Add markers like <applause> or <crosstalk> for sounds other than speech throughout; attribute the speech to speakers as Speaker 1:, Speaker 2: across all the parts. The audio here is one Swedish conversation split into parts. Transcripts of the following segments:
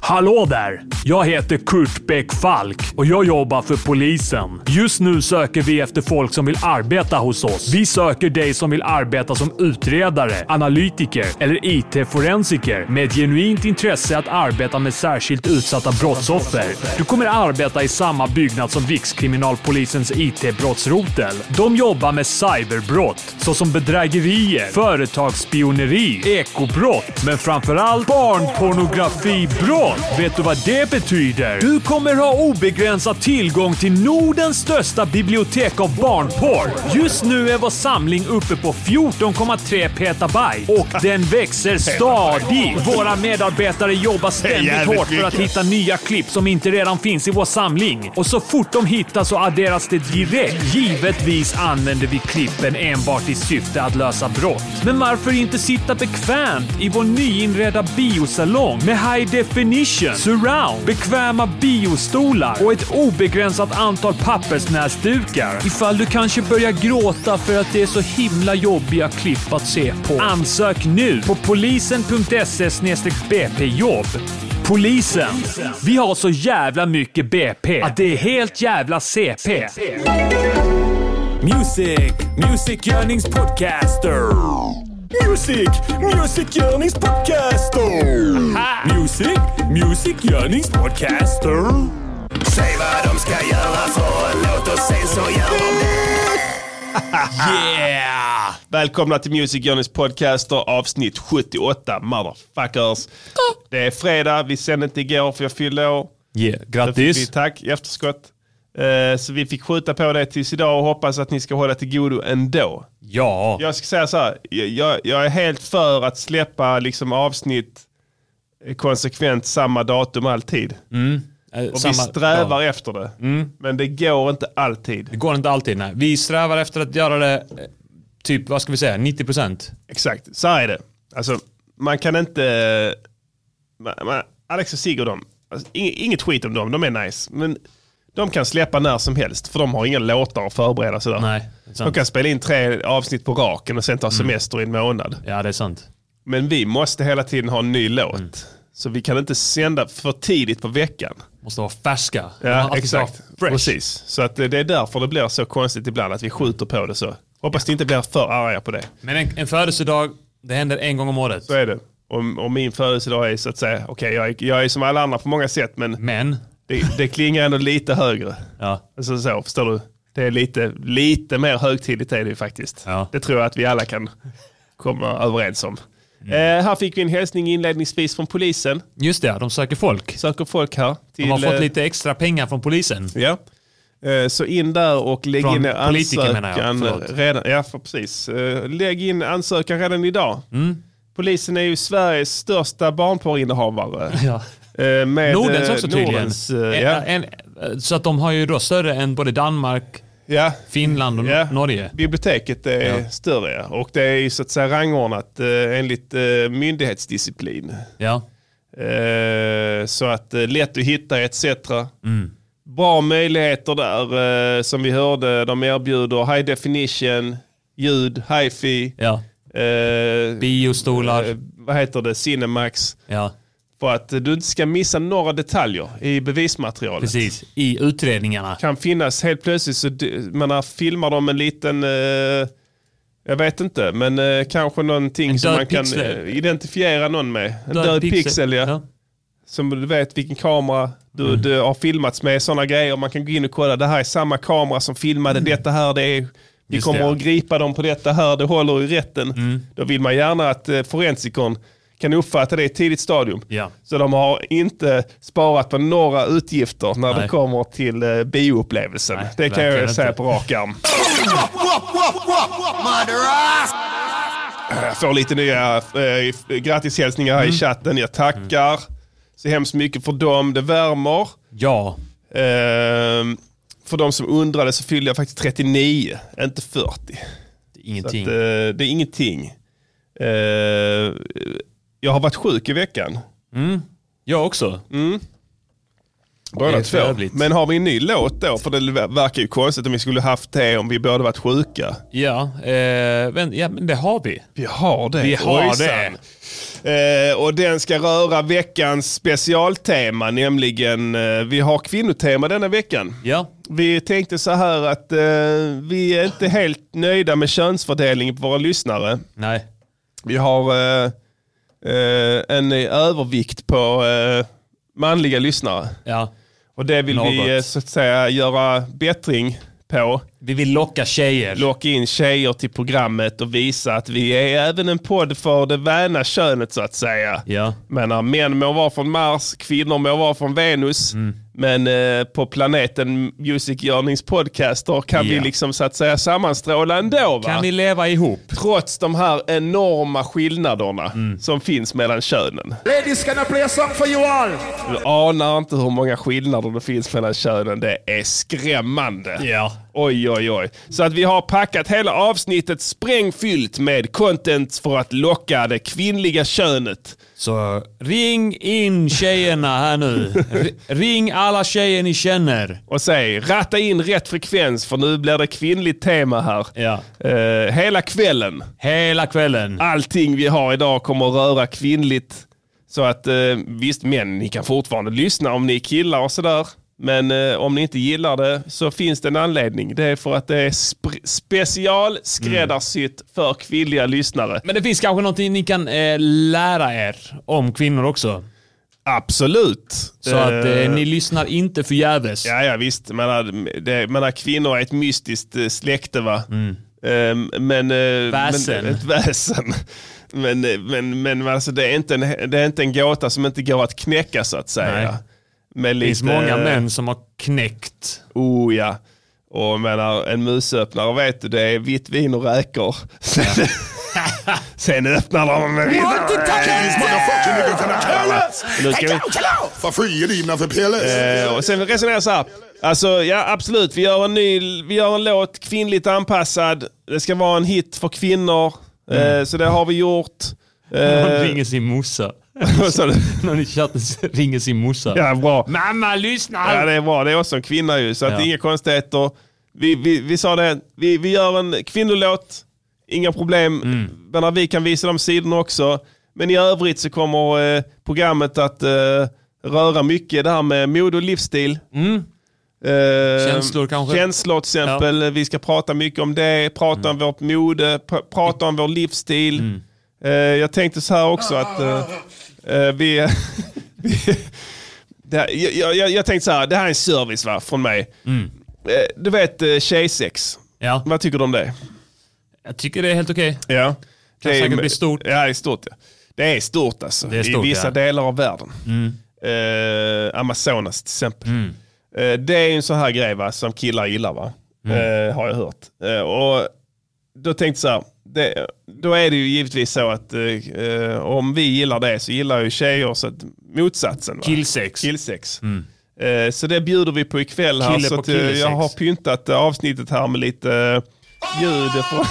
Speaker 1: Hallå där! Jag heter Kurt Bäck Falk och jag jobbar för polisen. Just nu söker vi efter folk som vill arbeta hos oss. Vi söker dig som vill arbeta som utredare, analytiker eller IT-forensiker med ett genuint intresse att arbeta med särskilt utsatta brottsoffer. Du kommer arbeta i samma byggnad som Rikskriminalpolisens IT-brottsrotel. De jobbar med cyberbrott såsom bedrägerier, företagsspioneri, ekobrott, men framförallt barnpornografibrott. Vet du vad det betyder? Du kommer ha obegränsad tillgång till Nordens största bibliotek av barnporr. Just nu är vår samling uppe på 14,3 petabyte och den växer stadigt. Våra medarbetare jobbar ständigt
Speaker 2: Jävligt
Speaker 1: hårt för att
Speaker 2: mycket.
Speaker 1: hitta nya klipp som inte redan finns i vår samling. Och så fort de hittas så adderas det direkt. Givetvis använder vi klippen enbart i syfte att lösa brott. Men varför inte sitta bekvämt i vår nyinredda biosalong med high definition, surround, bekväma biostolar och ett obegränsat antal pappersnäsdukar ifall du kanske börjar gråta för att det är så himla jobbiga klipp att se på. Ansök nu på polisen.se bpjobb. Polisen. Vi har så jävla mycket BP att det är helt jävla CP. Music, Music Yearnings Podcaster.
Speaker 2: Music, Music Yearnings Podcaster. Music, Music Yearnings Podcaster. Säg vad de ska göra för en låt och sen så gör de
Speaker 1: <laughs>
Speaker 2: det. Yeah! Välkomna till Music Journeys Podcaster avsnitt 78, motherfuckers. Det är fredag, vi sände inte igår för jag fyllde år.
Speaker 1: Yeah,
Speaker 2: Då fick vi
Speaker 1: grattis.
Speaker 2: tack i efterskott. Eh, Så vi fick skjuta på det tills idag och hoppas att ni ska hålla till godo ändå.
Speaker 1: Ja.
Speaker 2: Jag ska säga så här, jag- jag, jag är helt för att släppa liksom avsnitt konsekvent samma datum alltid.
Speaker 1: eh,
Speaker 2: Och
Speaker 1: samma-
Speaker 2: vi strävar
Speaker 1: ja.
Speaker 2: efter det. Men det går inte alltid.
Speaker 1: Det går inte alltid. Nej. Vi strävar efter att göra det eh, typ, vad ska vi säga, 90 procent.
Speaker 2: Exakt, så här är det. Alltså, man kan inte... Man, man, Alex och Sigurd, de, alltså, inget, inget skit om dem, de är nice. Men de kan släppa när som helst, för de har inga låtar att förbereda sig där.
Speaker 1: Nej, det är sant. Mm.
Speaker 2: de kan spela in tre avsnitt på raken och sen ta semester i en månad.
Speaker 1: Ja, det är sant.
Speaker 2: Men vi måste hela tiden ha en ny låt.
Speaker 1: Mm.
Speaker 2: Så vi kan inte sända för tidigt på veckan.
Speaker 1: Måste vara färska. Man
Speaker 2: Ja,
Speaker 1: alltid ska
Speaker 2: exakt.
Speaker 1: vara Fresh.
Speaker 2: Precis. Så att det det är därför det blir så konstigt ibland att vi skjuter på det så. Hoppas ni inte blir för arga på det.
Speaker 1: Men en, en födelsedag, det händer en gång om året.
Speaker 2: Så är det. Och, och min födelsedag är så att säga, okej jag, är- jag är som alla andra på många sätt men
Speaker 1: Men,
Speaker 2: det, det klingar ändå lite högre.
Speaker 1: ja.
Speaker 2: Alltså så, förstår du? Det är lite, lite mer högtidligt är det ju faktiskt.
Speaker 1: Ja.
Speaker 2: Det tror jag att vi alla kan komma överens om.
Speaker 1: Mm.
Speaker 2: Eh, här fick vi en hälsning inledningsvis från polisen.
Speaker 1: Just det, de söker folk.
Speaker 2: Söker folk här. Till,
Speaker 1: De har
Speaker 2: eh,
Speaker 1: fått lite extra pengar
Speaker 2: <laughs>
Speaker 1: från polisen.
Speaker 2: Ja. Eh, Så in där och lägg
Speaker 1: Från
Speaker 2: in
Speaker 1: politiker
Speaker 2: ansökan
Speaker 1: menar jag, förlåt.
Speaker 2: redan. Ja, för precis. Eh, Lägg in ansökan redan idag.
Speaker 1: Mm.
Speaker 2: Polisen är ju Sveriges största barnporrinnehavare.
Speaker 1: <laughs> Ja.
Speaker 2: Eh, Med
Speaker 1: Nordens
Speaker 2: eh,
Speaker 1: också tydligen.
Speaker 2: Nordens, eh,
Speaker 1: En-
Speaker 2: ja.
Speaker 1: en, eh, så att de har ju då större än både Danmark,
Speaker 2: ja.
Speaker 1: Finland och
Speaker 2: Ja.
Speaker 1: Mm, Norge.
Speaker 2: Biblioteket är
Speaker 1: Ja.
Speaker 2: större ja. och det är ju så att säga rangordnat eh, enligt eh, myndighetsdisciplin.
Speaker 1: Ja.
Speaker 2: Eh, Så att eh, lätt att hitta etc.
Speaker 1: Mm.
Speaker 2: Bra möjligheter där eh, som vi hörde. De erbjuder high definition, ljud, hifi,
Speaker 1: ja.
Speaker 2: eh, eh,
Speaker 1: Biostolar.
Speaker 2: vad heter det, Cinemax.
Speaker 1: Ja,
Speaker 2: För att eh, du inte ska missa några detaljer i bevismaterialet.
Speaker 1: precis. I utredningarna.
Speaker 2: Kan finnas helt plötsligt, så du- man har- filmar de en liten, eh, jag vet inte, men eh, kanske någonting
Speaker 1: En
Speaker 2: som
Speaker 1: död
Speaker 2: man kan
Speaker 1: pixel.
Speaker 2: eh, identifiera någon med. En död, pixel, ja. som du vet vilken kamera du,
Speaker 1: Mm.
Speaker 2: du har filmats med, sådana grejer. Man kan gå in och kolla, det här är samma kamera som filmade detta här. Det är, vi
Speaker 1: Mm. Just
Speaker 2: kommer
Speaker 1: det, ja. Mm.
Speaker 2: att gripa dem på detta här, det håller i rätten. Då vill man gärna att eh, forensikern kan uppfatta det i ett tidigt stadium.
Speaker 1: Ja.
Speaker 2: Så de har inte sparat på några utgifter när det
Speaker 1: Nej.
Speaker 2: kommer till eh, bioupplevelsen.
Speaker 1: Nej,
Speaker 2: det kan
Speaker 1: verkligen
Speaker 2: jag säga
Speaker 1: inte.
Speaker 2: på rak arm. Jag får lite nya eh, grattishälsningar här i
Speaker 1: Mm.
Speaker 2: chatten. Jag tackar så hemskt mycket för dem. Det värmer.
Speaker 1: Ja.
Speaker 2: Ehm, för de som undrade så fyllde jag faktiskt 39, inte 40. Så att, eh,
Speaker 1: Ingenting.
Speaker 2: det är ingenting. Eh, jag har varit sjuk i veckan.
Speaker 1: Mm. Jag också. Det
Speaker 2: Båda
Speaker 1: är
Speaker 2: två.
Speaker 1: trevligt.
Speaker 2: Men har vi en ny låt då? För det verkar ju konstigt om vi skulle haft det om vi båda varit sjuka.
Speaker 1: Ja, eh, men, ja, men det har vi.
Speaker 2: Vi har det.
Speaker 1: Vi har
Speaker 2: det. Eh, och den ska röra veckans specialtema, nämligen eh, vi har kvinnotema denna veckan.
Speaker 1: Ja.
Speaker 2: Vi tänkte så här att eh, vi är inte helt nöjda med könsfördelningen på våra lyssnare.
Speaker 1: Nej.
Speaker 2: Vi har eh, eh, en övervikt på eh, manliga lyssnare.
Speaker 1: Ja.
Speaker 2: Och det vill
Speaker 1: Något.
Speaker 2: vi eh, så att säga göra bättring på.
Speaker 1: Vi vill locka tjejer.
Speaker 2: Locka in tjejer till programmet och visa att vi är även en podd för det väna könet så att säga.
Speaker 1: ja.
Speaker 2: Men när män må vara från Mars, kvinnor må vara från Venus.
Speaker 1: Mm.
Speaker 2: Men eh, på planeten Music Yearnings podcaster kan vi
Speaker 1: Ja.
Speaker 2: liksom så att säga sammanstråla ändå. Va?
Speaker 1: Kan vi leva ihop?
Speaker 2: Trots de här enorma skillnaderna
Speaker 1: Mm.
Speaker 2: som finns mellan könen.
Speaker 3: Ladies, can I play a song for you all?
Speaker 2: Du anar inte hur många skillnader det finns mellan könen. Det är skrämmande.
Speaker 1: Ja.
Speaker 2: Oj, oj, oj. Så att vi har packat hela avsnittet sprängfyllt med content för att locka det kvinnliga könet.
Speaker 1: Så ring in tjejerna här nu. R- ring alla tjejer ni känner.
Speaker 2: Och säg, ratta in rätt frekvens för nu blir det kvinnligt tema här.
Speaker 1: Ja. Ah.
Speaker 2: Eh, hela kvällen.
Speaker 1: Hela kvällen.
Speaker 2: Allting vi har idag kommer att röra kvinnligt. Så att eh, visst, män, ni kan fortfarande lyssna om ni är killar och sådär. Men eh, om ni inte gillar det så finns det en anledning. Det är för att det är sp- specialskräddarsytt för kvinnliga lyssnare.
Speaker 1: Men det finns kanske någonting ni kan eh, lära er om kvinnor också.
Speaker 2: Absolut.
Speaker 1: Så att eh,
Speaker 2: Eh,
Speaker 1: ni lyssnar inte förgäves.
Speaker 2: Ja, ja visst. Man har, det, man har kvinnor är ett mystiskt eh, släkte va? Ehm, men, eh,
Speaker 1: Mm. Väsen.
Speaker 2: Men, ett <laughs> väsen. Men, eh, men, men alltså, det, är inte en, det är inte en gåta som inte går att knäcka så att säga.
Speaker 1: Nej.
Speaker 2: Men
Speaker 1: Det finns många män som har knäckt.
Speaker 2: Oh ja. Och jag menar, en musöppnare vet du, det är vitt vin och räkor. Sen, <laughs> sen öppnar de med vitt
Speaker 3: Want to touch
Speaker 4: These motherfucking niggas and I kill us.
Speaker 2: Nu ska vi-
Speaker 4: För fri innanför PLS.
Speaker 2: Eh, och sen resonerar jag så här. Alltså ja absolut, vi gör en ny, vi gör en låt kvinnligt anpassad. Det ska vara en hit för kvinnor.
Speaker 1: Mm.
Speaker 2: Eh, så det har vi
Speaker 1: <laughs>
Speaker 2: gjort.
Speaker 1: Han
Speaker 2: Eh,
Speaker 1: ringer sin morsa.
Speaker 2: <laughs> vad sa du?
Speaker 1: Någon i chatten ringer sin morsa.
Speaker 2: ja bra.
Speaker 1: Mamma lyssna!
Speaker 2: Ja det är bra, det är också en kvinna ju. Så att
Speaker 1: Ja.
Speaker 2: det är inga konstigheter. Vi, vi, vi sa det, vi, vi gör en kvinnolåt. Inga problem.
Speaker 1: Mm.
Speaker 2: Men när vi kan visa de sidorna också. Men i övrigt så kommer eh, programmet att eh, röra mycket det här med mode och livsstil. Eh,
Speaker 1: Mm. Känslor kanske?
Speaker 2: Känslor till exempel. Vi ska prata mycket om det, prata om vårt mode, pr- prata om vår livsstil. Eh, jag tänkte så här också att eh, eh, vi... <laughs> vi det här, jag, jag, jag tänkte så här, det här är en service va, från mig. Eh, du vet eh, tjejsex,
Speaker 1: Ja,
Speaker 2: vad tycker du om det?
Speaker 1: jag tycker det är helt okej.
Speaker 2: Ja. Kan
Speaker 1: säkert bli stort.
Speaker 2: Ja, det är stort. Ja. Det är stort alltså.
Speaker 1: Det är stort,
Speaker 2: I vissa
Speaker 1: ja. Mm.
Speaker 2: delar av världen. Eh, Amazonas till exempel. Eh, det är ju en sån här grej va, som killar gillar va.
Speaker 1: Mm.
Speaker 2: Eh, har jag hört. Eh, och då tänkte jag så här. Det, då är det ju givetvis så att eh, eh, om vi gillar det så gillar ju tjejer så att motsatsen. Va?
Speaker 1: Killsex. Mm.
Speaker 2: Killsex. Eh, så det bjuder vi på ikväll här.
Speaker 1: Kille
Speaker 2: Så
Speaker 1: på
Speaker 2: att, eh,
Speaker 1: killesex.
Speaker 2: jag har pyntat eh, avsnittet här med lite eh, ljud. Från...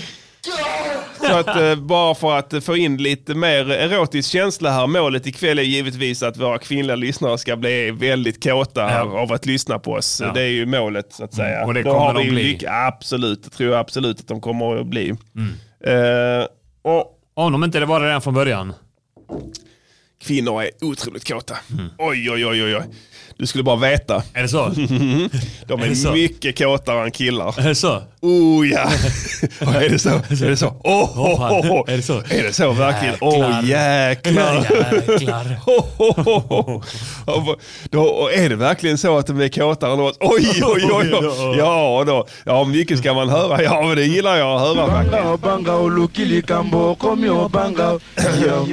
Speaker 2: <laughs> Så att, eh, bara för att eh, få in lite mer erotisk känsla här. Målet ikväll är givetvis att våra kvinnliga lyssnare ska bli väldigt kåta här av att lyssna på oss. Det är ju målet så att säga.
Speaker 1: Mm. Och det
Speaker 2: Då
Speaker 1: kommer
Speaker 2: har
Speaker 1: de
Speaker 2: vi
Speaker 1: bli.
Speaker 2: lyck- Absolut, det tror jag absolut att de kommer att bli.
Speaker 1: Mm.
Speaker 2: Eh, och
Speaker 1: Om de inte det var det redan från början.
Speaker 2: Kvinnor är otroligt kåta.
Speaker 1: Mm.
Speaker 2: Oj, oj, oj, oj, oj. Du skulle bara veta.
Speaker 1: Är <laughs> det så?
Speaker 2: De
Speaker 1: Är det
Speaker 2: är,
Speaker 1: så?
Speaker 2: mycket kåtare än killar.
Speaker 1: är det så?
Speaker 2: Oh
Speaker 1: <laughs>
Speaker 2: ja! är det så? Är det så? Oh,
Speaker 1: Åh,
Speaker 2: oh,
Speaker 1: fan.
Speaker 2: oh, oh.
Speaker 1: Är det så?
Speaker 2: Är det så verkligen? Åh oh, jäklar! <laughs>
Speaker 1: Jäklar.
Speaker 2: Oh, oh, oh, oh. Då, och är det verkligen så att de är kåtare än oss?
Speaker 1: <laughs>
Speaker 2: Oj, oj, oj, oj. Ja, då. ja, mycket ska man höra. Ja, men det gillar jag att höra faktiskt.
Speaker 5: <coughs>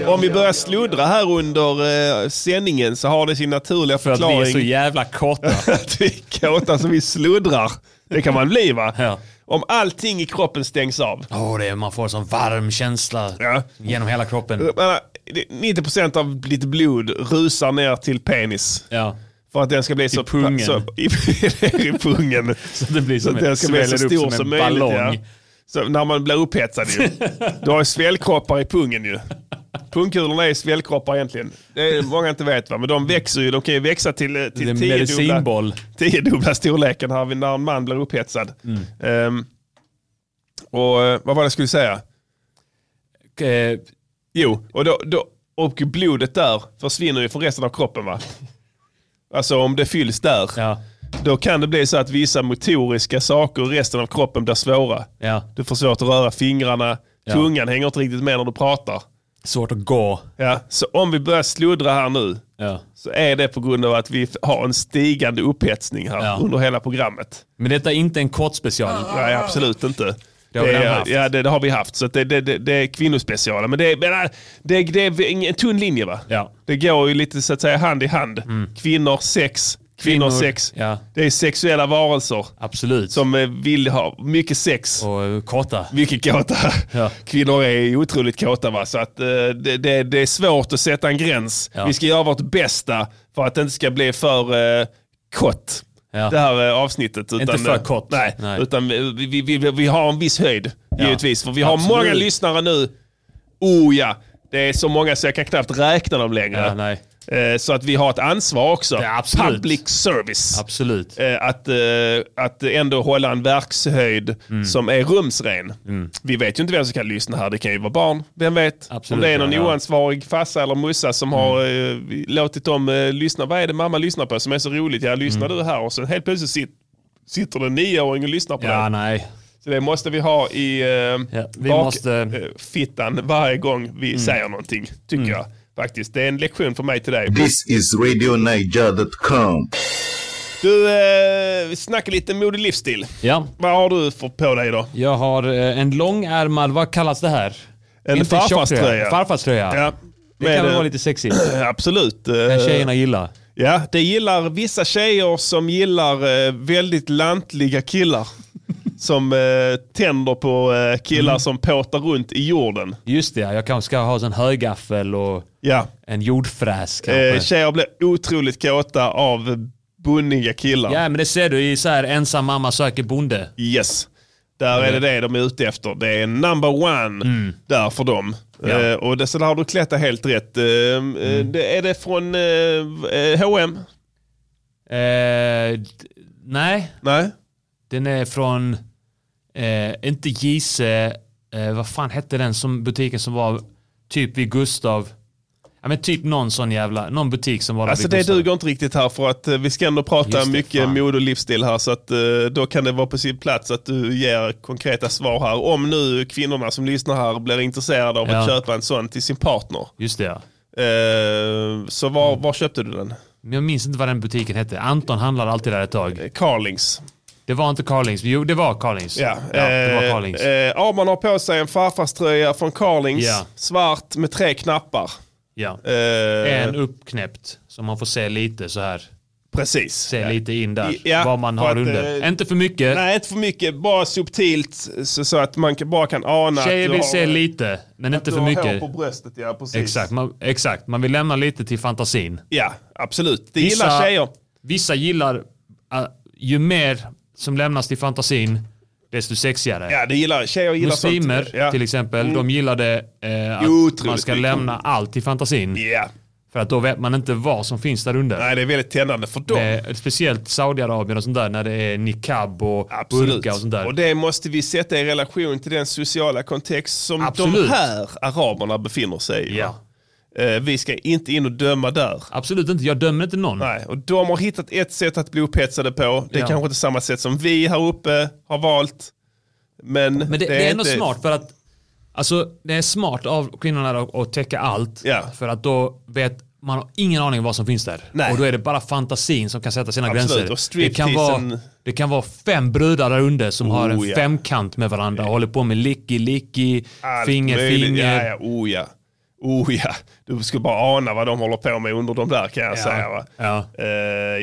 Speaker 2: Om vi börjar sluddra här under eh, sändningen så har det sin naturliga
Speaker 1: För att vi
Speaker 2: förklaring.
Speaker 1: är så jävla korta. <laughs>
Speaker 2: <laughs> att vi är kåta så vi sluddrar. Det kan man bli va?
Speaker 1: Ja.
Speaker 2: Om allting i kroppen stängs av.
Speaker 1: Åh, det är, man får en sån varm känsla
Speaker 2: Ja.
Speaker 1: genom hela kroppen.
Speaker 2: Jag menar, det- 90% av ditt blod rusar ner till penis.
Speaker 1: Ja.
Speaker 2: För att den ska bli så...
Speaker 1: pungen.
Speaker 2: Så, i, <laughs> ner i pungen.
Speaker 1: Så det blir
Speaker 2: Så
Speaker 1: som
Speaker 2: att den
Speaker 1: ett,
Speaker 2: ska bli så
Speaker 1: sväller
Speaker 2: stor som,
Speaker 1: upp som en
Speaker 2: möjligt.
Speaker 1: ballong. <laughs>
Speaker 2: Ja. Så när man blir upphetsad ju. Du har ju svällkroppar i pungen ju. Pungkulorna är svällkroppar egentligen. Det är många inte vet va, men de växer ju. De kan ju växa till, eh,
Speaker 1: Det är
Speaker 2: till
Speaker 1: en
Speaker 2: tiodubbla,
Speaker 1: medicinboll.
Speaker 2: tiodubbla storleken här vid- när en man blir upphetsad.
Speaker 1: Mm.
Speaker 2: Ehm, och eh, vad var det jag skulle säga?
Speaker 1: Eh,
Speaker 2: Jo, och, då, då, och blodet där försvinner ju från resten av kroppen va? Alltså om det fylls där,
Speaker 1: ja,
Speaker 2: då kan det bli så att vissa motoriska saker i resten av kroppen blir svåra.
Speaker 1: ja.
Speaker 2: Du får svårt att röra fingrarna,
Speaker 1: Ja.
Speaker 2: tungan hänger inte riktigt med när du pratar.
Speaker 1: Svårt att gå.
Speaker 2: Ja, så om vi börjar sluddra här nu
Speaker 1: Ja.
Speaker 2: så är det på grund av att vi har en stigande upphetsning här
Speaker 1: Ja.
Speaker 2: under hela programmet.
Speaker 1: Men detta är inte en kort special.
Speaker 2: Nej, absolut inte.
Speaker 1: Det har vi redan haft.
Speaker 2: ja, det, det har vi haft. Så att det, det, det, det är kvinnospecialen. Men det, är- men, äh, det, är- det är en- en tunn linje va?
Speaker 1: Ja. Mm.
Speaker 2: Det går ju lite så att säga hand i hand. Kvinnor, sex, kvinnor,
Speaker 1: Kvinnor,
Speaker 2: sex.
Speaker 1: ja.
Speaker 2: Det är sexuella varelser
Speaker 1: Absolut.
Speaker 2: som eh, vill ha mycket sex.
Speaker 1: Och eh, korta.
Speaker 2: Mycket kåta.
Speaker 1: Ja.
Speaker 2: Kvinnor är ju otroligt kåta. Va? Så att, eh, det, det, det är svårt att sätta en gräns.
Speaker 1: Ja.
Speaker 2: Vi ska göra vårt bästa för att det inte ska bli för eh, kort.
Speaker 1: Ja.
Speaker 2: Det här eh, avsnitet. Utan,
Speaker 1: för
Speaker 2: eh,
Speaker 1: kort.
Speaker 2: Nej,
Speaker 1: Nej.
Speaker 2: utan vi, vi, vi, vi, vi har en viss höjd
Speaker 1: Ja.
Speaker 2: givetvis. För vi har
Speaker 1: Absolut.
Speaker 2: många lyssnare nu. Oh ja, det är så många så jag kan knappt räkna dem
Speaker 1: Ja,
Speaker 2: längre.
Speaker 1: nej.
Speaker 2: Eh, så att vi har ett ansvar också.
Speaker 1: Ja, absolut.
Speaker 2: Public service.
Speaker 1: Absolut.
Speaker 2: Eh, att, eh, att ändå hålla en verkshöjd
Speaker 1: Mm.
Speaker 2: som är rumsren. Vi vet ju inte vem som kan lyssna här. Det kan ju vara barn. Vem vet?
Speaker 1: Absolut,
Speaker 2: Om det är någon
Speaker 1: ja, Mm. ja.
Speaker 2: oansvarig farsa eller mussa som har eh, låtit dem eh, lyssna. Vad är det mamma lyssnar på som är så roligt? Ja, lyssnar
Speaker 1: Mm.
Speaker 2: du här? Och sen helt plötsligt sit, sitter det en nioåring och lyssnar på
Speaker 1: Ja,
Speaker 2: det.
Speaker 1: nej.
Speaker 2: Så det måste vi ha i eh,
Speaker 1: vi
Speaker 2: bak-
Speaker 1: måste- Mm.
Speaker 2: eh, fittan varje gång vi säger någonting, tycker jag. Faktiskt. Det är en lektion för mig till dig.
Speaker 4: This is RadioNiger.com.
Speaker 2: Du, eh, vi snackar lite mode och livsstil.
Speaker 1: Ja.
Speaker 2: Vad har du för på dig då?
Speaker 1: Jag har eh, en långärmad, vad kallas det här?
Speaker 2: En
Speaker 1: Inte
Speaker 2: farfarströja.
Speaker 1: tjocktröja, Farfarströja.
Speaker 2: Ja,
Speaker 1: Det
Speaker 2: med,
Speaker 1: kan väl
Speaker 2: eh,
Speaker 1: vara lite sexigt.
Speaker 2: Absolut. eh,
Speaker 1: Kan tjejerna gilla.
Speaker 2: Ja, det gillar vissa tjejer som gillar eh, väldigt lantliga
Speaker 1: <laughs>
Speaker 2: killar. som eh, tänder på eh, killar
Speaker 1: Mm.
Speaker 2: som påtar runt i jorden.
Speaker 1: Just det, ja. jag kanske ska ha en högaffel och
Speaker 2: Ja.
Speaker 1: en jordfräs kanske.
Speaker 2: Eh, tjejer blir otroligt kåta av bunniga killar.
Speaker 1: ja, men det ser du i så här ensam mamma söker bonde.
Speaker 2: Yes. Där är det det de är ute efter. Det är number one där för dem.
Speaker 1: Mm. Ja. Mm.
Speaker 2: Eh, och det, så där har du klätt det helt rätt. Eh, eh, det, är det från eh, eh, H&M?
Speaker 1: Eh, d- nej,
Speaker 2: Nej.
Speaker 1: den är från, eh, inte Gise, eh, vad fan hette den som butiken som var typ vid Gustav? Ja men typ någon sån jävla, någon butik som var där
Speaker 2: Alltså
Speaker 1: vid
Speaker 2: det
Speaker 1: Gustav.
Speaker 2: duger inte riktigt här för att eh, vi ska ändå prata
Speaker 1: Just det,
Speaker 2: mycket
Speaker 1: fan.
Speaker 2: mode och livsstil här så att eh, då kan det vara på sin plats att du ger konkreta svar här. Om nu kvinnorna som lyssnar här blir intresserade av
Speaker 1: Ja.
Speaker 2: att köpa en sån till sin partner.
Speaker 1: Just det ja.
Speaker 2: Eh, så
Speaker 1: Mm.
Speaker 2: var, var köpte du den?
Speaker 1: Men jag minns inte vad den butiken hette. Anton handlade alltid där ett tag.
Speaker 2: Eh, Carlings.
Speaker 1: Det var inte Carlings. Jo, det var Carlings.
Speaker 2: Ja,
Speaker 1: det var
Speaker 2: eh,
Speaker 1: Carlings.
Speaker 2: eh, Arman har på sig en farfarströja från Carlings,
Speaker 1: Ja.
Speaker 2: svart med tre knappar.
Speaker 1: ja.
Speaker 2: Eh,
Speaker 1: En uppknäppt som man får se lite så här.
Speaker 2: precis.
Speaker 1: Se lite in där.
Speaker 2: Ja,
Speaker 1: vad man
Speaker 2: för
Speaker 1: har
Speaker 2: att,
Speaker 1: under.
Speaker 2: eh,
Speaker 1: inte för mycket.
Speaker 2: Nej, inte för mycket. Bara subtilt så, så att man kan, bara kan ana
Speaker 1: Tjejer
Speaker 2: att
Speaker 1: vill
Speaker 2: du
Speaker 1: se
Speaker 2: har,
Speaker 1: lite, men
Speaker 2: du
Speaker 1: inte för
Speaker 2: har
Speaker 1: mycket.
Speaker 2: hår på bröstet. Ja, precis.
Speaker 1: Exakt man, exakt, man vill lämna lite till fantasin.
Speaker 2: Ja, absolut. Det gillar tjejer.
Speaker 1: Vissa gillar, äh, ju mer som lämnas till fantasin, desto sexigare.
Speaker 2: Ja, det gillar tjejer. Gillar
Speaker 1: Muslimer
Speaker 2: sånt. Ja. Mm.
Speaker 1: till exempel, de gillar det eh, att
Speaker 2: Otroligt
Speaker 1: man ska
Speaker 2: mycket.
Speaker 1: lämna allt till fantasin.
Speaker 2: Ja.
Speaker 1: För att då vet man inte vad som finns där under.
Speaker 2: Nej, det är väldigt tändande för dem.
Speaker 1: Eh, speciellt Saudiarabien och sånt där när det är niqab och
Speaker 2: Absolut.
Speaker 1: burka och sånt där.
Speaker 2: Och det måste vi sätta i relation till den sociala kontext som
Speaker 1: Absolut.
Speaker 2: de här araberna befinner sig i.
Speaker 1: ja.
Speaker 2: Eh, Vi ska inte in och döma där.
Speaker 1: Absolut inte, jag dömer inte någon.
Speaker 2: Nej, och de har hittat ett sätt att bli upphetsade på. Det är
Speaker 1: Ja.
Speaker 2: kanske inte samma sätt som vi här uppe har valt. Men,
Speaker 1: Men det, det är, ändå
Speaker 2: inte...
Speaker 1: smart för att Alltså det är smart av kvinnorna att- att täcka allt.
Speaker 2: Ja.
Speaker 1: För att då vet man har ingen aning om vad som finns där.
Speaker 2: Nej.
Speaker 1: Och då är det bara fantasin som kan sätta sina
Speaker 2: Absolut, och
Speaker 1: gränser. Det kan, vara,
Speaker 2: stripteasen-
Speaker 1: det kan vara fem brudar där under som har en
Speaker 2: Oh, ja.
Speaker 1: femkant med varandra och håller på med licky licky,
Speaker 2: Allt
Speaker 1: finger
Speaker 2: möjligt. Ja,
Speaker 1: finger.
Speaker 2: ja, oh ja. Oh ja. Du skulle bara ana vad de håller på med under de där kan jag säga. Va?
Speaker 1: Ja.
Speaker 2: Eh,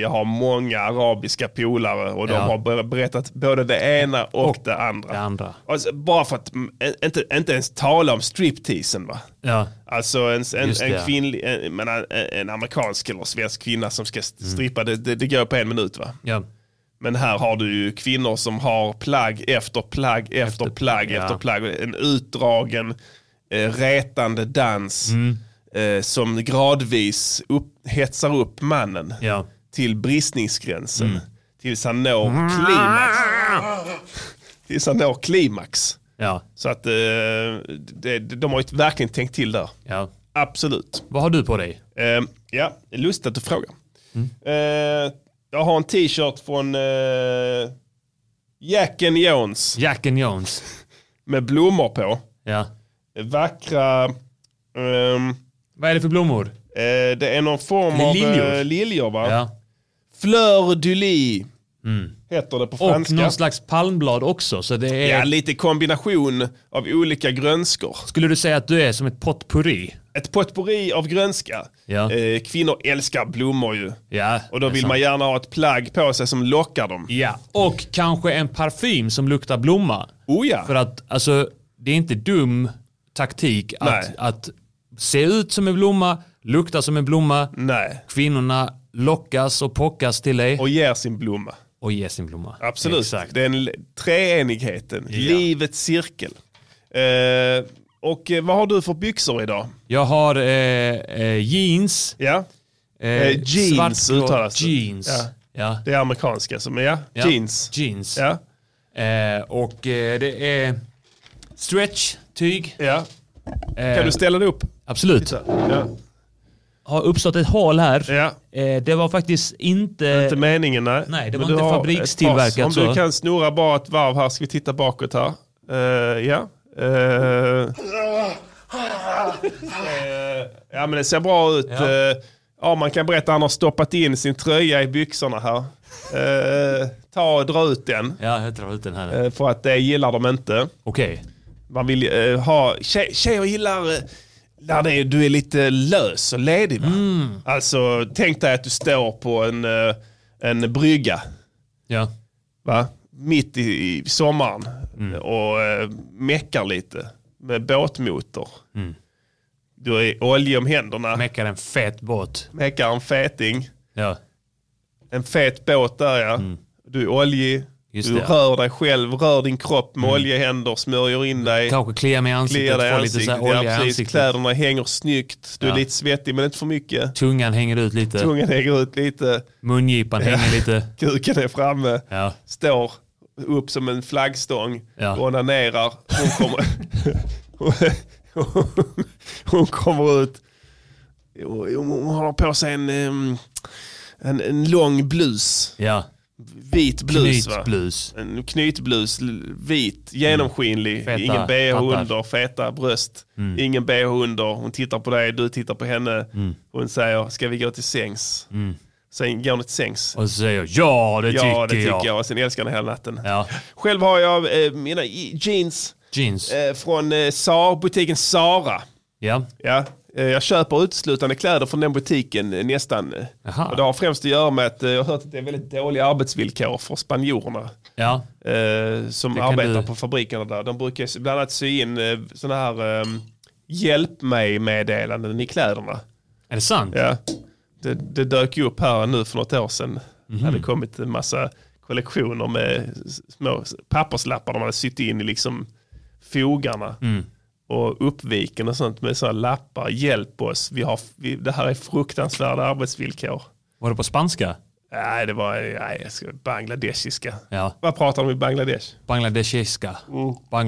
Speaker 2: jag har många arabiska polare och de
Speaker 1: Ja.
Speaker 2: har ber- berättat både det ena och, det andra.
Speaker 1: det andra.
Speaker 2: Alltså, bara för att mm, ä- inte, inte ens tala om stripteasen va?
Speaker 1: Ja.
Speaker 2: Alltså en, en,
Speaker 1: Just det, ja.
Speaker 2: en, kvinnlig, en, jag menar, en, en amerikansk eller svensk kvinna som ska
Speaker 1: Mm.
Speaker 2: strippa, det, det, det går på en minut va?
Speaker 1: Ja.
Speaker 2: Men här har du ju kvinnor som har plagg efter plagg efter, plagg
Speaker 1: plagg,
Speaker 2: efter
Speaker 1: ja.
Speaker 2: plagg. En utdragen eh, retande dans eh, som gradvis upp, hetsar upp mannen
Speaker 1: Ja.
Speaker 2: till bristningsgränsen. Tills han når klimax. tills han når klimax.
Speaker 1: Ja.
Speaker 2: Så att eh, det, de har ju verkligen tänkt till där.
Speaker 1: ja.
Speaker 2: Absolut.
Speaker 1: Vad har du på dig?
Speaker 2: Eh, ja, det är lustigt att du frågar. Eh, jag har en t-shirt från eh, Jack and Jones
Speaker 1: Jack and Jones.
Speaker 2: med blommor på.
Speaker 1: Ja.
Speaker 2: Vackra... ehm,
Speaker 1: Vad är det för blommor?
Speaker 2: eh, det är någon form av
Speaker 1: Liljor.
Speaker 2: eh, liljor va?
Speaker 1: Ja. Mm.
Speaker 2: Fleur du lis heter det på
Speaker 1: Och
Speaker 2: franska.
Speaker 1: någon slags palmblad också. Så det är...
Speaker 2: Ja, lite kombination av olika grönskor.
Speaker 1: Skulle du säga att du är som ett potpurri?
Speaker 2: Ett potpourri av grönska.
Speaker 1: Ja.
Speaker 2: Eh, kvinnor älskar blommor ju.
Speaker 1: Ja.
Speaker 2: Och då
Speaker 1: det är
Speaker 2: vill
Speaker 1: sant.
Speaker 2: man gärna ha ett plagg på sig som lockar dem.
Speaker 1: Ja. Och kanske en parfym som luktar blomma.
Speaker 2: Oh ja.
Speaker 1: För att alltså, det är inte dum taktik att,
Speaker 2: Nej.
Speaker 1: att se ut som en blomma, lukta som en blomma.
Speaker 2: Nej.
Speaker 1: Kvinnorna lockas och pockas till dig
Speaker 2: Mm.
Speaker 1: och,
Speaker 2: Och ger sin blomma.
Speaker 1: ge sin blomma.
Speaker 2: Absolut.
Speaker 1: Exakt.
Speaker 2: Den l- treenigheten. Livets cirkel. Eh, och eh, vad har du för byxor idag?
Speaker 1: Jag har eh, eh, jeans.
Speaker 2: Ja, Eh, jeans
Speaker 1: svartblå-
Speaker 2: uttalas det.
Speaker 1: Jeans.
Speaker 2: Ja.
Speaker 1: Ja.
Speaker 2: det är amerikanska. Som, ja,
Speaker 1: Ja.
Speaker 2: jeans.
Speaker 1: Jeans.
Speaker 2: Ja,
Speaker 1: Eh, och eh, det är stretch-tyg.
Speaker 2: ja.
Speaker 1: Eh,
Speaker 2: Kan du ställa dig upp?
Speaker 1: absolut.
Speaker 2: Ja.
Speaker 1: Har uppstått ett hål här.
Speaker 2: ja.
Speaker 1: Eh, det var faktiskt inte...
Speaker 2: Inte meningen, nej.
Speaker 1: Eh, nej, det var
Speaker 2: Men
Speaker 1: inte
Speaker 2: du har
Speaker 1: fabrikstillverkat
Speaker 2: ett par- Om
Speaker 1: så.
Speaker 2: du kan snurra bara ett varv här, ska vi titta bakåt här. Eh, ja. Eh, eh, ja, men det ser bra ut.
Speaker 1: Ja.
Speaker 2: Ja. ja, man kan berätta att han har stoppat in sin tröja i byxorna här. Eh, ta och dra ut den,
Speaker 1: Ja, jag drar ut den här.
Speaker 2: eh, för att det gillar de inte.
Speaker 1: Okej.
Speaker 2: Man vill eh, ha, tje, tjejer gillar eh, när det är, du är lite lös och ledig. Va?
Speaker 1: Mm.
Speaker 2: Alltså tänk dig att du står på en, eh, en brygga
Speaker 1: Ja.
Speaker 2: va? mitt i, i sommaren
Speaker 1: Mm.
Speaker 2: och eh, meckar lite med båtmotor.
Speaker 1: Mm.
Speaker 2: Du är olja om händerna,
Speaker 1: Meckar en fet båt.
Speaker 2: meckar en feting,
Speaker 1: Ja.
Speaker 2: en fet båt där ja. Du är oljig,
Speaker 1: Mm. Just
Speaker 2: du
Speaker 1: det.
Speaker 2: rör dig själv, rör din kropp med oljehänder, smörjer in dig.
Speaker 1: Kanske klia mig i
Speaker 2: kliar
Speaker 1: ansiktet,
Speaker 2: dig i
Speaker 1: få lite så
Speaker 2: ansiktet.
Speaker 1: här olja
Speaker 2: ja,
Speaker 1: i
Speaker 2: precis.
Speaker 1: ansiktet.
Speaker 2: Kläderna hänger snyggt. Du är
Speaker 1: Ja.
Speaker 2: lite svettig men inte för mycket.
Speaker 1: Tungan hänger ut lite.
Speaker 2: Tungan hänger ut lite.
Speaker 1: Mungipan hänger lite.
Speaker 2: Kuken är framme.
Speaker 1: Ja.
Speaker 2: Står upp som en flaggstång.
Speaker 1: Ja.
Speaker 2: Onanerar. Hon kommer, hon kommer ut. Hon hon har på sig en, em, en, en lång blus.
Speaker 1: Ja.
Speaker 2: Vit blus va?
Speaker 1: Knytblus.
Speaker 2: En knytblus, l- vit, genomskinlig,
Speaker 1: Mm. Feta
Speaker 2: ingen bh
Speaker 1: pattar. Mm.
Speaker 2: under, feta bröst, ingen bh under. Hon tittar på dig, du tittar på henne. Hon säger, ska vi gå till sängs?
Speaker 1: Mm.
Speaker 2: Sen går ni till sängs.
Speaker 1: Och så säger jag ja, det,
Speaker 2: ja, det
Speaker 1: tycker,
Speaker 2: tycker jag.
Speaker 1: jag.
Speaker 2: Och sen älskar ni hela natten.
Speaker 1: Ja.
Speaker 2: Själv har jag eh, mina i- jeans
Speaker 1: Jeans.
Speaker 2: eh, från eh, Sar, butiken Sara.
Speaker 1: Ja.
Speaker 2: Ja, eh, jag köper uteslutande kläder från den butiken eh, nästan.
Speaker 1: Aha.
Speaker 2: Och det har främst att göra med att eh, jag har hört att det är väldigt dåliga arbetsvillkor för spanjorerna
Speaker 1: Ja.
Speaker 2: eh, som
Speaker 1: kan
Speaker 2: arbetar
Speaker 1: du-
Speaker 2: på fabrikerna där. De brukar ju bland annat sy in eh, sådana här eh, hjälp mig-meddelanden i kläderna.
Speaker 1: Är det sant?
Speaker 2: Ja. Det, det dök ju upp här nu för något år sedan. Det hade kommit en massa kollektioner med s- små s- papperslappar de hade sytt in i liksom fogarna. Och uppviken och sånt med sådana lappar. Hjälp oss, vi har, vi, det här är fruktansvärda arbetsvillkor.
Speaker 1: Var det på spanska?
Speaker 2: Nej, det var nej, jag ska, bangladeshiska.
Speaker 1: Ja.
Speaker 2: Vad pratar de i Bangladesh?
Speaker 1: Bangladeshiska.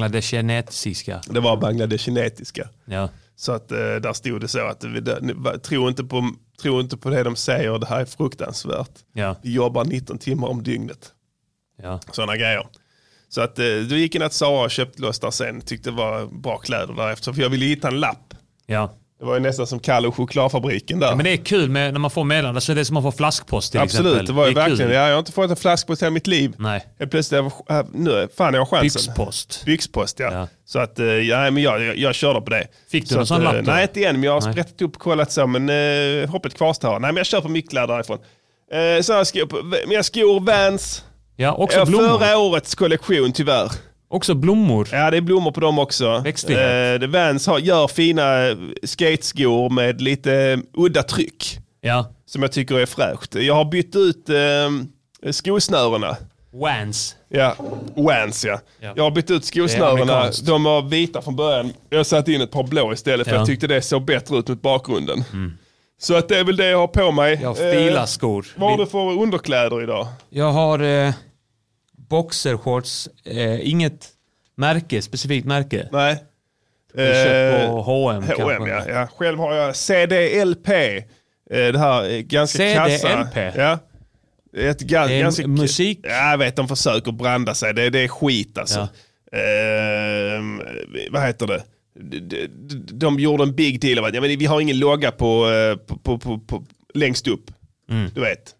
Speaker 1: Bangladeshinesiska.
Speaker 2: Det var bangladeshinetiska.
Speaker 1: Ja.
Speaker 2: Så att eh, där stod det så att vi, det, ni- va- tro, inte på, tro inte på det de säger, det här är fruktansvärt.
Speaker 1: Ja.
Speaker 2: Vi jobbar 19 timmar om dygnet.
Speaker 1: Ja.
Speaker 2: Sådana grejer. Så att eh, då gick jag in att Sara och köpte loss där sen. Tyckte det var bra kläder därefter. För jag ville hitta en lapp.
Speaker 1: ja.
Speaker 2: Det var ju nästan som Kalle och chokladfabriken där.
Speaker 1: Men det är kul med, när man får meddelanden, så är det som att man får flaskpost till
Speaker 2: Absolut,
Speaker 1: exempel.
Speaker 2: det var ju
Speaker 1: är kul.
Speaker 2: verkligen. Ja, jag har inte fått en flaskpost i hela mitt liv.
Speaker 1: Nej.
Speaker 2: Jag plötsligt, jag, var- nu, fan jag har chansen.
Speaker 1: Byxpost.
Speaker 2: Byxpost ja.
Speaker 1: Ja.
Speaker 2: Så att, eh, ja, men jag, jag, jag körde på det.
Speaker 1: Fick du
Speaker 2: så
Speaker 1: någon
Speaker 2: att,
Speaker 1: sån
Speaker 2: eh,
Speaker 1: lapp då?
Speaker 2: Nej, inte än, men jag har
Speaker 1: Nej.
Speaker 2: sprättat upp och kollat så, men eh, hoppet kvarstår. Nej, men jag kör på mycket kläder därifrån. Eh, så jag skor, på- mina skor, Vans.
Speaker 1: Ja, också
Speaker 2: Ja,
Speaker 1: blommor.
Speaker 2: förra årets kollektion tyvärr.
Speaker 1: Också blommor.
Speaker 2: Ja, det är blommor på dem också.
Speaker 1: Växtlighet.
Speaker 2: Eh, det Vans har, gör fina eh, skateskor med lite eh, udda tryck
Speaker 1: Ja.
Speaker 2: som jag tycker är fräscht. Jag har bytt ut eh, skosnörena
Speaker 1: Wans.
Speaker 2: Ja, Wans ja.
Speaker 1: Ja.
Speaker 2: Jag har bytt ut
Speaker 1: Det är
Speaker 2: skosnörena.
Speaker 1: amerikanskt.
Speaker 2: De var vita från början. Jag satte in ett par blå istället för
Speaker 1: Ja. Mm.
Speaker 2: jag tyckte det såg bättre ut mot bakgrunden. Så att det är väl det jag har på mig.
Speaker 1: Jag filar
Speaker 2: Eh,
Speaker 1: skor.
Speaker 2: Vad har
Speaker 1: Min-
Speaker 2: du för underkläder idag?
Speaker 1: Jag har eh, boxershorts. Eh, inget märke, specifikt märke.
Speaker 2: Nej.
Speaker 1: Köpt på
Speaker 2: Eh,
Speaker 1: H&M
Speaker 2: H&M
Speaker 1: kanske.
Speaker 2: ja. ja. Själv har jag CDLP. eh, Det här eh, ganska
Speaker 1: CDLP?
Speaker 2: kassa. Ja. Ett ga-
Speaker 1: Det är
Speaker 2: ganska
Speaker 1: musik.
Speaker 2: Ja, jag vet, de försöker branda sig. Det, det är skit alltså. Ehm, vad heter det? De, de, de gjorde en big deal av att ja, men vi har ingen logga på, eh, på, på, på, på, längst upp. Du vet.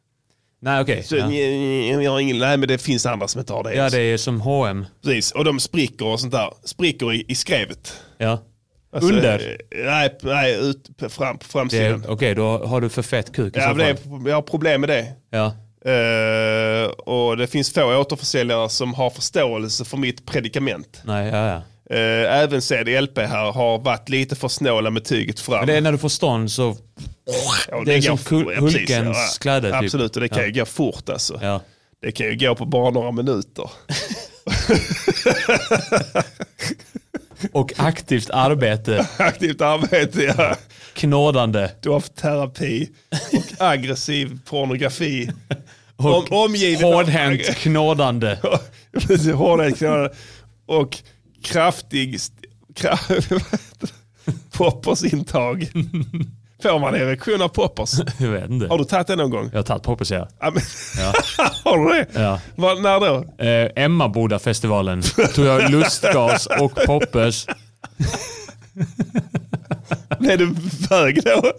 Speaker 1: Nej okej.
Speaker 2: Så,
Speaker 1: Mm. Ja.
Speaker 2: "Nj, Vi har ingen, nej men det finns andra som inte har det.
Speaker 1: ja det är som H&M.
Speaker 2: Precis, och de spricker och sånt där. Spricker i, i skrevet.
Speaker 1: Ja.
Speaker 2: Alltså,
Speaker 1: Under?
Speaker 2: eh, Nej, nej ut på, fram, på
Speaker 1: Det är-
Speaker 2: framsidan.
Speaker 1: Okej, då har du för fett kuk i
Speaker 2: ja,
Speaker 1: så
Speaker 2: men det
Speaker 1: fall.
Speaker 2: är, jag har problem med det.
Speaker 1: Ja.
Speaker 2: Eh, och det finns få återförsäljare som har förståelse för mitt predikament.
Speaker 1: Nej, ja, ja.
Speaker 2: Eh, även CDLP här har varit lite för snåla med tyget fram.
Speaker 1: Men det är när du får stånd så...
Speaker 2: Ja,
Speaker 1: det är som
Speaker 2: går-
Speaker 1: Kul-
Speaker 2: ja, precis,
Speaker 1: Hulkens
Speaker 2: ja,
Speaker 1: kläder, typ.
Speaker 2: Absolut, och det kan ju gå fort alltså.
Speaker 1: Ja.
Speaker 2: Det kan ju gå på bara några minuter. <laughs>
Speaker 1: Och aktivt arbete.
Speaker 2: Aktivt arbete, ja.
Speaker 1: Knådande.
Speaker 2: Du har haft terapi och aggressiv pornografi.
Speaker 1: Och
Speaker 2: Om, omgiven av- <laughs>
Speaker 1: hårdhänt knådande.
Speaker 2: Precis, hårdhet knölar och kraftig st- kra- <laughs> poppersintag. Får man erektion av poppers?
Speaker 1: Jag vet inte.
Speaker 2: Har du tagit det någon gång?
Speaker 1: Jag har tagit poppers ja.
Speaker 2: Ja, men- <laughs> Har du det?
Speaker 1: Ja.
Speaker 2: Vad- när då?
Speaker 1: Eh, Emmaboda-festivalen tog jag lustgas och poppers.
Speaker 2: Blev du bög då?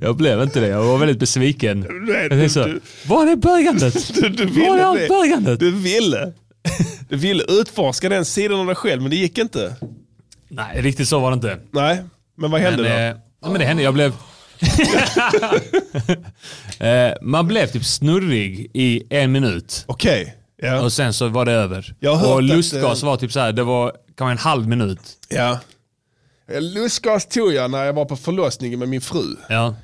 Speaker 1: Jag blev inte det. Jag var väldigt besviken.
Speaker 2: Nej,
Speaker 1: Jag tänkte så,
Speaker 2: du-
Speaker 1: var är bögandet?
Speaker 2: Du, du
Speaker 1: Var är
Speaker 2: ville
Speaker 1: allt
Speaker 2: det.
Speaker 1: bögandet?
Speaker 2: Du ville. Du ville utforska den sidan av dig själv, men det gick inte.
Speaker 1: Nej, riktigt så var det inte.
Speaker 2: Nej, men vad hände
Speaker 1: Men,
Speaker 2: då?
Speaker 1: eh, ja, men det hände.
Speaker 2: <laughs>
Speaker 1: Jag blev... eh, man blev typ snurrig i en minut.
Speaker 2: Okej. Ja.
Speaker 1: Och sen så var det över.
Speaker 2: Jag har hört
Speaker 1: och
Speaker 2: att,
Speaker 1: lustgas
Speaker 2: eh,
Speaker 1: var typ så här, det var kanske en halv minut.
Speaker 2: ja. Lustgas tog jag när jag var på förlossningen med min fru.
Speaker 1: Ja.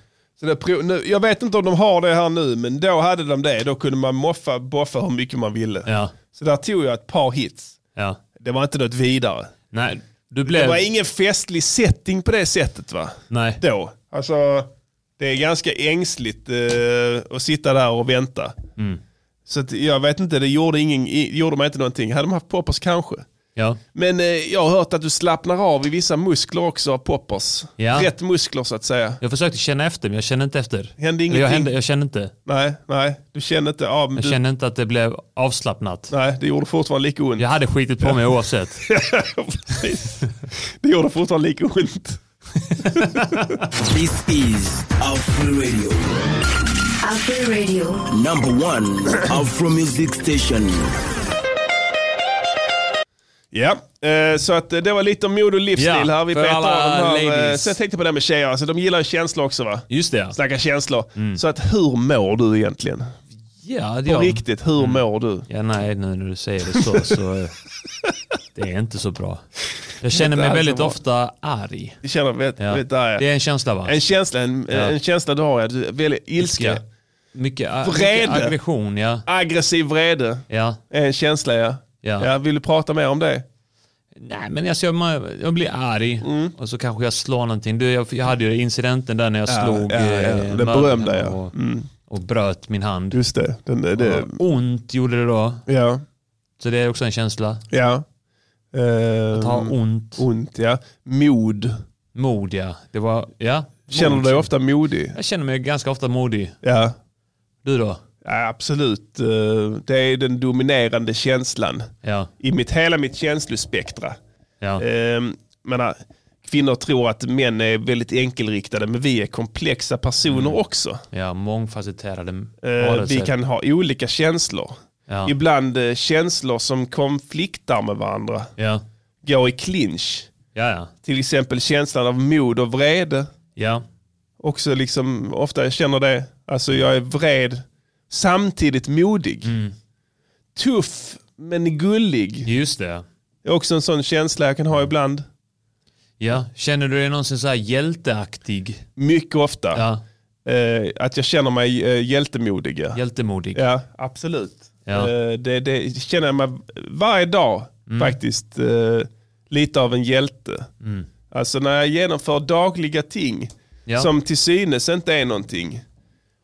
Speaker 2: Så det, prov- nu, jag vet inte om de har det här nu, men då hade de det. Då kunde man moffa, boffa hur mycket man ville.
Speaker 1: Ja.
Speaker 2: Så där tog jag ett par hits.
Speaker 1: Ja.
Speaker 2: Det var inte något vidare.
Speaker 1: Nej, du
Speaker 2: Det
Speaker 1: blev...
Speaker 2: var ingen festlig setting på det sättet va?
Speaker 1: Nej.
Speaker 2: Då. Alltså, det är ganska ängsligt eh, att sitta där och vänta.
Speaker 1: Mm.
Speaker 2: Så att, jag vet inte, det gjorde, ingen, i- gjorde man inte någonting. Hade de haft poppers kanske.
Speaker 1: Ja.
Speaker 2: Men eh, jag har hört att du slappnar av i vissa muskler också av poppers.
Speaker 1: Ja.
Speaker 2: Rätt muskler så att säga.
Speaker 1: Jag försökte känna efter, men jag kände inte efter.
Speaker 2: Hände
Speaker 1: Eller jag,
Speaker 2: ingenting?
Speaker 1: hände, jag kände inte.
Speaker 2: Nej, nej, du känner inte av.
Speaker 1: Jag
Speaker 2: du,
Speaker 1: kände inte att det blev avslappnat.
Speaker 2: Nej, det gjorde fortfarande lika ont. <laughs>
Speaker 1: Jag hade skitit på mig oavsett.
Speaker 2: Precis. det gjorde fortfarande lika ont.
Speaker 6: This is Afro Radio,
Speaker 7: Afro Radio.
Speaker 6: number one Afro music station.
Speaker 2: Ja, eh, så att eh, det var lite om mode och livsstil
Speaker 1: Ja,
Speaker 2: här. Vi
Speaker 1: för
Speaker 2: betar
Speaker 1: alla
Speaker 2: de här. eh,
Speaker 1: ladies.
Speaker 2: Så jag tänkte på det här med tjejer, alltså, de gillar ju känslor också va?
Speaker 1: Just det ja.
Speaker 2: Snacka känslor. Så att hur mår du egentligen?
Speaker 1: Mm. Ja, Mm.
Speaker 2: På
Speaker 1: ja.
Speaker 2: riktigt, hur mår du?
Speaker 1: ja, nej, nu när du säger det så, så eh, det är inte så bra. Jag känner mig
Speaker 2: alls
Speaker 1: väldigt
Speaker 2: bra.
Speaker 1: ofta arg.
Speaker 2: Du känner, vet,
Speaker 1: Ja.
Speaker 2: vet där,
Speaker 1: Det
Speaker 2: ja.
Speaker 1: är en känsla va?
Speaker 2: En känsla, en,
Speaker 1: Ja.
Speaker 2: en känsla du har, ja. du är väldigt ilska.
Speaker 1: Mycket- Mycket, a-
Speaker 2: Vrede.
Speaker 1: mycket aggression, ja.
Speaker 2: Aggressiv vrede
Speaker 1: ja.
Speaker 2: är en känsla ja.
Speaker 1: Ja.
Speaker 2: Vill du prata mer om det?
Speaker 1: Nej men alltså jag, man- jag blir arg
Speaker 2: Mm.
Speaker 1: och så kanske jag slår någonting. Du, jag, jag hade ju incidenten där när jag slog
Speaker 2: ja, ja.
Speaker 1: eh,
Speaker 2: Den
Speaker 1: möblerna
Speaker 2: berömda, ja.
Speaker 1: och, och bröt min hand.
Speaker 2: Just det. Den, det
Speaker 1: Ont gjorde det då.
Speaker 2: ja.
Speaker 1: Så det är också en känsla.
Speaker 2: Ja. Ehm,
Speaker 1: Ta ont.
Speaker 2: ont, ja. Mod.
Speaker 1: Mod ja. Det var, ja.
Speaker 2: Känner du
Speaker 1: Mod.
Speaker 2: dig ofta modig?
Speaker 1: Jag känner mig ganska ofta modig.
Speaker 2: Ja.
Speaker 1: Du då?
Speaker 2: ja absolut. Eh, Det är den dominerande känslan
Speaker 1: Ja.
Speaker 2: i mitt, hela mitt känslospektra.
Speaker 1: ja.
Speaker 2: Ehm, menar, kvinnor tror att män är väldigt enkelriktade, men vi är komplexa personer
Speaker 1: Mm.
Speaker 2: också.
Speaker 1: Ja, mångfacetterade
Speaker 2: Eh,
Speaker 1: varelser.
Speaker 2: vi kan ha olika känslor.
Speaker 1: Ja.
Speaker 2: Ibland eh, känslor som konfliktar med varandra,
Speaker 1: Ja.
Speaker 2: går i clinch.
Speaker 1: Ja, ja.
Speaker 2: Till exempel känslan av mod och vrede.
Speaker 1: Ja.
Speaker 2: också liksom, ofta jag känner det, alltså jag är vred samtidigt modig.
Speaker 1: Mm.
Speaker 2: Tuff men gullig.
Speaker 1: Just det.
Speaker 2: Det är också en sån känsla jag kan ha ibland.
Speaker 1: Ja. Känner du dig någonsin så här hjälteaktig?
Speaker 2: Mycket ofta.
Speaker 1: Ja.
Speaker 2: Eh, att jag känner mig eh, hjältemodig. Ja.
Speaker 1: Hjältemodig.
Speaker 2: ja, absolut.
Speaker 1: Ja. Mm.
Speaker 2: Eh, Det, det känner jag mig varje dag faktiskt eh, lite av en hjälte.
Speaker 1: Mm.
Speaker 2: Alltså när jag genomför dagliga ting
Speaker 1: Ja.
Speaker 2: som till synes inte är någonting.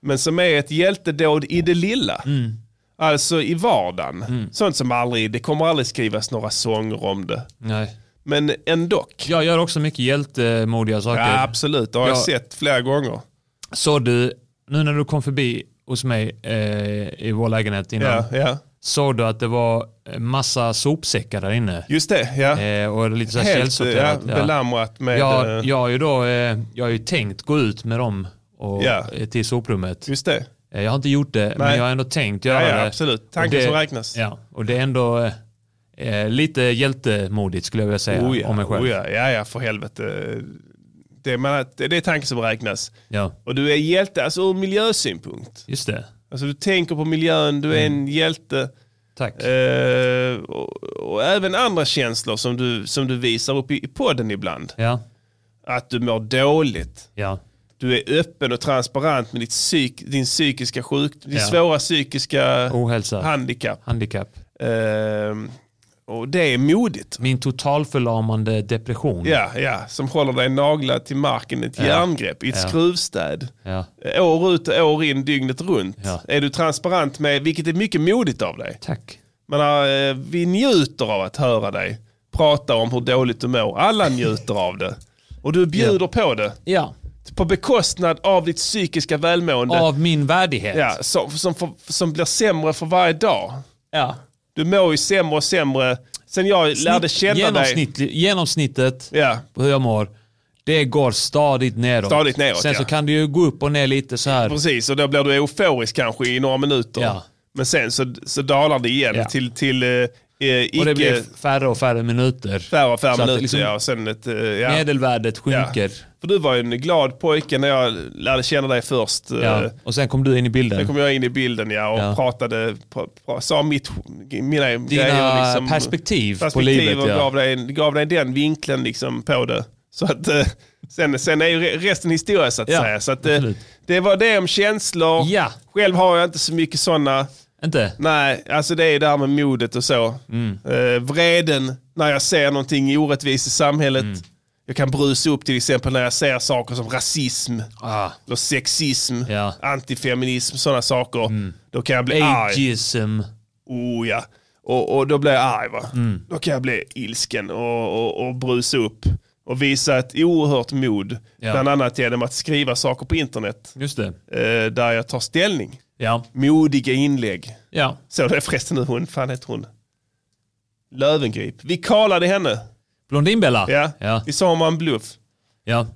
Speaker 2: Men som är ett hjältedåd i det lilla.
Speaker 1: Mm.
Speaker 2: Alltså i vardagen. Sånt som aldrig, det kommer aldrig skrivas några sånger om det.
Speaker 1: Nej.
Speaker 2: Men ändå.
Speaker 1: Jag gör också mycket hjältemodiga saker.
Speaker 2: Ja, absolut, det har jag
Speaker 1: Ja.
Speaker 2: sett flera gånger.
Speaker 1: Så du, nu när du kom förbi hos mig eh, i vår lägenhet innan,
Speaker 2: Ja, ja.
Speaker 1: såg du att det var en massa sopsäckar där inne?
Speaker 2: Just det, ja.
Speaker 1: Eh, och lite så här
Speaker 2: Helt ja,
Speaker 1: källsorterat.
Speaker 2: belamrat med...
Speaker 1: Jag,
Speaker 2: eh,
Speaker 1: jag, har ju då, eh, jag har ju tänkt gå ut med dem och,
Speaker 2: Ja.
Speaker 1: eh, till soprummet.
Speaker 2: Just det.
Speaker 1: Eh, Jag har inte gjort det, men jag har ändå tänkt göra
Speaker 2: Ja, ja,
Speaker 1: det.
Speaker 2: absolut.
Speaker 1: Och
Speaker 2: Tanken
Speaker 1: det-
Speaker 2: som räknas.
Speaker 1: Ja, och det är ändå eh, eh, lite hjältemodigt skulle jag vilja säga
Speaker 2: Oh ja,
Speaker 1: om mig själv.
Speaker 2: oh ja, ja, ja, för helvete. Det är, man, det det är tanken som räknas.
Speaker 1: Ja,
Speaker 2: Och du är hjälte, alltså ur miljösynpunkt.
Speaker 1: just det.
Speaker 2: Alltså du tänker på miljön, du
Speaker 1: Mm.
Speaker 2: är en hjälte.
Speaker 1: Tack.
Speaker 2: Eh, och, och även andra känslor som du, som du visar upp i, i podden ibland.
Speaker 1: Ja,
Speaker 2: Att du mår dåligt.
Speaker 1: ja,
Speaker 2: Du är öppen och transparent med ditt psyk, din psykiska sjukdom, din
Speaker 1: Ja.
Speaker 2: svåra psykiska
Speaker 1: Ohälsa.
Speaker 2: handikapp.
Speaker 1: handikapp.
Speaker 2: Eh, och det är modigt.
Speaker 1: Min totalförlamande depression.
Speaker 2: Ja, ja, som håller dig naglad till marken i ett järngrepp, i ett
Speaker 1: Ja.
Speaker 2: skruvstäd. Eh,
Speaker 1: Ja.
Speaker 2: År ut och år in, dygnet runt.
Speaker 1: Ja.
Speaker 2: Är du transparent med, vilket är mycket modigt av dig.
Speaker 1: Tack.
Speaker 2: Man har, eh, vi njuter av att höra dig prata om hur dåligt du mår. Alla njuter av det. Och du bjuder på det.
Speaker 1: Ja.
Speaker 2: På bekostnad av ditt psykiska välmående.
Speaker 1: Av min värdighet.
Speaker 2: Ja, som, som, får- som blir sämre för varje dag.
Speaker 1: Ja.
Speaker 2: Du mår ju sämre och sämre. Sen jag lärde känna dig.
Speaker 1: Genomsnittli- Genomsnittet
Speaker 2: Ja.
Speaker 1: på hur jag mår, det går stadigt neråt.
Speaker 2: Stadigt neråt,
Speaker 1: Sen
Speaker 2: ja.
Speaker 1: så kan det ju gå upp och ner lite så här.
Speaker 2: Precis, och då blir du euforisk kanske i några minuter.
Speaker 1: Ja.
Speaker 2: Men sen så, så dalar det igen
Speaker 1: Ja.
Speaker 2: till, till eh, eh, icke
Speaker 1: Och det blir färre och färre minuter.
Speaker 2: färre och färre
Speaker 1: Så att det
Speaker 2: minuter.
Speaker 1: liksom-
Speaker 2: ja, och sen ett, eh, ja.
Speaker 1: Medelvärdet
Speaker 2: ja.
Speaker 1: sjunker.
Speaker 2: För du var ju en glad pojke när jag lärde känna dig först. eh,
Speaker 1: Ja. Och sen kom du in i
Speaker 2: Sen
Speaker 1: bilden.
Speaker 2: kom jag in i bilden ja, och
Speaker 1: Ja.
Speaker 2: pratade, pra, pra, sa mitt, mina grejer.
Speaker 1: Dina
Speaker 2: Liksom,
Speaker 1: perspektiv, på
Speaker 2: perspektiv
Speaker 1: livet.
Speaker 2: och gav
Speaker 1: Ja.
Speaker 2: dig, gav dig den vinkeln liksom på det. Så att, eh, sen, sen är ju re- resten historia så att
Speaker 1: Ja,
Speaker 2: säga. Så att, eh,
Speaker 1: absolut.
Speaker 2: det var det om känslor.
Speaker 1: Ja.
Speaker 2: Själv har jag inte så mycket sådana.
Speaker 1: Inte?
Speaker 2: Nej, alltså det är det här med modet och så.
Speaker 1: Mm.
Speaker 2: Eh, vreden när jag ser någonting i orättvist i samhället.
Speaker 1: Mm.
Speaker 2: Jag kan brusa upp till exempel när jag ser saker som rasism,
Speaker 1: Ah.
Speaker 2: eller sexism,
Speaker 1: Ja. Mm.
Speaker 2: antifeminism, sådana saker. Då kan jag bli arg.
Speaker 1: Ageism.
Speaker 2: Oh, ja. och, och då blir jag arg. Va?
Speaker 1: Mm.
Speaker 2: Då kan jag bli ilsken och, och, och brusa upp. Och visa ett oerhört mod.
Speaker 1: Ja.
Speaker 2: Bland annat genom att skriva saker på internet
Speaker 1: Just det.
Speaker 2: eh, där jag tar ställning.
Speaker 1: Ja.
Speaker 2: Modiga inlägg.
Speaker 1: ja.
Speaker 2: Såg du förresten hur hon, fan heter hon? Lövengrip. Vi kallade henne.
Speaker 1: Blondinbella.
Speaker 2: Ja.
Speaker 1: Ja.
Speaker 2: Vi sa hon var en bluff.
Speaker 1: ja.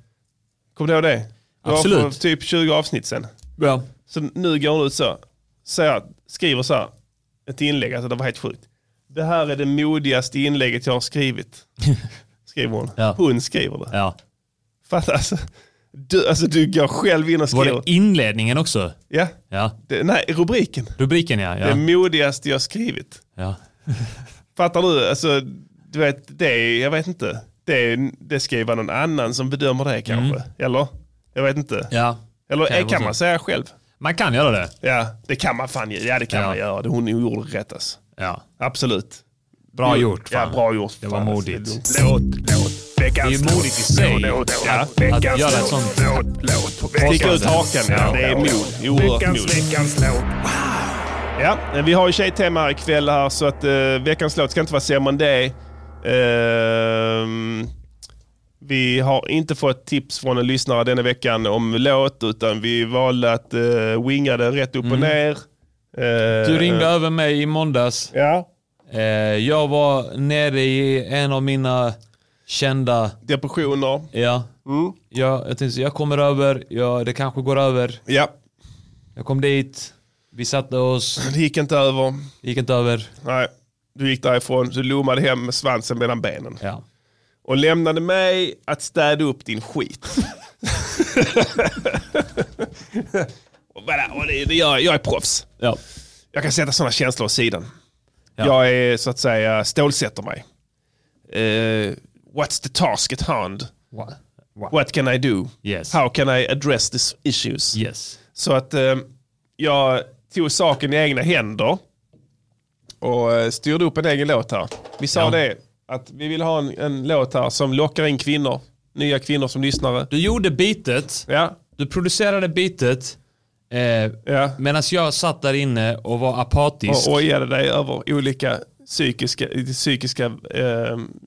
Speaker 2: Kommer du ihåg det? Det var
Speaker 1: Absolut.
Speaker 2: för typ 20 avsnitt sen.
Speaker 1: Bra.
Speaker 2: Så nu går hon ut så. så jag skriver så här. Ett inlägg, alltså det var helt sjukt. Det här är det modigaste inlägget jag har
Speaker 1: <laughs>
Speaker 2: skrivit. Skriver hon.
Speaker 1: Ja.
Speaker 2: Hon skriver det.
Speaker 1: Ja.
Speaker 2: Fattar alltså. Du, alltså du går själv in och
Speaker 1: Var
Speaker 2: skriver.
Speaker 1: det inledningen också?
Speaker 2: Ja.
Speaker 1: Ja.
Speaker 2: Det, nej, rubriken.
Speaker 1: Rubriken ja.
Speaker 2: Det
Speaker 1: Ja.
Speaker 2: modigaste jag har skrivit.
Speaker 1: ja.
Speaker 2: Fattar du? Alltså, du vet, det är, jag vet inte. Det, är, det ska ju vara någon annan som bedömer det kanske. Eller? Jag vet inte.
Speaker 1: Mm. ja.
Speaker 2: Eller
Speaker 1: Kan
Speaker 2: kan,
Speaker 1: jag
Speaker 2: kan
Speaker 1: gå
Speaker 2: man
Speaker 1: så?
Speaker 2: säga själv?
Speaker 1: Man kan göra det.
Speaker 2: Ja, det kan man fan göra. Ja, det kan
Speaker 1: Ja.
Speaker 2: man göra. Det- Hon gjorde det rätt alltså.
Speaker 1: Ja.
Speaker 2: Absolut.
Speaker 1: Bra gjort.
Speaker 2: Ja,
Speaker 1: fan.
Speaker 2: bra gjort.
Speaker 1: Det var
Speaker 2: Fan, alltså,
Speaker 1: modigt.
Speaker 2: det är lugnt.
Speaker 8: Låt, låt,
Speaker 1: Det är
Speaker 8: veckans
Speaker 1: ju modigt i sig
Speaker 8: låt, låt, låt,
Speaker 1: ja,
Speaker 8: veckans
Speaker 1: att göra ett
Speaker 8: låt,
Speaker 1: sånt.
Speaker 8: Låt, låt,
Speaker 2: Sticka ut
Speaker 8: veckans
Speaker 2: hakan, ja. Det är mod. Oerhört
Speaker 8: Veckans,
Speaker 2: mod.
Speaker 8: veckans låt.
Speaker 2: Ja, men vi har ju tjejtema här ikväll här så att eh, veckans låt ska inte vara sämre än det. Ehm, vi har inte fått tips från en lyssnare denna veckan om låt utan vi valde att eh, winga det rätt upp och ner. Eh,
Speaker 1: Du ringde över mig i måndags.
Speaker 2: Ja.
Speaker 1: Eh, jag var nere i en av mina kända...
Speaker 2: Depressioner.
Speaker 1: Ja.
Speaker 2: Mm.
Speaker 1: Jag, jag tänkte, jag kommer över. Jag, det kanske går över.
Speaker 2: Ja,
Speaker 1: Jag kom dit. Vi satte oss.
Speaker 2: det gick inte över.
Speaker 1: Det gick inte över.
Speaker 2: Nej, du gick därifrån. Du lommade hem med svansen mellan benen.
Speaker 1: Ja.
Speaker 2: Och lämnade mig att städa upp din skit. och bara, och det, det, jag, jag är proffs.
Speaker 1: Ja.
Speaker 2: Jag kan sätta sådana känslor åt sidan.
Speaker 1: Ja.
Speaker 2: Jag är så att säga stålsätter mig. Eh, what's the task at hand?
Speaker 1: Wow. Wow.
Speaker 2: What can I do?
Speaker 1: Yes.
Speaker 2: How can I address these issues?
Speaker 1: Yes.
Speaker 2: Så att eh, jag tog saken i egna händer och eh, styrde upp en egen låt här. Vi sa det, att vi vill ha en, en låt här som lockar in kvinnor. Nya kvinnor som lyssnare.
Speaker 1: Du gjorde beatet.
Speaker 2: Ja,
Speaker 1: Du producerade beatet. Eh,
Speaker 2: ja.
Speaker 1: Medan jag satt där inne och var apatisk.
Speaker 2: Och ojade dig över olika psykiska... psykiska eh,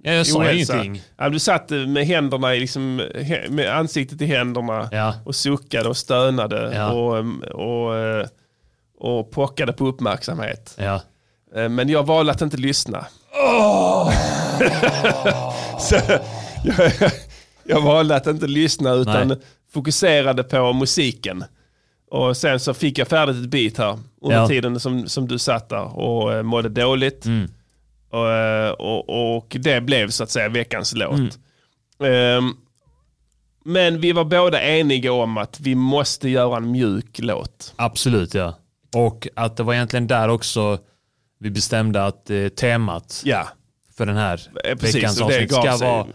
Speaker 1: Ja, jag sa
Speaker 2: ohälsa.
Speaker 1: ingenting.
Speaker 2: Ja, du satt eh, med händerna i liksom, he- med ansiktet i händerna
Speaker 1: Ja.
Speaker 2: och suckade och stönade
Speaker 1: Ja.
Speaker 2: och, eh, och, eh, och pockade på uppmärksamhet.
Speaker 1: Ja.
Speaker 2: Eh, Men jag valde att inte lyssna. <laughs> Så, jag, jag valde att inte lyssna utan
Speaker 1: Nej.
Speaker 2: fokuserade på musiken. Och sen så fick jag färdigt ett beat här under
Speaker 1: Ja.
Speaker 2: tiden som, som du satt där och eh, mådde dåligt.
Speaker 1: Mm.
Speaker 2: Och, eh, och, och det blev så att säga veckans låt.
Speaker 1: Mm.
Speaker 2: Ehm, men vi var båda eniga om att vi måste göra en mjuk låt.
Speaker 1: Absolut ja. Och att det var egentligen där också vi bestämde att eh, temat
Speaker 2: Ja.
Speaker 1: för den här
Speaker 2: Eh, precis,
Speaker 1: veckans
Speaker 2: och det
Speaker 1: avsnitt
Speaker 2: gav
Speaker 1: ska
Speaker 2: sig.
Speaker 1: vara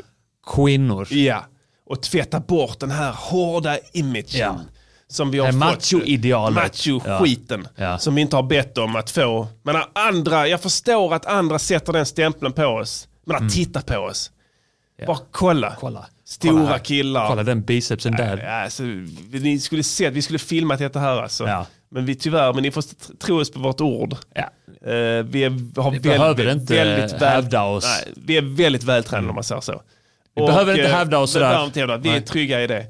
Speaker 1: kvinnor.
Speaker 2: Ja, och tvätta bort den här hårda imagen.
Speaker 1: Ja.
Speaker 2: Som vi har
Speaker 1: Det här
Speaker 2: fått. eh,
Speaker 1: macho-idealet.
Speaker 2: Macho-skiten.
Speaker 1: Ja. Ja.
Speaker 2: Som vi inte har bett om att få. Men andra, jag förstår att andra sätter den stämpeln på oss. Men att titta på oss. Bara kolla.
Speaker 1: Mm. Kolla.
Speaker 2: Stora
Speaker 1: Kolla här.
Speaker 2: killar.
Speaker 1: Kolla den bicepsen där.
Speaker 2: Ja, alltså, vi- ni skulle sett, vi skulle filmat detta här alltså.
Speaker 1: Ja.
Speaker 2: Men vi tyvärr, men ni får t- tro oss på vårt ord.
Speaker 1: Ja.
Speaker 2: Eh, vi är, har
Speaker 1: Vi
Speaker 2: väl-
Speaker 1: behöver inte
Speaker 2: väldigt
Speaker 1: hävda oss. Mm.
Speaker 2: Nej, vi är väldigt vältränade om man säger så. eh, Vi
Speaker 1: behöver inte hävda oss
Speaker 2: Vi,
Speaker 1: sådär.
Speaker 2: behöver inte hävda, vi är
Speaker 1: Nej.
Speaker 2: trygga i det.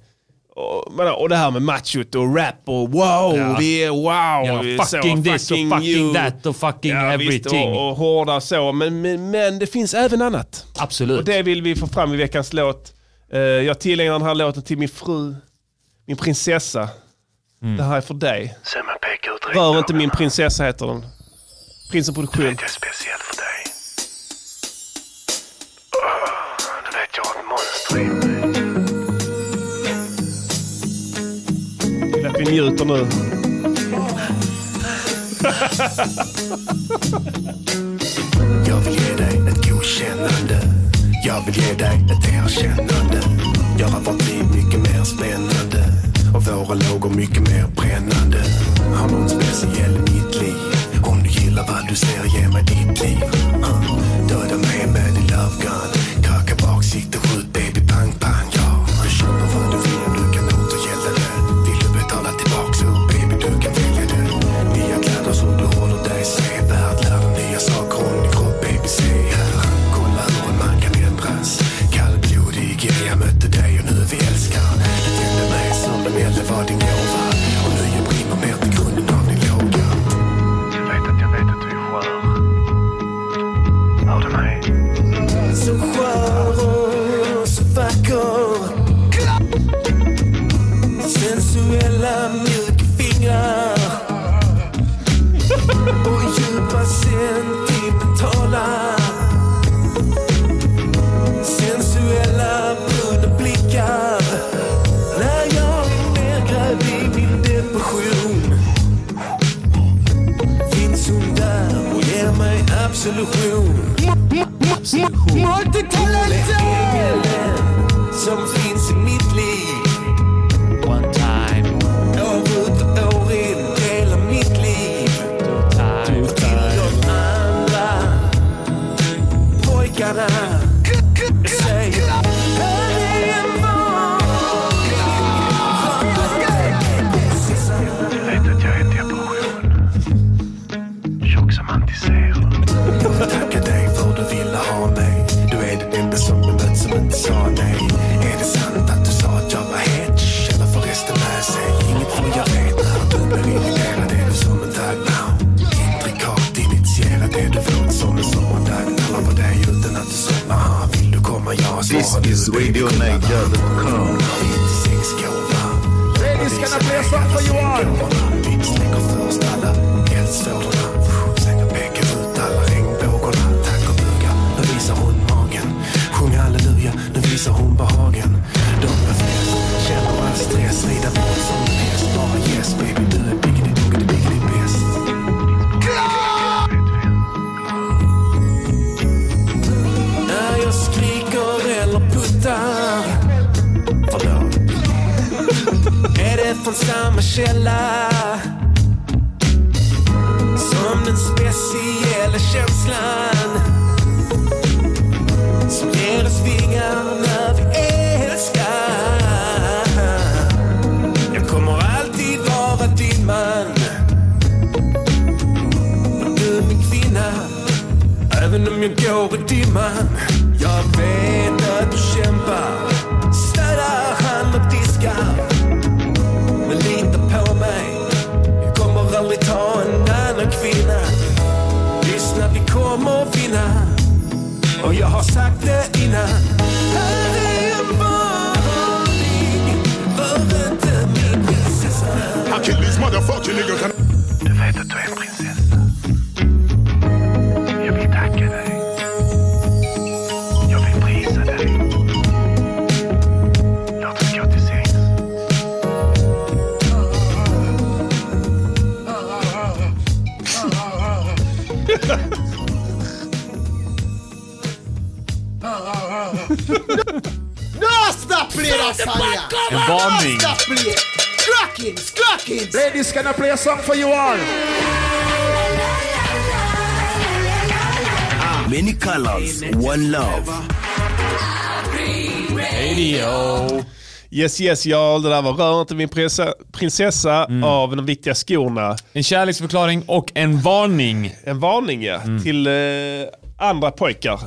Speaker 2: Och, men, och det här med machot och rap och wow,
Speaker 1: Ja.
Speaker 2: vi är wow.
Speaker 1: Ja,
Speaker 2: vi är
Speaker 1: fucking
Speaker 2: så,
Speaker 1: this och fucking
Speaker 2: you.
Speaker 1: that och fucking
Speaker 2: Ja, visst,
Speaker 1: everything.
Speaker 2: och, och hårda så, men, men, men det finns även annat.
Speaker 1: Absolut.
Speaker 2: Och det vill vi få fram i veckans låt. Eh, jag tillägnar den här låten till min fru, min prinsessa.
Speaker 1: Mm.
Speaker 2: Det här är för dig. Rör inte min prinsessa heter den. Prinsen Produktion.
Speaker 9: är speciell för dig. Ah, Du vet, jag har ett monster i mig.
Speaker 2: Vill att vi njuter nu.
Speaker 9: Jag vill ge dig ett godkännande. Jag vill ge dig ett erkännande. Göra vårt liv mycket mer spännande. Och våra lågor mycket mer brännande. Har någon speciell i mitt liv. Om du gillar vad du ser, ge mig ditt liv. Uh. Döda mig med din love gun. Kracka bak, sikte, skjut baby, pang, pang. Ja. Du köper vad du vill och du kan återgälda det. Vill du betala tillbaka så baby, du kan välja det. Nya kläder som du håller dig sevärd. Lär dig nya saker om din kropp, baby, se här. Kolla hur en man kan ändras. Kallblodig, ja, jag mötte dig och nu är vi älskar. Du tände mig som en eld, det var din gåva. Och nu jag brinner mer till grunden av din låga. Du vet att jag vet att du är skör. Hör du mig? Så skör och så vacker. Sensuella mjuka fingrar och djupa sentimentala sensuella bruna blickar när jag är nedgrävd i min depression finns hon där och ger mig absolution Multitalanten som finns i mitt liv
Speaker 1: One time,
Speaker 9: År ut och år in, hela mitt liv.
Speaker 1: time.
Speaker 9: De andra pojkarna säger här är en van. Du vet att jag är depression. Tjock som antiserum. Jag vill tacka dig för du ville ha mig. Du är den enda som jag mött som inte sa nej. Är det sant att du sa att jag var het? Känner förresten med sig. Inget för jag vet när du berillerad är du som en dag now. Intrikat initierad är du våt som en sommardag. Nallar på dig utan att du somnar. Ah, Vill du komma? Jag
Speaker 4: This
Speaker 9: svarar
Speaker 4: is RadioNiger.com.
Speaker 9: Regiskarna blir svart för Johan. Vi släcker först alla eldsvådorna. Sen pekar ut alla regnbågorna. Tack och buga, nu visar hon magen. Sjung halleluja, nu visar hon behagen. De är flest, känner all stress. Rida på som en häst. Bara yes baby, du är biggity boogity biggity bäst. När jag skriker eller puttar. Förlåt. Är det från samma källa som den speciella känslan?
Speaker 10: känslan som ger oss vingar när vi älskar. Jag kommer alltid vara din man och du min kvinna även om jag går i dimman. Jag vet att du kämpar, städar, handlar, diskar. Men lita på mig, jag kommer aldrig ta en annan kvinna. Lyssna, vi kommer vinna. Och jag har sagt det innan. Här är en varning, rör inte min prinsessa.
Speaker 11: I kill these motherfucking niggas and
Speaker 12: Du vet att du är en prinsessa. Jag vill tacka dig. Jag vill prisa dig. Låt oss gå till sängs.
Speaker 13: No, stop playing that song.
Speaker 1: En varning.
Speaker 2: Ah,
Speaker 13: Stop playing. Crackings, crackings.
Speaker 8: Ladies, can I play a song for you all?
Speaker 6: Many colors, one love.
Speaker 1: Radio.
Speaker 2: Yes, yes, ja, det där var Rör inte min prinsessa, prinsessa
Speaker 1: Mm.
Speaker 2: av de viktiga skorna.
Speaker 1: En kärleksförklaring och en varning.
Speaker 2: En varning ja,
Speaker 1: Mm.
Speaker 2: till eh, andra pojkar.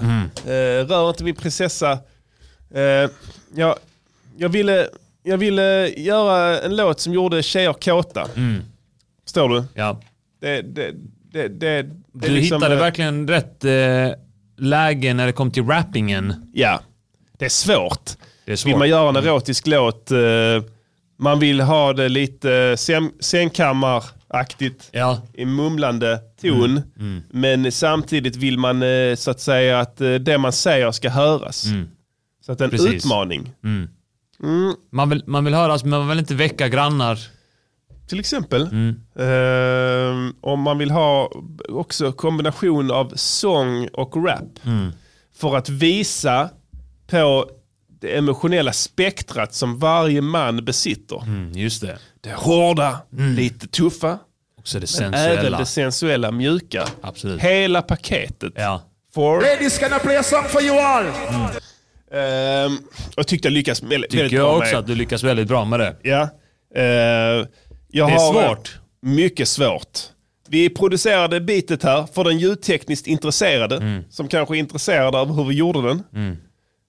Speaker 2: Eh, rör inte min prinsessa. Eh, jag, jag, ville, jag ville göra en låt som gjorde tjejer kåta.
Speaker 1: Mm.
Speaker 2: Förstår du?
Speaker 1: Ja.
Speaker 2: Det, det, det, det, det
Speaker 1: Du
Speaker 2: är liksom,
Speaker 1: hittade
Speaker 2: eh,
Speaker 1: verkligen rätt eh, läge när det kom till rappingen.
Speaker 2: Ja, det är svårt.
Speaker 1: Det är svårt. Mm.
Speaker 2: Vill man göra en erotisk låt, eh, man vill ha det lite säng, sängkammaraktigt.
Speaker 1: Ja. Mm.
Speaker 2: i mumlande ton. Men samtidigt vill man eh, så att säga att eh, det man säger ska höras. Så att det är en
Speaker 1: Mm. Precis.
Speaker 2: utmaning.
Speaker 1: Man vill, man vill höras men man vill inte väcka grannar.
Speaker 2: Till exempel.
Speaker 1: Mm.
Speaker 2: Eh, om man vill ha också kombination av sång och rap.
Speaker 1: Mm.
Speaker 2: För att visa på det emotionella spektrat som varje man besitter.
Speaker 1: Mm, just det.
Speaker 2: Det hårda, lite tuffa,
Speaker 1: Också det
Speaker 2: även
Speaker 1: sensuella.
Speaker 2: det sensuella, mjuka.
Speaker 1: Absolut.
Speaker 2: Hela paketet.
Speaker 1: Ja. Mm.
Speaker 2: For
Speaker 8: Ladies, can I play a song for you all?
Speaker 2: Ehm, och jag tyckte jag lyckas väldigt, väldigt
Speaker 1: Tycker
Speaker 2: bra
Speaker 1: jag också
Speaker 2: med.
Speaker 1: att du lyckas väldigt bra med det.
Speaker 2: Ja. Ehm, jag
Speaker 1: Det är
Speaker 2: har,
Speaker 1: svårt.
Speaker 2: Mycket svårt. Vi producerade bitet här för den ljudtekniskt intresserade
Speaker 1: Mm.
Speaker 2: som kanske är intresserad av hur vi gjorde den.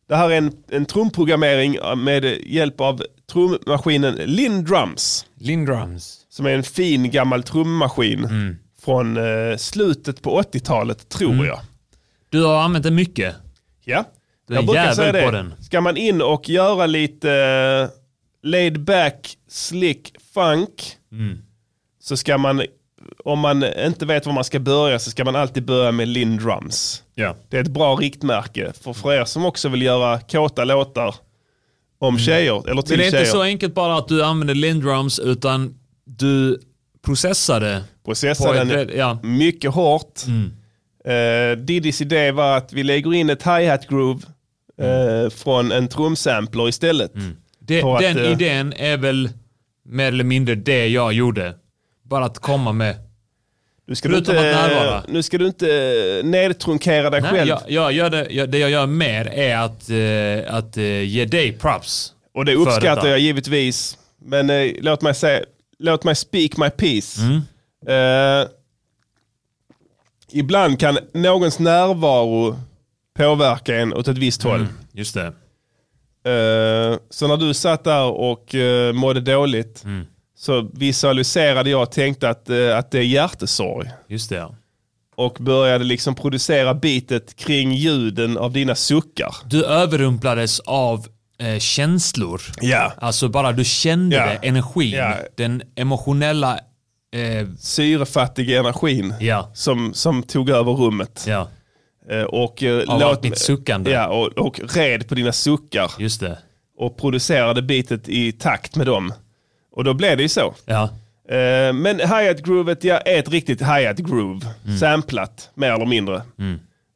Speaker 2: Det här är en, en trumprogrammering eh, med hjälp av trummaskinen Lindrums
Speaker 1: Lindrums.
Speaker 2: som är en fin gammal trummaskin
Speaker 1: Mm.
Speaker 2: från eh, slutet på 80-talet tror jag.
Speaker 1: Du har använt det mycket.
Speaker 2: Ja,
Speaker 1: är en jävel på den.
Speaker 2: Ska man in och göra lite eh, laid back, slick, funk
Speaker 1: Mm.
Speaker 2: så ska man, om man inte vet var man ska börja så ska man alltid börja med Lindrums.
Speaker 1: Ja.
Speaker 2: Det är ett bra riktmärke för, för er som också vill göra kåta låtar om tjejer eller
Speaker 1: Mm. Men
Speaker 2: till
Speaker 1: det är
Speaker 2: tjejer.
Speaker 1: inte så enkelt bara att du använder Lindrums utan du processade.
Speaker 2: Processa den
Speaker 1: På ett- ja. Mm.
Speaker 2: mycket hårt. Eh, Diddys idé var att vi lägger in ett hi-hat groove
Speaker 1: Mm.
Speaker 2: eh, från en trumsampler istället.
Speaker 1: Det,
Speaker 2: På att,
Speaker 1: den
Speaker 2: eh,
Speaker 1: idén är väl mer eller mindre det jag gjorde. Bara att komma med.
Speaker 2: Nu ska, du
Speaker 1: Förutom att närvara.
Speaker 2: inte, eh, nu ska du inte eh, nedtrunkera dig
Speaker 1: Nej,
Speaker 2: själv.
Speaker 1: jag, jag gör det, jag, det jag gör mer är att, eh, att eh, ge dig props.
Speaker 2: Och det
Speaker 1: för
Speaker 2: uppskattar
Speaker 1: detta.
Speaker 2: jag givetvis. Men eh, låt mig säga, låt mig speak my piece.
Speaker 1: Mm.
Speaker 2: Eh, ibland kan någons närvaro påverka en åt ett visst håll.
Speaker 1: Just det.
Speaker 2: Eh, så när du satt där och eh, mådde dåligt
Speaker 1: Mm.
Speaker 2: så visualiserade jag och tänkte att, eh, att det är hjärtesorg.
Speaker 1: Just det. ja.
Speaker 2: Och började liksom producera bitet kring ljuden av dina suckar.
Speaker 1: Du överrumplades av eh, känslor.
Speaker 2: Ja.
Speaker 1: Alltså bara du kände
Speaker 2: Ja.
Speaker 1: det, energin,
Speaker 2: Ja.
Speaker 1: den emotionella... Eh,
Speaker 2: syrefattig energin
Speaker 1: Ja.
Speaker 2: som, som tog över rummet.
Speaker 1: ja,
Speaker 2: Eh, Och, eh,
Speaker 1: Av allt mitt suckande.
Speaker 2: Ja, och, och red på dina suckar
Speaker 1: just det.
Speaker 2: och producerade bitet i takt med dem. Och då blev det ju så.
Speaker 1: Ja.
Speaker 2: Eh, Men hi-hat-groovet, ja, är ett riktigt hi-hat-groove.
Speaker 1: Mm.
Speaker 2: Samplat, mer eller mindre.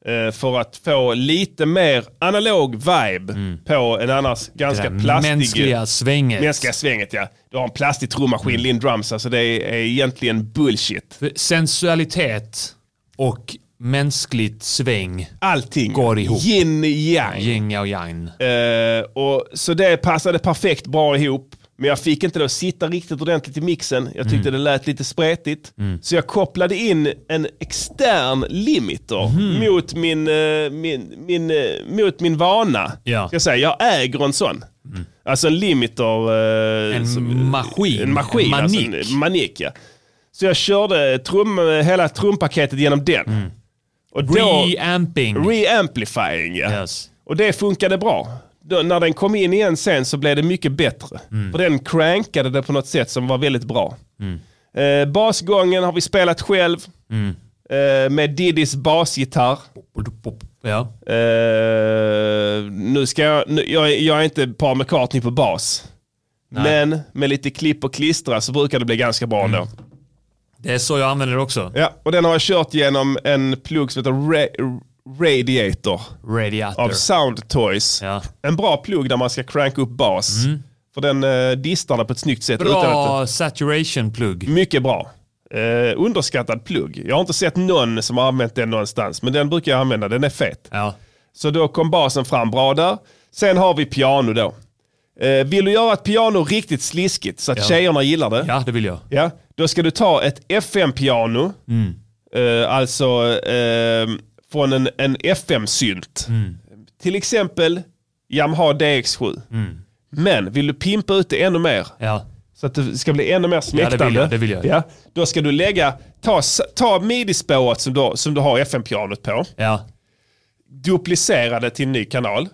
Speaker 2: Eh, För att få lite mer analog vibe på en annars
Speaker 1: Mm. Det
Speaker 2: ganska
Speaker 1: där
Speaker 2: plastig...
Speaker 1: mänskliga Mm. svänget.
Speaker 2: Mänskliga svänget, ja. Du har en plastig trummaskin, Lindrums, alltså det är är egentligen bullshit.
Speaker 1: För sensualitet och mänskligt sväng
Speaker 2: Allting.
Speaker 1: går ihop.
Speaker 2: Yin yang.
Speaker 1: Yin och yang.
Speaker 2: Eh, och, så det passade perfekt bra ihop. Men jag fick inte då sitta riktigt ordentligt i mixen. Jag
Speaker 1: Mm.
Speaker 2: tyckte det lät lite spretigt. Så jag kopplade in en extern limiter
Speaker 1: Mhm.
Speaker 2: mot, min, eh, min, min, eh, mot min vana.
Speaker 1: Ja. Mm.
Speaker 2: Ska jag, säga. jag äger en sån. Alltså en limiter. eh,
Speaker 1: En maskin.
Speaker 2: En maskin.
Speaker 1: En
Speaker 2: alltså
Speaker 1: manik.
Speaker 2: en manik ja. Så jag körde trum, hela trumpaketet genom den.
Speaker 1: Mm.
Speaker 2: Och då-
Speaker 1: Reamping.
Speaker 2: Reamplifying ja.
Speaker 1: Yes.
Speaker 2: Och det funkade bra. Då, när den kom in igen sen så blev det mycket bättre. För den crankade det på något sätt som var väldigt bra. Eh, basgången har vi spelat själv. Eh, med Diddys basgitarr.
Speaker 1: Ja.
Speaker 2: Eh, nu ska jag, nu, jag, är- jag är inte Paul McCartney på bas. Men med lite klipp och klistra så brukar det bli ganska bra ändå.
Speaker 1: Det är så jag använder det också.
Speaker 2: Ja, och den har jag kört genom en plugg som heter Ra- Radiator
Speaker 1: Radiator.
Speaker 2: av Sound Toys.
Speaker 1: Ja. Mm.
Speaker 2: En bra plugg där man ska cranka upp bas. För den eh, distar det på ett snyggt sätt. Utan att,
Speaker 1: Bra saturation plugg.
Speaker 2: mycket bra. Eh, underskattad plugg. Jag har inte sett någon som har använt den någonstans. Men den brukar jag använda. Den är fet.
Speaker 1: Ja.
Speaker 2: Så då kom basen fram bra där. Sen har vi piano då. Eh, vill du göra ett piano riktigt sliskigt så att
Speaker 1: Ja.
Speaker 2: tjejerna gillar det.
Speaker 1: ja, det vill jag.
Speaker 2: Ja, då ska du ta ett FM-piano,
Speaker 1: Mm.
Speaker 2: eh, alltså eh, från en, en FM-synt.
Speaker 1: Mm.
Speaker 2: Till exempel Yamaha DX7.
Speaker 1: Mm.
Speaker 2: Men vill du pimpa ut det ännu mer,
Speaker 1: Ja.
Speaker 2: så att det ska bli ännu mer smäktande.
Speaker 1: jag, det vill jag.
Speaker 2: Ja, då ska du lägga, ta, s- ta midi-spåret som du, har- som du har FM-pianot på,
Speaker 1: ja.
Speaker 2: duplicera det till en ny kanal.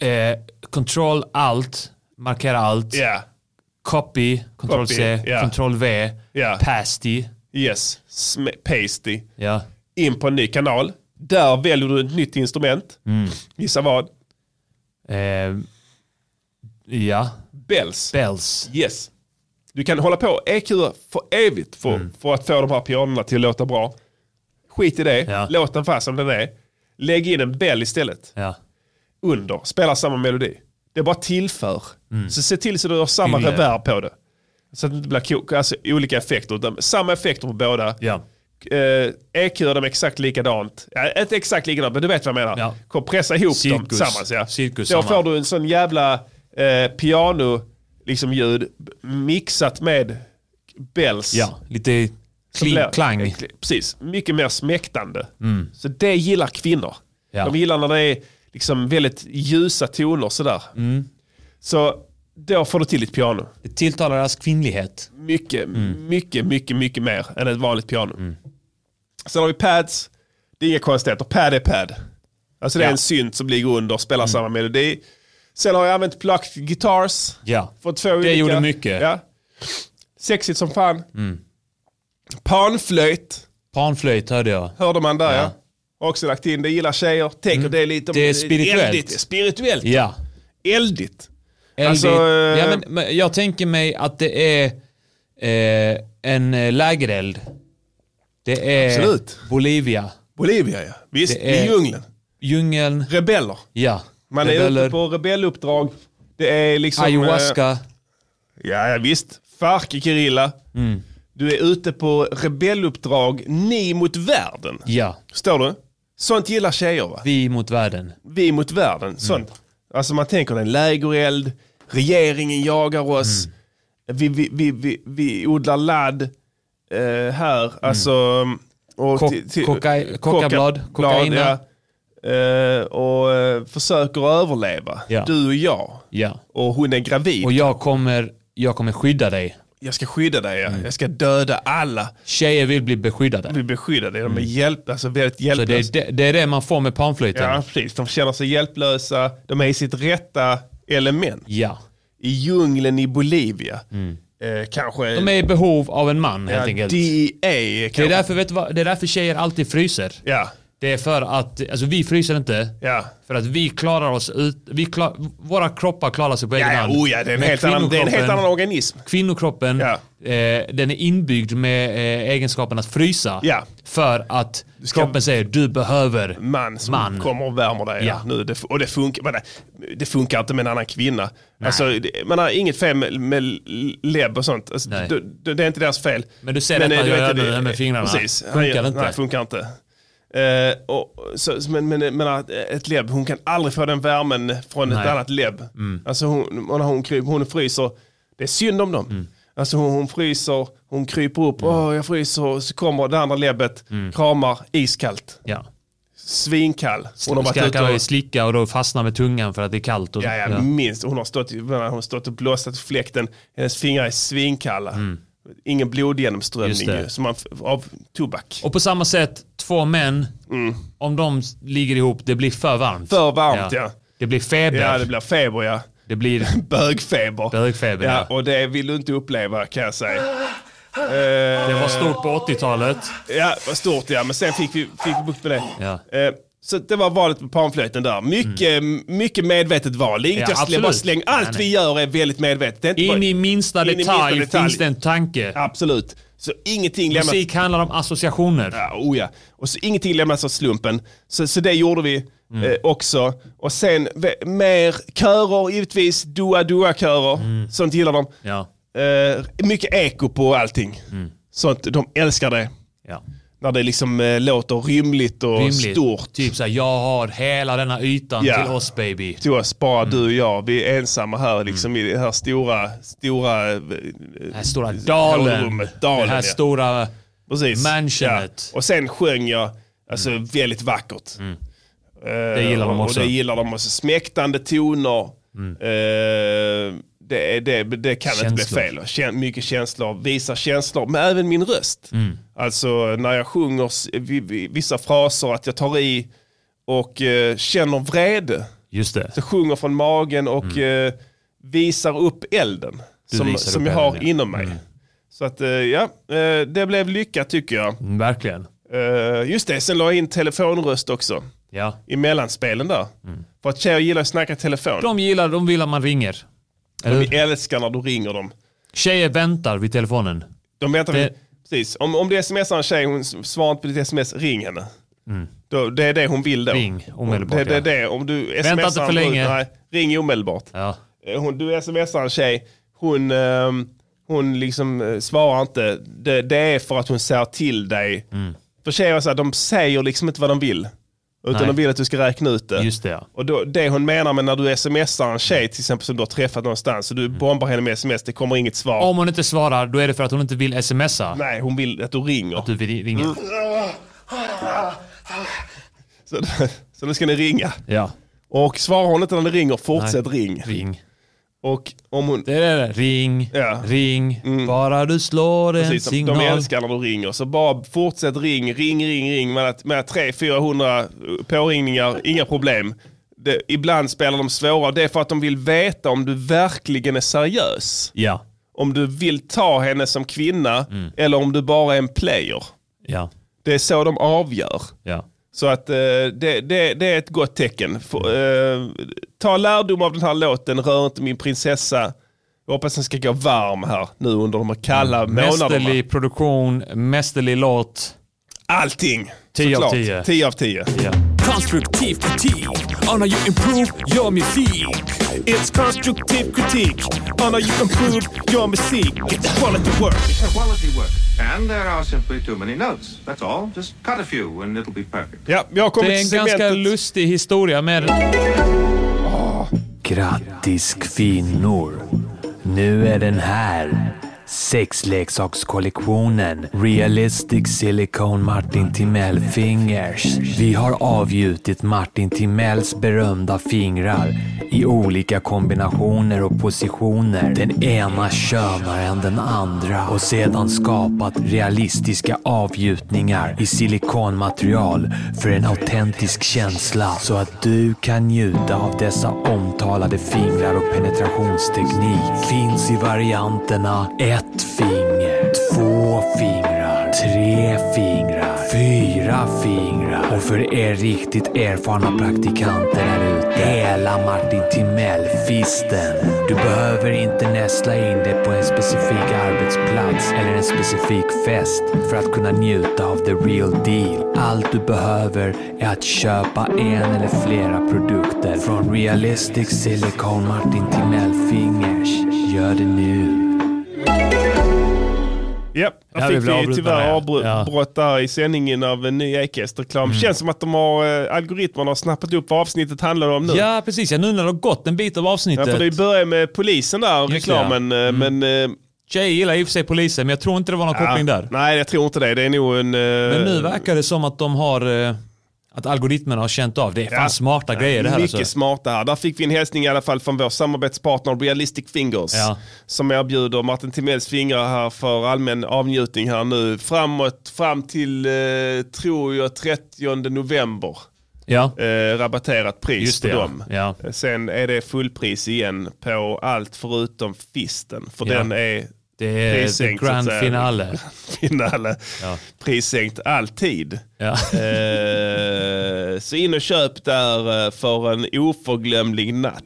Speaker 1: Eh, control alt. Markera allt.
Speaker 2: Ja,
Speaker 1: Copy. Control C.
Speaker 2: Copy, ja.
Speaker 1: Control V.
Speaker 2: Ja.
Speaker 1: Pasty.
Speaker 2: yes, Sm- pasty.
Speaker 1: Ja.
Speaker 2: In på en ny kanal. Där väljer du ett nytt instrument.
Speaker 1: Mm.
Speaker 2: Gissa vad?
Speaker 1: Eh, ja.
Speaker 2: Bells.
Speaker 1: Bells.
Speaker 2: Yes. Du kan hålla på EQ för evigt för,
Speaker 1: Mm.
Speaker 2: för att få de här pianorna till att låta bra. Skit i det,
Speaker 1: Ja.
Speaker 2: låt den fast som den är. Lägg in en bell istället,
Speaker 1: Ja.
Speaker 2: under, spela samma melodi. Det bara tillför.
Speaker 1: Mm.
Speaker 2: Så se till så du har samma
Speaker 1: Yngre.
Speaker 2: reverb på det. Så att det inte blir ko- alltså, olika effekter. utan Samma effekter på båda.
Speaker 1: Ja.
Speaker 2: Eh, EQ är de exakt likadant. Ja, inte exakt likadant, men du vet vad jag menar.
Speaker 1: Ja.
Speaker 2: Kompressa ihop dem
Speaker 1: Cirkus.
Speaker 2: tillsammans. Ja.
Speaker 1: Cirkus
Speaker 2: Då
Speaker 1: samma.
Speaker 2: får du en sån jävla eh, piano liksom ljud mixat med bells.
Speaker 1: ja. Lite
Speaker 2: Som
Speaker 1: kling,
Speaker 2: blir-
Speaker 1: klang. Mm.
Speaker 2: eh, kli- Precis, mycket mer smäktande. Så det gillar kvinnor.
Speaker 1: Ja.
Speaker 2: De gillar när det är liksom väldigt ljusa toner sådär.
Speaker 1: Mm.
Speaker 2: Så då får du till ett piano.
Speaker 1: Det tilltalar deras kvinnlighet.
Speaker 2: Mycket,
Speaker 1: Mm.
Speaker 2: mycket, mycket, mycket mer än ett vanligt piano. Sen har vi pads. Det är inga konstigheter. Pad är pad. Alltså det är
Speaker 1: Ja. Mm.
Speaker 2: en synt som ligger under och spelar samma melodi. Sen har jag använt plucked guitars.
Speaker 1: Ja.
Speaker 2: För två det olika.
Speaker 1: gjorde mycket. Mm.
Speaker 2: Ja. Sexigt som fan. Panflöjt
Speaker 1: Panflöjt hörde jag.
Speaker 2: hörde man där ja.
Speaker 1: Ja. Mm.
Speaker 2: Har Också lagt in, det gillar tjejer. Tänker det är lite
Speaker 1: Det är spirituellt.
Speaker 2: eldigt. Spirituellt.
Speaker 1: Ja.
Speaker 2: Eldigt.
Speaker 1: Eldigt.
Speaker 2: Alltså, eh,
Speaker 1: ja, men, men jag tänker mig att det är eh, en eh, lägereld. Det är
Speaker 2: Absolut.
Speaker 1: Bolivia.
Speaker 2: Bolivia ja. Visst,
Speaker 1: Det är-
Speaker 2: i djungeln.
Speaker 1: Djungeln.
Speaker 2: Rebeller.
Speaker 1: Ja.
Speaker 2: Man är ute på rebelluppdrag. Det är liksom... eh,
Speaker 1: ayahuasca.
Speaker 2: Ja, ja visst. Farc-gerilla.
Speaker 1: Mm.
Speaker 2: Du är ute på rebelluppdrag, ni mot världen.
Speaker 1: ja.
Speaker 2: Förstår du? Sånt gillar tjejer va?
Speaker 1: Vi mot världen.
Speaker 2: vi mot
Speaker 1: Mm.
Speaker 2: världen. Sånt. Alltså man tänker en lägereld, regeringen jagar oss,
Speaker 1: Mm.
Speaker 2: vi, vi, vi, vi, vi odlar ladd eh, här. Alltså, och
Speaker 1: Mm. Kock-
Speaker 2: till- till-
Speaker 1: kocka- kockablad, kokaina.
Speaker 2: ja. Eh, och eh, försöker överleva,
Speaker 1: Ja.
Speaker 2: du och jag.
Speaker 1: Ja.
Speaker 2: Och hon är gravid.
Speaker 1: Och jag kommer, jag kommer skydda dig.
Speaker 2: jag ska skydda dig,
Speaker 1: Mm.
Speaker 2: ja. jag ska döda alla.
Speaker 1: Tjejer vill bli beskyddade.
Speaker 2: Vi beskyddar dig, de är hjälp, alltså väldigt
Speaker 1: Mm. Så det,
Speaker 2: hjälplösa.
Speaker 1: är det, det är det man får med panflöjten.
Speaker 2: ja,
Speaker 1: Ja.
Speaker 2: precis. De känner sig hjälplösa, de är i sitt rätta element.
Speaker 1: ja.
Speaker 2: i djungeln i Bolivia. Eh, kanske
Speaker 1: Mm. De är i behov av en man helt
Speaker 2: ja,
Speaker 1: enkelt.
Speaker 2: DEA.
Speaker 1: Det är,
Speaker 2: Kanske.
Speaker 1: därför, vet du vad, det är därför tjejer alltid fryser.
Speaker 2: Ja,
Speaker 1: Det är för att, alltså vi fryser inte.
Speaker 2: ja.
Speaker 1: För att vi klarar oss ut, vi klar, våra kroppar klarar sig på
Speaker 2: Ja,
Speaker 1: egen
Speaker 2: ja,
Speaker 1: hand.
Speaker 2: oh, ja, det, är en
Speaker 1: Men
Speaker 2: helt annan, det är en helt
Speaker 1: kvinnokroppen-
Speaker 2: annan organism.
Speaker 1: Kvinnokroppen,
Speaker 2: Ja.
Speaker 1: eh, den är inbyggd med eh, egenskapen att frysa.
Speaker 2: Ja.
Speaker 1: För att kroppen säger du behöver
Speaker 2: Man som
Speaker 1: Man.
Speaker 2: kommer och värmer dig.
Speaker 1: Ja.
Speaker 2: Nu, det, och det funkar, men det, det funkar inte med en annan kvinna. Alltså, det, man har inget fel med, med lebb och sånt. Alltså,
Speaker 1: Nej.
Speaker 2: det, det, det är inte deras fel.
Speaker 1: Men du ser detta
Speaker 2: eh,
Speaker 1: jag
Speaker 2: vet,
Speaker 1: gör
Speaker 2: det-
Speaker 1: nu här med fingrarna.
Speaker 2: Precis.
Speaker 1: Funkar
Speaker 2: Nej,
Speaker 1: inte.
Speaker 2: Nej, funkar inte. Eh, och, så, så- men, men, men att ett lebb, hon kan aldrig få den värmen från ett
Speaker 1: Nej.
Speaker 2: annat lebb.
Speaker 1: Mm.
Speaker 2: Alltså hon, och när hon, kryper, hon fryser, det är synd om dem.
Speaker 1: Mm.
Speaker 2: Alltså hon, hon fryser, hon kryper upp, åh jag fryser, så kommer det andra lebbet,
Speaker 1: Mm.
Speaker 2: kramar, iskallt.
Speaker 1: Ja.
Speaker 2: Svinkall. Hon har varit
Speaker 1: Ska
Speaker 2: ute
Speaker 1: kan
Speaker 2: och...
Speaker 1: och... slicka och då fastna med tungan för att det är kallt. Och så.
Speaker 2: Ja, ja, minst. Hon har stått, hon har stått och blåsat i fläkten. Hennes fingrar är svinkalla. Ingen
Speaker 1: Mm. Just
Speaker 2: blodgenomströmning
Speaker 1: det.
Speaker 2: ju, som man, f- av tobak.
Speaker 1: Och på samma sätt, två män, om de s- ligger ihop, det blir för varmt.
Speaker 2: Mm. För varmt, ja.
Speaker 1: Det blir feber.
Speaker 2: Ja, det blir feber ja.
Speaker 1: Det blir
Speaker 2: bögfeber.
Speaker 1: Bögfeber,
Speaker 2: Ja,
Speaker 1: ja.
Speaker 2: och det vill du inte uppleva kan jag säga. Eh,
Speaker 1: Det var stort på 80-talet.
Speaker 2: Ja, det var stort ja, men sen fick vi, fick vi bukt med det.
Speaker 1: Ja. Mm.
Speaker 2: Eh, Så det var valet på panflöjten där. Mycket, mycket medvetet val. Det är inget
Speaker 1: Ja,
Speaker 2: jag slä- bara
Speaker 1: absolut.
Speaker 2: släng. Allt
Speaker 1: Nej,
Speaker 2: vi gör är väldigt medvetet. Det är inte
Speaker 1: In
Speaker 2: bara-
Speaker 1: i minsta
Speaker 2: in i minsta
Speaker 1: detalj
Speaker 2: detalj.
Speaker 1: finns det en tanke.
Speaker 2: Absolut. Så ingenting lämnas...
Speaker 1: Musik handlar om associationer.
Speaker 2: Ja, oh ja. Och så ingenting lämnas åt slumpen. Så, så det gjorde vi
Speaker 1: Mm.
Speaker 2: eh, också. Och sen ve- mer körer givetvis, dua-dua-körer.
Speaker 1: Mm.
Speaker 2: Sånt gillar de.
Speaker 1: Ja.
Speaker 2: Eh, mycket eko på allting.
Speaker 1: Mm.
Speaker 2: Sånt, de älskar det.
Speaker 1: Ja.
Speaker 2: När det liksom eh, låter rymligt och
Speaker 1: Rimligt.
Speaker 2: stort.
Speaker 1: Typ såhär, jag har hela denna ytan
Speaker 2: Ja.
Speaker 1: till oss baby.
Speaker 2: Till oss, bara
Speaker 1: Mm.
Speaker 2: du och jag. Vi är ensamma här liksom i det här stora, stora... Den
Speaker 1: här stora dalen.
Speaker 2: dalen
Speaker 1: det här
Speaker 2: ja.
Speaker 1: stora
Speaker 2: Precis.
Speaker 1: mansionet. Mm.
Speaker 2: Och sen sjöng jag alltså, väldigt vackert. Eh,
Speaker 1: Det gillar de
Speaker 2: och-
Speaker 1: också. Mm.
Speaker 2: Och det gillar de också. Smäktande toner. Eh, det, är- det, det kan inte
Speaker 1: Känslor.
Speaker 2: bli fel. Kän, mycket känslor, visar känslor, men även min röst.
Speaker 1: Mm.
Speaker 2: Alltså när jag sjunger s- vi- vi- vissa fraser, att jag tar i och eh, känner vrede.
Speaker 1: Just det.
Speaker 2: Så sjunger från magen och eh, visar upp elden
Speaker 1: Mm. Du
Speaker 2: som,
Speaker 1: visar
Speaker 2: som
Speaker 1: upp
Speaker 2: jag har
Speaker 1: elden, ja. Mm.
Speaker 2: inom mig. Så att eh, ja, eh, det blev lyckat tycker jag.
Speaker 1: Mm, Verkligen.
Speaker 2: Eh, just det, sen la jag in telefonröst också
Speaker 1: Ja.
Speaker 2: i mellanspelen där.
Speaker 1: Mm.
Speaker 2: För att tjejer gillar att snacka i telefon.
Speaker 1: De gillar, de vill att man ringer. Eller
Speaker 2: De
Speaker 1: hur?
Speaker 2: älskar när du ringer dem.
Speaker 1: Tjejer väntar vid telefonen.
Speaker 2: De väntar
Speaker 1: Det-
Speaker 2: vid- Precis, om, om du smsar en tjej och hon s- svarar inte på ditt sms, ring henne. Då, det är det hon vill då.
Speaker 1: Mm. Ring omedelbart,
Speaker 2: Det, det,
Speaker 1: ja.
Speaker 2: det. Om du smsar
Speaker 1: inte för
Speaker 2: en brud-
Speaker 1: länge.
Speaker 2: Nej, ring omedelbart.
Speaker 1: Ja.
Speaker 2: Eh, Hon, du smsar en tjej, hon, ehm, hon liksom eh, svarar inte. Det, det är för att hon säger till dig.
Speaker 1: Mm.
Speaker 2: För tjejer är så här, de säger liksom inte vad de vill. Utan
Speaker 1: Nej.
Speaker 2: de vill att du ska räkna ut det.
Speaker 1: Just det ja.
Speaker 2: Och då, det hon menar med när du smsar en tjej till exempel som du har träffat någonstans och du bombar henne med sms, det kommer inget svar.
Speaker 1: Mm. Om hon inte svarar, då är det för att hon inte vill smsa. Mm.
Speaker 2: Nej, hon vill att du ringer.
Speaker 1: Du vill ringa.
Speaker 2: Så, <laughs> så nu ska ni ringa.
Speaker 1: Ja.
Speaker 2: Och svarar hon inte när ni ringer, fortsätt ring.
Speaker 1: Ring.
Speaker 2: Och om hon...
Speaker 1: Det är det. Ring,
Speaker 2: Ja.
Speaker 1: ring, bara du slår
Speaker 2: Precis,
Speaker 1: en
Speaker 2: de,
Speaker 1: signal.
Speaker 2: de älskar när du ringer. Så bara fortsätt ring, ring, ring, ring. Med, att- med 300-400 påringningar, inga problem. Det, ibland spelar de svåra. Det är för att de vill veta om du verkligen är seriös.
Speaker 1: Ja,
Speaker 2: Om du vill ta henne som kvinna
Speaker 1: Mm.
Speaker 2: eller om du bara är en player.
Speaker 1: ja,
Speaker 2: Det är så de avgör.
Speaker 1: ja.
Speaker 2: Så att eh, det, det, det är ett gott tecken. Få- eh, ta lärdom av den här låten, Rör inte min prinsessa. Jag hoppas den ska gå varm här nu under de här kalla
Speaker 1: Mm.
Speaker 2: månaderna.
Speaker 1: Mästerlig produktion, mästerlig låt.
Speaker 2: Allting!
Speaker 1: 10 av
Speaker 2: såklart.
Speaker 1: 10.
Speaker 2: 10 av 10.
Speaker 1: Ja.
Speaker 14: Constructive critique on how you improve your music. It's constructive critique on how you improve your music. It's quality work.
Speaker 5: quality work. And there are simply too many notes. That's all. Just cut a few and it'll be perfect.
Speaker 2: Ja, jag har kommit
Speaker 1: Det är
Speaker 2: till
Speaker 1: en ganska
Speaker 2: segmentet.
Speaker 1: lustig historia med
Speaker 9: Grattis kvinnor! Nu är den här. Sexleksakskollektionen Realistic Silicone Martin Timell Fingers. Vi har avgjutit Martin Timells berömda fingrar i olika kombinationer och positioner. Den ena könare än den andra och sedan skapat realistiska avgjutningar i silikonmaterial för en autentisk känsla så att du kan njuta av dessa omtalade fingrar och penetrationsteknik. Finns i varianterna ett finger, två fingrar, tre fingrar, fyra fingrar. Och för er riktigt erfarna praktikanter där ute, hela Martin Timell-fisten. Du behöver inte näsla in det på en specifik arbetsplats eller en specifik fest för att kunna njuta av the real deal. Allt du behöver är att köpa en eller flera produkter från Realistic Silicone Martin Timell Fingers. Gör det nu.
Speaker 2: Ja, där
Speaker 1: Det här
Speaker 2: fick
Speaker 1: blir
Speaker 2: vi
Speaker 1: avbrutna
Speaker 2: tyvärr
Speaker 1: här.
Speaker 2: avbrott
Speaker 1: Ja. Mm.
Speaker 2: där i sändningen av en ny Ekest-reklam. Känns som att de har, eh, algoritmerna har snappat upp vad avsnittet handlar om nu.
Speaker 1: Ja, precis. Ja, nu när det har gått en bit av
Speaker 2: Ja,
Speaker 1: avsnittet.
Speaker 2: för det börjar med polisen där och
Speaker 1: Just det, Mm.
Speaker 2: reklamen. eh, Men,
Speaker 1: Tjej gillar i och för sig polisen, men jag tror inte det var någon koppling där.
Speaker 2: Nej, jag tror inte det. Det är nog en... eh,
Speaker 1: Men nu verkar det som att de har... eh, Att algoritmerna har känt av. Det är fan smarta grejer det här
Speaker 2: Mycket
Speaker 1: alltså.
Speaker 2: smarta här. Där fick vi en hälsning i alla fall från vår samarbetspartner Realistic Fingers.
Speaker 1: Ja.
Speaker 2: Som erbjuder Martin Timells fingrar här för allmän avnjutning här nu. Framåt, fram till, eh, tror jag, 30 november.
Speaker 1: Ja.
Speaker 2: Eh, rabatterat pris
Speaker 1: Just
Speaker 2: på
Speaker 1: det, ja.
Speaker 2: dem.
Speaker 1: Ja.
Speaker 2: Eh, Sen är det fullpris igen på allt förutom fisten. För
Speaker 1: Ja.
Speaker 2: den är <laughs>
Speaker 1: Det är
Speaker 2: prissänkt,
Speaker 1: the
Speaker 2: så att
Speaker 1: grand
Speaker 2: säga.
Speaker 1: finale.
Speaker 2: finale. Prissänkt alltid.
Speaker 1: <laughs>
Speaker 2: Eh, så in och köp där eh, för en oförglömlig natt.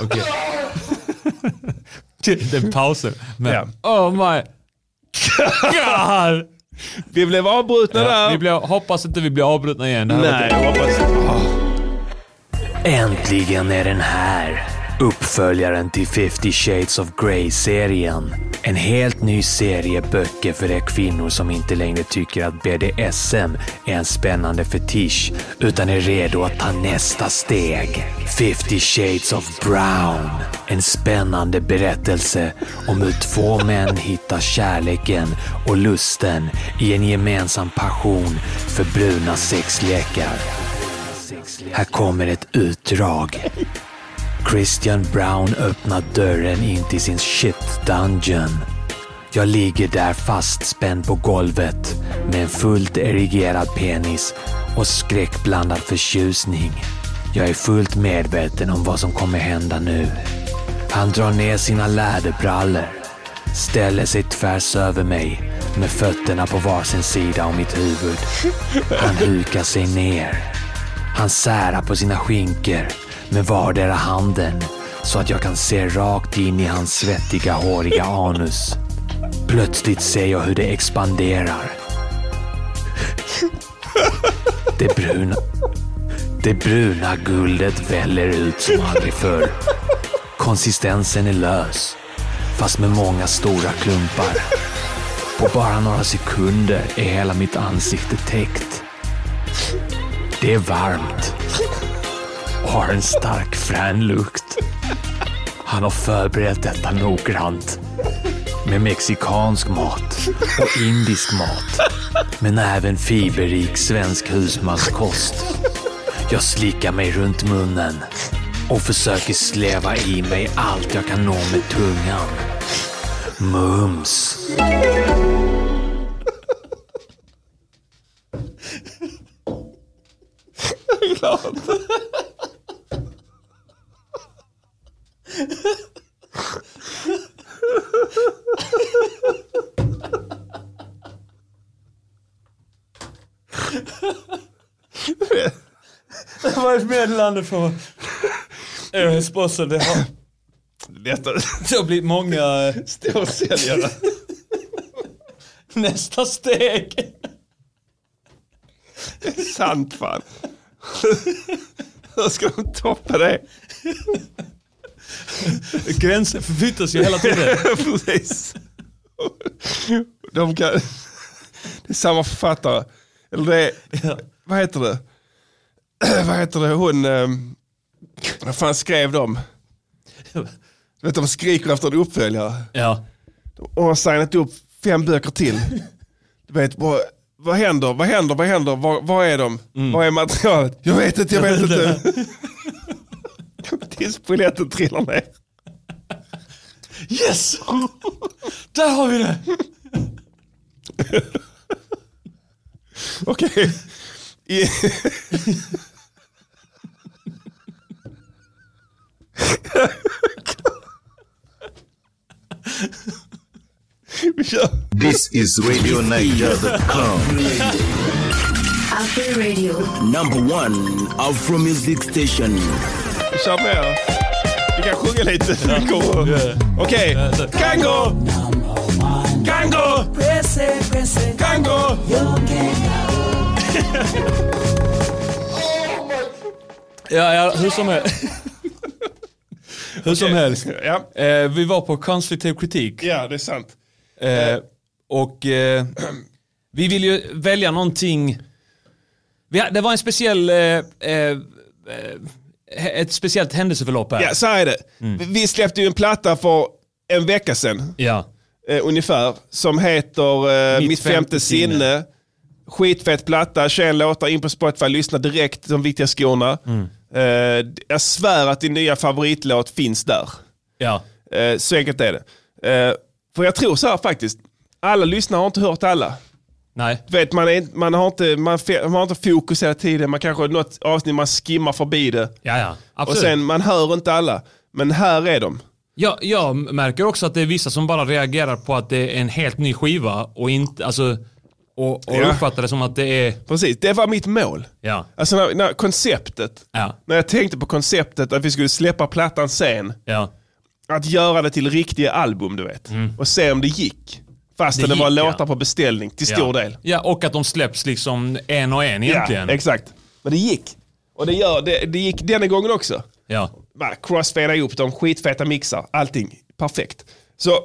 Speaker 1: Okej. Den pausen. Men,
Speaker 2: Ja.
Speaker 1: Oh my <laughs> god!
Speaker 2: Vi blev avbrutna
Speaker 1: där. Vi blev, hoppas inte vi blir avbrutna igen. Det här var
Speaker 2: Nej,
Speaker 1: kul.
Speaker 2: jag hoppas
Speaker 1: Ah.
Speaker 15: Äntligen är den här! Uppföljaren till 50 Shades of Grey-serien. En helt ny serie böcker för er kvinnor som inte längre tycker att BDSM är en spännande fetisch, utan är redo att ta nästa steg. 50 Shades of Brown. En spännande berättelse om hur två män hittar kärleken och lusten i en gemensam passion för bruna sexlekar. Här kommer ett utdrag. Christian Brown öppnar dörren in till sin shit dungeon. Jag ligger där fastspänd på golvet med en fullt erigerad penis och skräckblandad förtjusning. Jag är fullt medveten om vad som kommer hända nu. Han drar ner sina läderbrallor, ställer sig tvärs över mig med fötterna på varsin sida om mitt huvud. Han hukar sig ner. Han särar på sina skinker med vardera handen så att jag kan se rakt in i hans svettiga, håriga anus. Plötsligt ser jag hur det expanderar. Det bruna, det bruna guldet väller ut som aldrig förr. Konsistensen är lös, fast med många stora klumpar. På bara några sekunder är hela mitt ansikte täckt. Det är varmt och har en stark frän lukt. Han har förberett detta noggrant. Med mexikansk mat och indisk mat. Men även fiberrik svensk husmanskost. Jag slickar mig runt munnen och försöker släva i mig allt jag kan nå med tungan. Mums.
Speaker 12: Jag är glad.
Speaker 1: <laughs> Det var ett meddelande från Airhusbossen. Det har...
Speaker 2: <laughs> Detta...
Speaker 1: Det har blivit många... eh, <laughs>
Speaker 2: Storsäljare.
Speaker 1: Nästa steg.
Speaker 2: Det är sant fan. Hur ska de toppa det?
Speaker 1: Gränsen förflyttas ju hela tiden.
Speaker 2: <laughs> Precis. De kan... Det är samma författare. Eller det är... Vad heter det? <clears throat> Vad heter det hon... ehm, Vad fan skrev de? Du Vet de skriker efter en uppföljare.
Speaker 1: <laughs> Ja.
Speaker 2: Och har signat upp fem böcker till. Du vet, vad, vad händer? Vad händer? Vad händer? Var, var är de?
Speaker 1: Mm.
Speaker 2: Var är materialet? Jag vet inte, jag vet inte. <laughs> Tills polletten trillar ner.
Speaker 1: Yes! Där har vi det!
Speaker 2: Okej. I-
Speaker 6: This is RadioNiger.com.
Speaker 7: Afro Radio.
Speaker 6: Number one Afro Music Station.
Speaker 2: Kör med. Vi kan sjunga lite. Vi kommer. Okej. Kango! Kango! Kango!
Speaker 1: <laughs> Ja, ja hur som helst.
Speaker 16: Hur som
Speaker 2: Okej.
Speaker 16: helst.
Speaker 2: Ja.
Speaker 16: Eh, vi var på konstruktiv kritik.
Speaker 2: Ja, det är sant.
Speaker 16: Eh, och eh, vi ville ju välja någonting. Vi, ha- det var en speciell... Eh, eh, eh,
Speaker 1: eh,
Speaker 16: he- ett speciellt händelseförlopp här.
Speaker 2: Ja, så här är det. Vi släppte ju en platta för en vecka sedan.
Speaker 16: Ja.
Speaker 2: Eh, ungefär. Som heter eh, Mitt femte sinne. Skitfett platta, 21 låtar, in på Spotify, lyssna direkt, de viktiga skorna. Eh, jag svär att din nya favoritlåt finns där.
Speaker 16: Ja.
Speaker 2: Eh, så enkelt är det. Eh, för jag tror så här faktiskt, alla lyssnare har inte hört alla.
Speaker 16: Nej.
Speaker 2: Du vet, man, är, inte- man, har inte, man, fe- man har inte fokus hela tiden, man kanske har något avsnitt man skimmar förbi det.
Speaker 16: Ja, ja. Absolut.
Speaker 2: Och sen, man hör inte alla. Men här är de.
Speaker 1: Ja, jag märker också att det är vissa som bara reagerar på att det är en helt ny skiva och inte, alltså, och, och
Speaker 2: Ja.
Speaker 1: uppfattar det som att det är...
Speaker 2: Precis, det var mitt mål.
Speaker 1: Ja.
Speaker 2: Alltså när, när konceptet,
Speaker 1: Ja.
Speaker 2: när jag tänkte på konceptet att vi skulle släppa plattan sen.
Speaker 1: Ja.
Speaker 2: Att göra det till riktiga album du vet. Och se om det gick. Fast det,
Speaker 1: Mm. Det
Speaker 2: var
Speaker 1: gick,
Speaker 2: låtar
Speaker 1: ja.
Speaker 2: på beställning till stor del.
Speaker 1: Ja, och att de släpps liksom en och en egentligen.
Speaker 2: Ja, exakt. Men det gick. Och det, gör, det, det gick denna gången också.
Speaker 1: Ja.
Speaker 2: Bara crossfada ihop dem, skitfeta mixar, allting perfekt. Så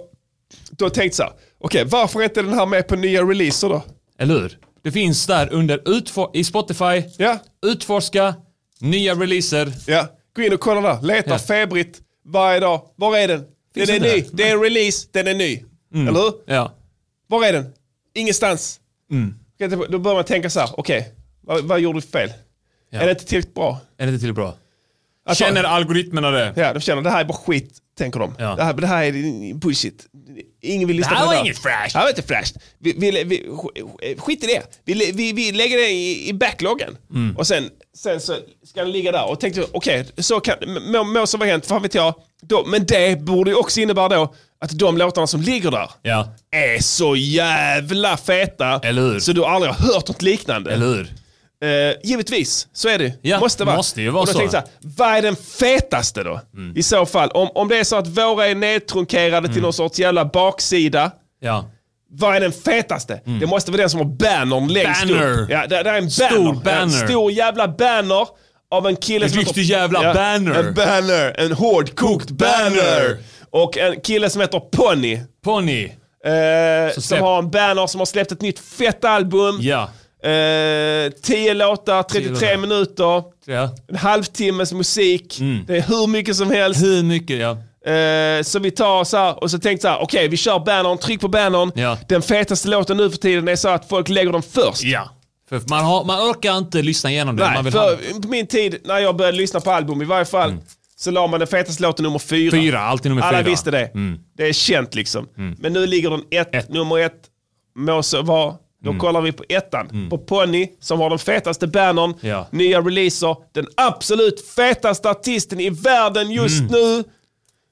Speaker 2: då tänkte jag så här, okej varför är inte den här med på nya releaser då?
Speaker 1: Eller hur? Det finns där under utfor- i Spotify, utforska, nya releaser.
Speaker 2: Ja, gå in och kolla där. Leta febrigt varje dag. Var är den? Den
Speaker 1: Finns
Speaker 2: är
Speaker 1: inte
Speaker 2: ny.
Speaker 1: där.
Speaker 2: Det är en release. Den är ny.
Speaker 1: Mm.
Speaker 2: Eller hur?
Speaker 1: Ja.
Speaker 2: Var är den? Ingenstans.
Speaker 1: Mm.
Speaker 2: Okej, då- Då börjar man tänka så här, okej, vad, vad gjorde vi fel? Är det inte tillräckligt bra?
Speaker 1: Är det inte tillräckligt bra?
Speaker 2: Alltså-
Speaker 1: Känner algoritmerna det?
Speaker 2: Ja, de känner det här är bara skit, tänker de. Det, här, det här är bullshit. Ingen vill lyssna
Speaker 1: Det här
Speaker 2: på
Speaker 1: var
Speaker 2: det där.
Speaker 1: inget fräscht.
Speaker 2: Det här var inte fräscht. Vi, vi, vi, sk- skit i det. Vi, vi, vi lägger det i, i backloggen.
Speaker 17: Mm.
Speaker 2: Och sen, sen så ska den ligga där. Och tänkte, okej, så kan, må, må som har hänt, fan vet jag. Då, men det borde ju också innebära då att de låtarna som ligger där
Speaker 1: Ja.
Speaker 2: är så jävla feta.
Speaker 1: Eller hur?
Speaker 2: Så du aldrig har hört något liknande.
Speaker 1: Eller hur?
Speaker 2: Eh, givetvis, så är det
Speaker 1: Ja,
Speaker 2: Måste vara.
Speaker 1: måste ju vara
Speaker 2: och då
Speaker 1: så. Mm.
Speaker 2: Tänkte jag så här, vad är den fetaste då? I så fall, om, om det är så att våra är nedtrunkerade till någon sorts jävla baksida.
Speaker 1: Ja.
Speaker 2: Vad är den fetaste? Det måste vara den som har bannern längst
Speaker 1: Mm. Banner.
Speaker 2: upp. Ja, det, det är en
Speaker 1: Stor
Speaker 2: banner. Ja, En
Speaker 1: banner.
Speaker 2: stor jävla banner av en kille
Speaker 1: En
Speaker 2: som
Speaker 1: riktig jävla banner.
Speaker 2: En banner. En hårdkokt banner. Och en kille som heter Pony.
Speaker 1: Pony.
Speaker 2: Eh, som
Speaker 1: släpp-
Speaker 2: har en banner som har släppt ett nytt fett album.
Speaker 1: Ja.
Speaker 2: Eh, 10 låtar, 33
Speaker 1: låtar.
Speaker 2: minuter.
Speaker 1: Ja.
Speaker 2: En halvtimmes musik. Det är hur mycket som helst.
Speaker 1: Mm. Hur mycket, ja.
Speaker 2: Eh, så vi tar så här, och så tänkte jag så här, okej vi kör bannern, tryck på bannern.
Speaker 1: Ja.
Speaker 2: Den fetaste låten nu för tiden är så att folk lägger den först.
Speaker 1: Ja. För man, har, man orkar inte lyssna igenom det.
Speaker 2: Nej,
Speaker 1: man vill ha... Mm.
Speaker 2: för på min tid när jag började lyssna på album i varje fall så la man den fetaste låten nummer fyra.
Speaker 1: Fyra, alltid nummer
Speaker 2: Alla
Speaker 1: fyra. Mm.
Speaker 2: visste det. Det är känt liksom. Men nu ligger den ett, nummer ett, må så vara. Då
Speaker 1: Mm.
Speaker 2: kollar vi på ettan. På Pony som har den fetaste bannern,
Speaker 1: Ja.
Speaker 2: nya releaser, den absolut fetaste artisten i världen just
Speaker 1: Mm.
Speaker 2: nu.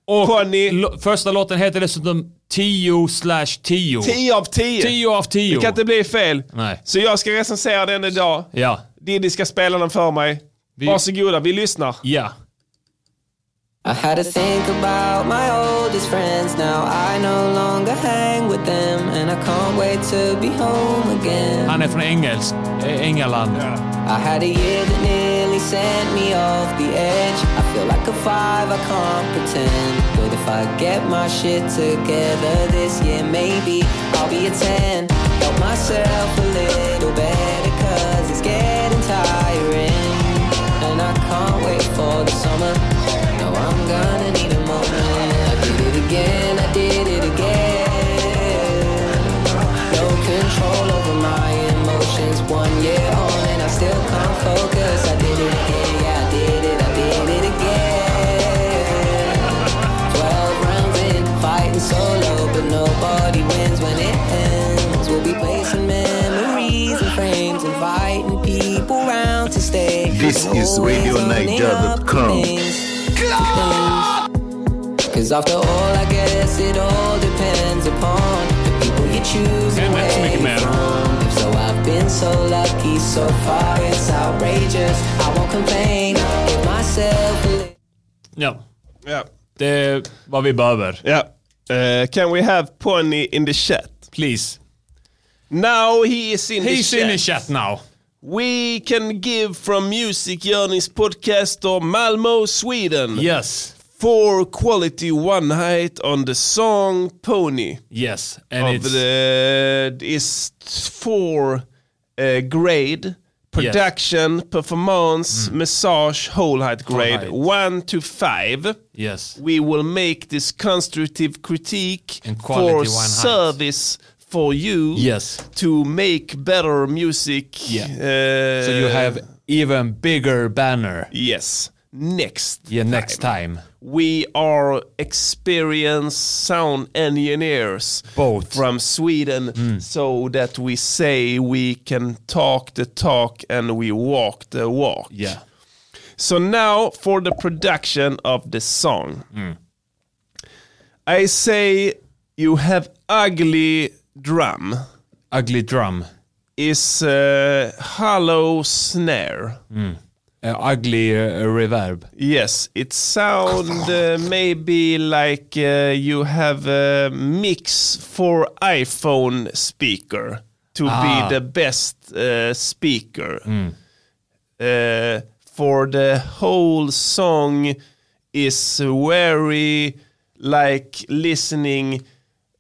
Speaker 1: Och
Speaker 2: Pony.
Speaker 1: lo- första låten heter dessutom 10 slash 10.
Speaker 2: 10 av 10.
Speaker 1: 10 av 10.
Speaker 2: Det kan inte bli fel.
Speaker 1: Nej.
Speaker 2: Så jag ska recensera den idag.
Speaker 1: Ja.
Speaker 2: Diddy ska spela den för mig. Varsågoda, vi lyssnar.
Speaker 1: Ja.
Speaker 9: I had to think about my oldest friends. Now I no longer hang with them, and I can't wait to be home again.
Speaker 1: Han är från Engels, eh, England.
Speaker 9: I had a year that nearly sent me off the edge. I feel like a five, I can't pretend. But if I get my shit together this year, maybe I'll be a ten. Help myself a little better, cause it's getting tiring. And I can't wait for the summer. No, I'm gonna need a moment. I did it again, I did it again. No control over my emotions. One year on and I still can't focus. I did it again, yeah, I did it, I did it again. Twelve rounds in, fighting solo, but nobody wins when it ends. We'll be placing memories and frames, inviting people round to stay.
Speaker 4: This is RadioNiger.com.
Speaker 9: Cause after all, I guess it all depends upon the people you choose and where you're from. So I've been so lucky so far, it's outrageous. I won't complain. Give myself a
Speaker 1: Ja.
Speaker 2: ja.
Speaker 1: Det är vad vi behöver.
Speaker 2: Ja. Eh, can we have Pony in the chat?
Speaker 1: Please.
Speaker 2: Now he is in
Speaker 1: He's
Speaker 2: the chat.
Speaker 1: in the chat now.
Speaker 2: We can give from Music Journeys podcast or Malmo, Sweden.
Speaker 1: Yes.
Speaker 2: poor quality one height on the song Pony.
Speaker 1: Yes,
Speaker 2: and of the is four uh, grade production, yes. performance, mm. massage, whole height grade height. one to five.
Speaker 1: Yes,
Speaker 2: we will make this constructive critique for service. Height. For you,
Speaker 1: yes,
Speaker 2: to make better music.
Speaker 1: Yeah. Uh, so you have even bigger banner.
Speaker 2: Yes next
Speaker 1: yeah time. next time
Speaker 2: we are experienced sound engineers
Speaker 1: both Hmm.
Speaker 2: from sweden mm. so that we say we can talk the talk and we walk the walk
Speaker 1: yeah
Speaker 2: so now for the production of the song
Speaker 1: Hmm.
Speaker 2: mm. i say you have ugly drum
Speaker 1: ugly drum
Speaker 2: is uh, hollow snare
Speaker 1: mm. Uh, ugly uh, reverb.
Speaker 2: Yes, it sound uh, maybe like uh, you have a mix for iPhone speaker to ah. be the best uh, speaker. Mm. for the whole song is very like listening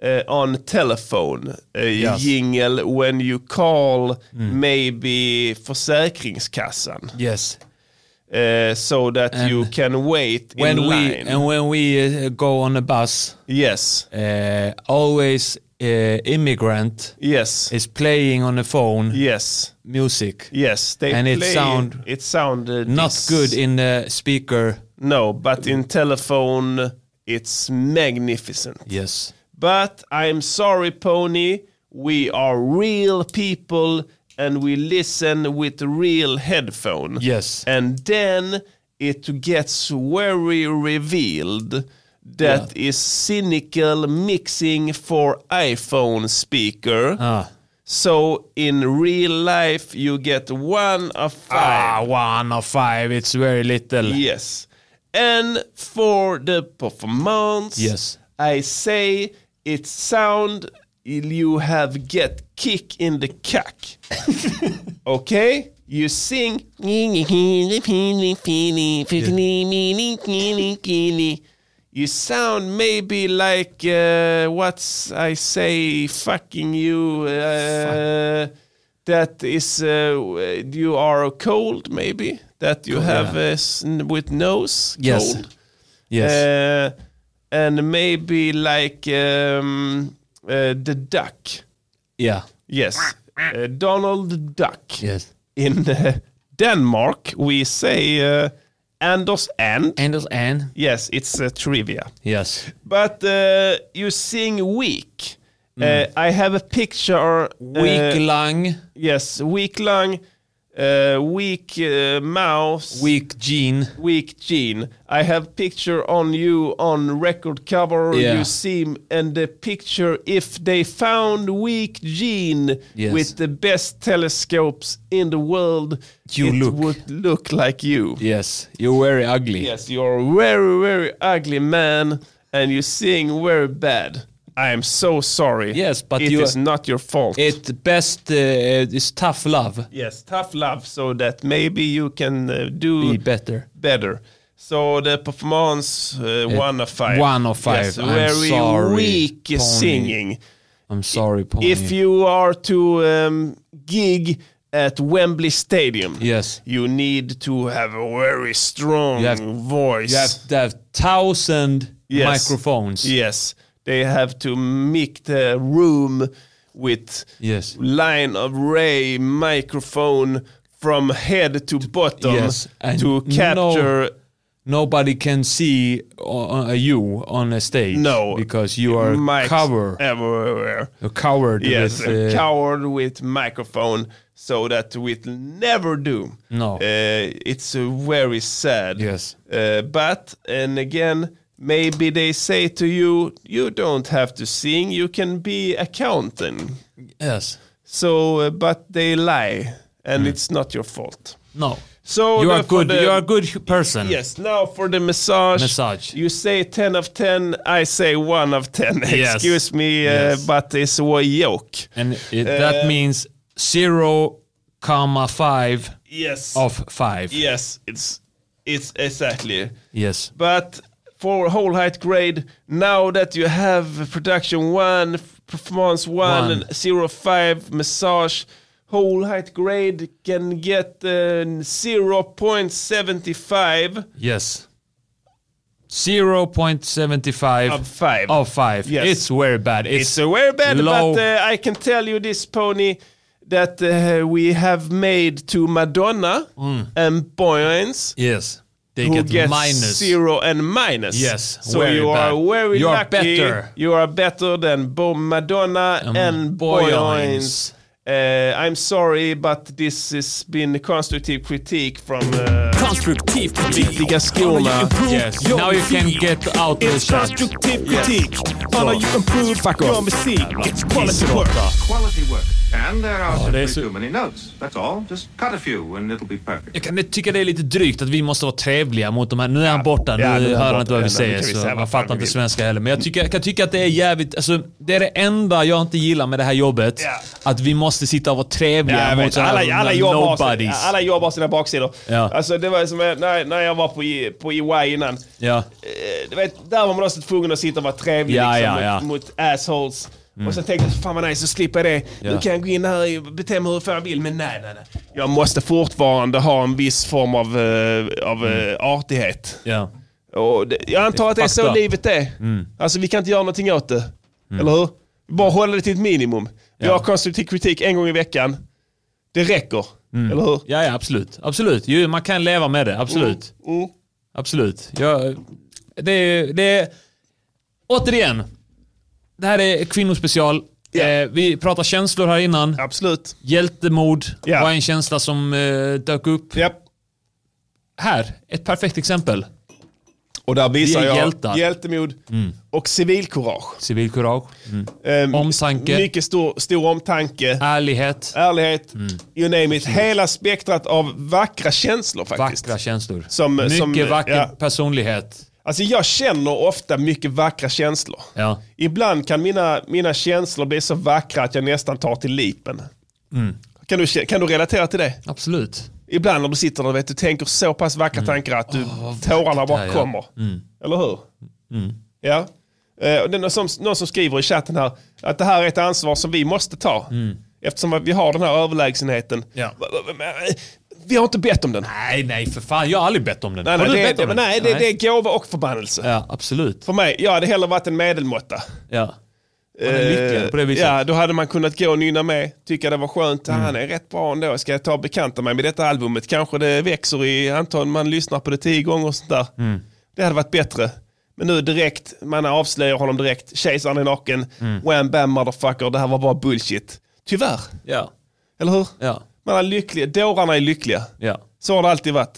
Speaker 2: uh, on telephone yes. jingle when you call mm. maybe Försäkringskassan.
Speaker 1: Yes.
Speaker 2: Uh, so that and you can wait
Speaker 1: when
Speaker 2: in line.
Speaker 1: We, and when we uh, go on a bus,
Speaker 2: yes,
Speaker 1: uh, always uh, immigrant,
Speaker 2: yes,
Speaker 1: is playing on the phone,
Speaker 2: yes,
Speaker 1: music,
Speaker 2: yes, they
Speaker 1: and it sound
Speaker 2: it sounded
Speaker 1: not good in the speaker.
Speaker 2: No, but in telephone it's magnificent.
Speaker 1: Yes,
Speaker 2: but I'm sorry, Pony. We are real people and we listen with real headphone.
Speaker 1: Yes.
Speaker 2: And then it gets very revealed that yeah. is cynical mixing for iPhone speaker.
Speaker 1: Ah.
Speaker 2: So in real life you get one of five.
Speaker 1: Ah, one of five. It's very little.
Speaker 2: Yes. And for the performance,
Speaker 1: yes,
Speaker 2: I say it sound you have get kick in the cack. okay? You sing. Yeah. You sound maybe like uh, what's I say, fucking you. Uh, Fuck. That is, uh, you are cold maybe. That you oh, have yeah. with nose.
Speaker 1: Yes.
Speaker 2: Cold. uh,
Speaker 1: Yes.
Speaker 2: and maybe like. Um, uh, the duck.
Speaker 1: Yeah.
Speaker 2: Yes. Uh, Donald Duck.
Speaker 1: Yes.
Speaker 2: In uh, Denmark, we say uh, Anders N.
Speaker 1: Anders N.
Speaker 2: Yes, it's a trivia.
Speaker 1: Yes.
Speaker 2: But uh, you sing weak. Mm. I have a picture. uh,
Speaker 1: Weak lung.
Speaker 2: Yes, weak lung. uh, weak uh, mouth.
Speaker 1: Weak gene.
Speaker 2: Weak gene. I have picture on you on record cover. Yeah. You see, and the picture if they found weak gene yes. with the best telescopes in the world,
Speaker 1: you
Speaker 2: it
Speaker 1: look.
Speaker 2: would look like you.
Speaker 1: Yes, you're very ugly.
Speaker 2: Yes, you're a very very ugly man, and you sing very bad. I am so sorry.
Speaker 1: Yes, but
Speaker 2: it
Speaker 1: you,
Speaker 2: is not your fault.
Speaker 1: It best uh, is tough love.
Speaker 2: Yes, tough love, so that maybe you can uh, do
Speaker 1: Be better.
Speaker 2: Better. So the performance uh, uh, one of five.
Speaker 1: Eh, One of five.
Speaker 2: Yes,
Speaker 1: I'm
Speaker 2: very
Speaker 1: sorry,
Speaker 2: weak pony. singing.
Speaker 1: I'm sorry, Pony.
Speaker 2: If you are to um, gig at Wembley Stadium,
Speaker 1: yes,
Speaker 2: you need to have a very strong
Speaker 1: you have,
Speaker 2: voice.
Speaker 1: You have to have thousand yes. microphones.
Speaker 2: Yes, they have to make the room with
Speaker 1: yes.
Speaker 2: line of ray microphone from head to bottom
Speaker 1: yes. And
Speaker 2: to capture.
Speaker 1: No nobody can see uh, you on a stage.
Speaker 2: No,
Speaker 1: because you are Mics covered
Speaker 2: everywhere.
Speaker 1: You're covered.
Speaker 2: Yes,
Speaker 1: with,
Speaker 2: uh, covered with microphone, so that we will never do.
Speaker 1: No,
Speaker 2: uh, it's very sad. Uh,
Speaker 1: Yes,
Speaker 2: but and again. Maybe they say to you, you don't have to sing, you can be accountant.
Speaker 1: Yes.
Speaker 2: So, uh, but they lie, and mm. it's not your fault.
Speaker 1: No.
Speaker 2: So
Speaker 1: you are good. The, you are a good person.
Speaker 2: Yes. Now for the massage.
Speaker 1: Mm. Massage.
Speaker 2: You say ten of ten. I say one of ten. <laughs> Yes. Excuse me, yes. uh, but it's a joke.
Speaker 1: And it, uh, that means zero comma five.
Speaker 2: Yes.
Speaker 1: Oh. Of five.
Speaker 2: Yes. It's it's exactly.
Speaker 1: Yes.
Speaker 2: But for whole height grade. Now that you have production one, performance one,
Speaker 1: One.
Speaker 2: and zero five massage, whole height grade can get uh, zero point seventy five.
Speaker 1: Yes. 0.75
Speaker 2: Of five.
Speaker 1: Of five.
Speaker 2: Yes.
Speaker 1: It's very bad. It's,
Speaker 2: It's a very bad,
Speaker 1: low.
Speaker 2: but uh, I can tell you this pony that uh, we have made to Madonna
Speaker 1: Mm.
Speaker 2: and Boyens.
Speaker 1: yes. They
Speaker 2: who
Speaker 1: get
Speaker 2: gets
Speaker 1: minus.
Speaker 2: zero and minus.
Speaker 1: Yes,
Speaker 2: So
Speaker 1: very
Speaker 2: you are
Speaker 1: bad.
Speaker 2: very
Speaker 1: You are
Speaker 2: lucky.
Speaker 1: better.
Speaker 2: You are better than both Madonna
Speaker 1: Um,
Speaker 2: and
Speaker 1: Boyens.
Speaker 2: Boyens. Uh, I'm sorry, but this has been constructive critique from uh,
Speaker 8: Konstruktiv kritik.
Speaker 2: Viktiga skorna.
Speaker 1: Yes. Now you can get out the
Speaker 8: It's
Speaker 1: chat.
Speaker 8: constructive
Speaker 2: Yes.
Speaker 8: critique. On how you improve
Speaker 1: Fuck
Speaker 8: your
Speaker 1: off.
Speaker 8: music.
Speaker 1: Jävla
Speaker 8: It's quality
Speaker 1: pissråtta.
Speaker 8: work.
Speaker 5: Quality work. And there are
Speaker 1: Ja, det är
Speaker 5: simply
Speaker 1: så-
Speaker 5: too many notes. That's all. Just cut a few and it'll be perfect.
Speaker 1: Jag kan tycka det är lite drygt att vi måste vara trevliga mot de här. Nu är han borta, nu
Speaker 5: Ja, nu är han
Speaker 1: hör han
Speaker 5: borta.
Speaker 1: inte vad vi
Speaker 5: Ja, nu
Speaker 1: säger.
Speaker 5: kan vi
Speaker 1: Så
Speaker 5: säga vad
Speaker 1: han
Speaker 5: fan
Speaker 1: fattar
Speaker 5: vi
Speaker 1: inte
Speaker 5: vill.
Speaker 1: svenska heller. Men jag, tycker, jag kan tycka att det är jävligt... Alltså, det är det enda jag inte gillar med det här jobbet. Att vi måste sitta och vara trevliga
Speaker 2: jag
Speaker 1: mot
Speaker 2: vet.
Speaker 1: såna här
Speaker 2: alla, alla, jobb har sina,
Speaker 1: nobodies.
Speaker 2: alla jobb har sina baksidor.
Speaker 1: Ja.
Speaker 2: Alltså det var som när, när jag var på, I- på EY innan.
Speaker 1: Ja.
Speaker 2: Eh, du vet, där var man också tvungen att sitta och vara trevlig
Speaker 1: Ja,
Speaker 2: liksom,
Speaker 1: ja, ja.
Speaker 2: Mot, mot assholes.
Speaker 1: Mm.
Speaker 2: Och sen tänkte jag, fan vad nice, så slipper jag det.
Speaker 1: Ja.
Speaker 2: Nu kan jag gå in här och bestämma hur fan jag vill, men nej, nej, nej. Jag måste fortfarande ha en viss form av, eh, av
Speaker 1: Mm.
Speaker 2: eh, artighet.
Speaker 1: Ja.
Speaker 2: Och det, jag antar att det är
Speaker 1: fucked
Speaker 2: så
Speaker 1: up.
Speaker 2: livet är.
Speaker 1: Mm.
Speaker 2: Alltså vi kan inte göra någonting åt det. Eller hur? Bara hålla det till ett minimum. Vi
Speaker 1: Ja.
Speaker 2: har konstruktiv kritik en gång i veckan. Det räcker.
Speaker 1: Mm.
Speaker 2: Eller hur?
Speaker 1: Ja, ja absolut. absolut. Jo, man kan leva med det, absolut.
Speaker 2: Mm,
Speaker 1: Absolut. Jag, det, är- det är... Återigen. Det här är kvinnospecial. Eh, vi pratar känslor här innan.
Speaker 2: Absolut.
Speaker 1: Hjältemod var en känsla som eh, dök upp. Här, ett perfekt exempel.
Speaker 2: Och där visar
Speaker 1: Vi är
Speaker 2: jag
Speaker 1: hjältar. Mm.
Speaker 2: hjältemod och civilkurage.
Speaker 1: Civilkurage. Mm. Omtanke.
Speaker 2: Ehm, Mycket stor, stor omtanke.
Speaker 1: Ärlighet.
Speaker 2: Ärlighet.
Speaker 1: Mm.
Speaker 2: You name it. Hela spektrat av vackra känslor faktiskt.
Speaker 1: Vackra känslor.
Speaker 2: Som- eh,
Speaker 1: Mycket
Speaker 2: som-
Speaker 1: vacker
Speaker 2: ja.
Speaker 1: personlighet.
Speaker 2: Alltså jag känner ofta mycket vackra känslor.
Speaker 1: Ja.
Speaker 2: Ibland kan mina, mina känslor bli så vackra att jag nästan tar till lipen.
Speaker 1: Mm.
Speaker 2: Kan du, kä- kan du relatera till det?
Speaker 1: Absolut.
Speaker 2: Ibland när du sitter där vet du tänker så pass vackra
Speaker 1: Mm.
Speaker 2: tankar att du, tårarna bara
Speaker 1: här, ja.
Speaker 2: kommer.
Speaker 1: Mm.
Speaker 2: Eller hur?
Speaker 1: Mm.
Speaker 2: Ja. Eh, och det är någon, som, någon som skriver i chatten här att det här är ett ansvar som vi måste ta.
Speaker 1: Mm.
Speaker 2: Eftersom att vi har den här överlägsenheten. Va- va- va- men, eh, Vi har inte bett om den.
Speaker 1: Nej, nej för fan. Jag har aldrig bett om den.
Speaker 2: Nej,
Speaker 1: har
Speaker 2: nej,
Speaker 1: du
Speaker 2: det,
Speaker 1: bett
Speaker 2: det,
Speaker 1: om
Speaker 2: men
Speaker 1: den?
Speaker 2: nej, det, det är gåva och förbannelse.
Speaker 1: Ja, absolut.
Speaker 2: För mig, jag hade hellre varit en medelmåtta.
Speaker 1: Ja. Man är lyckligare på det viset.
Speaker 2: Eh, Ja, då hade man kunnat gå och nynna med, tycka det var skönt, mm. han är rätt bra ändå, ska jag ta och bekanta mig med detta albumet, kanske det växer i antal, man lyssnar på det tio gånger och sånt där.
Speaker 1: Mm.
Speaker 2: Det hade varit bättre. Men nu direkt, man avslöjar honom direkt, kejsaren är naken,
Speaker 1: Mm.
Speaker 2: wham bam motherfucker, det här var bara bullshit. Tyvärr,
Speaker 1: Ja.
Speaker 2: eller hur?
Speaker 1: Ja.
Speaker 2: Man är lycklig, dårarna är lyckliga.
Speaker 1: Ja.
Speaker 2: Så har det alltid varit.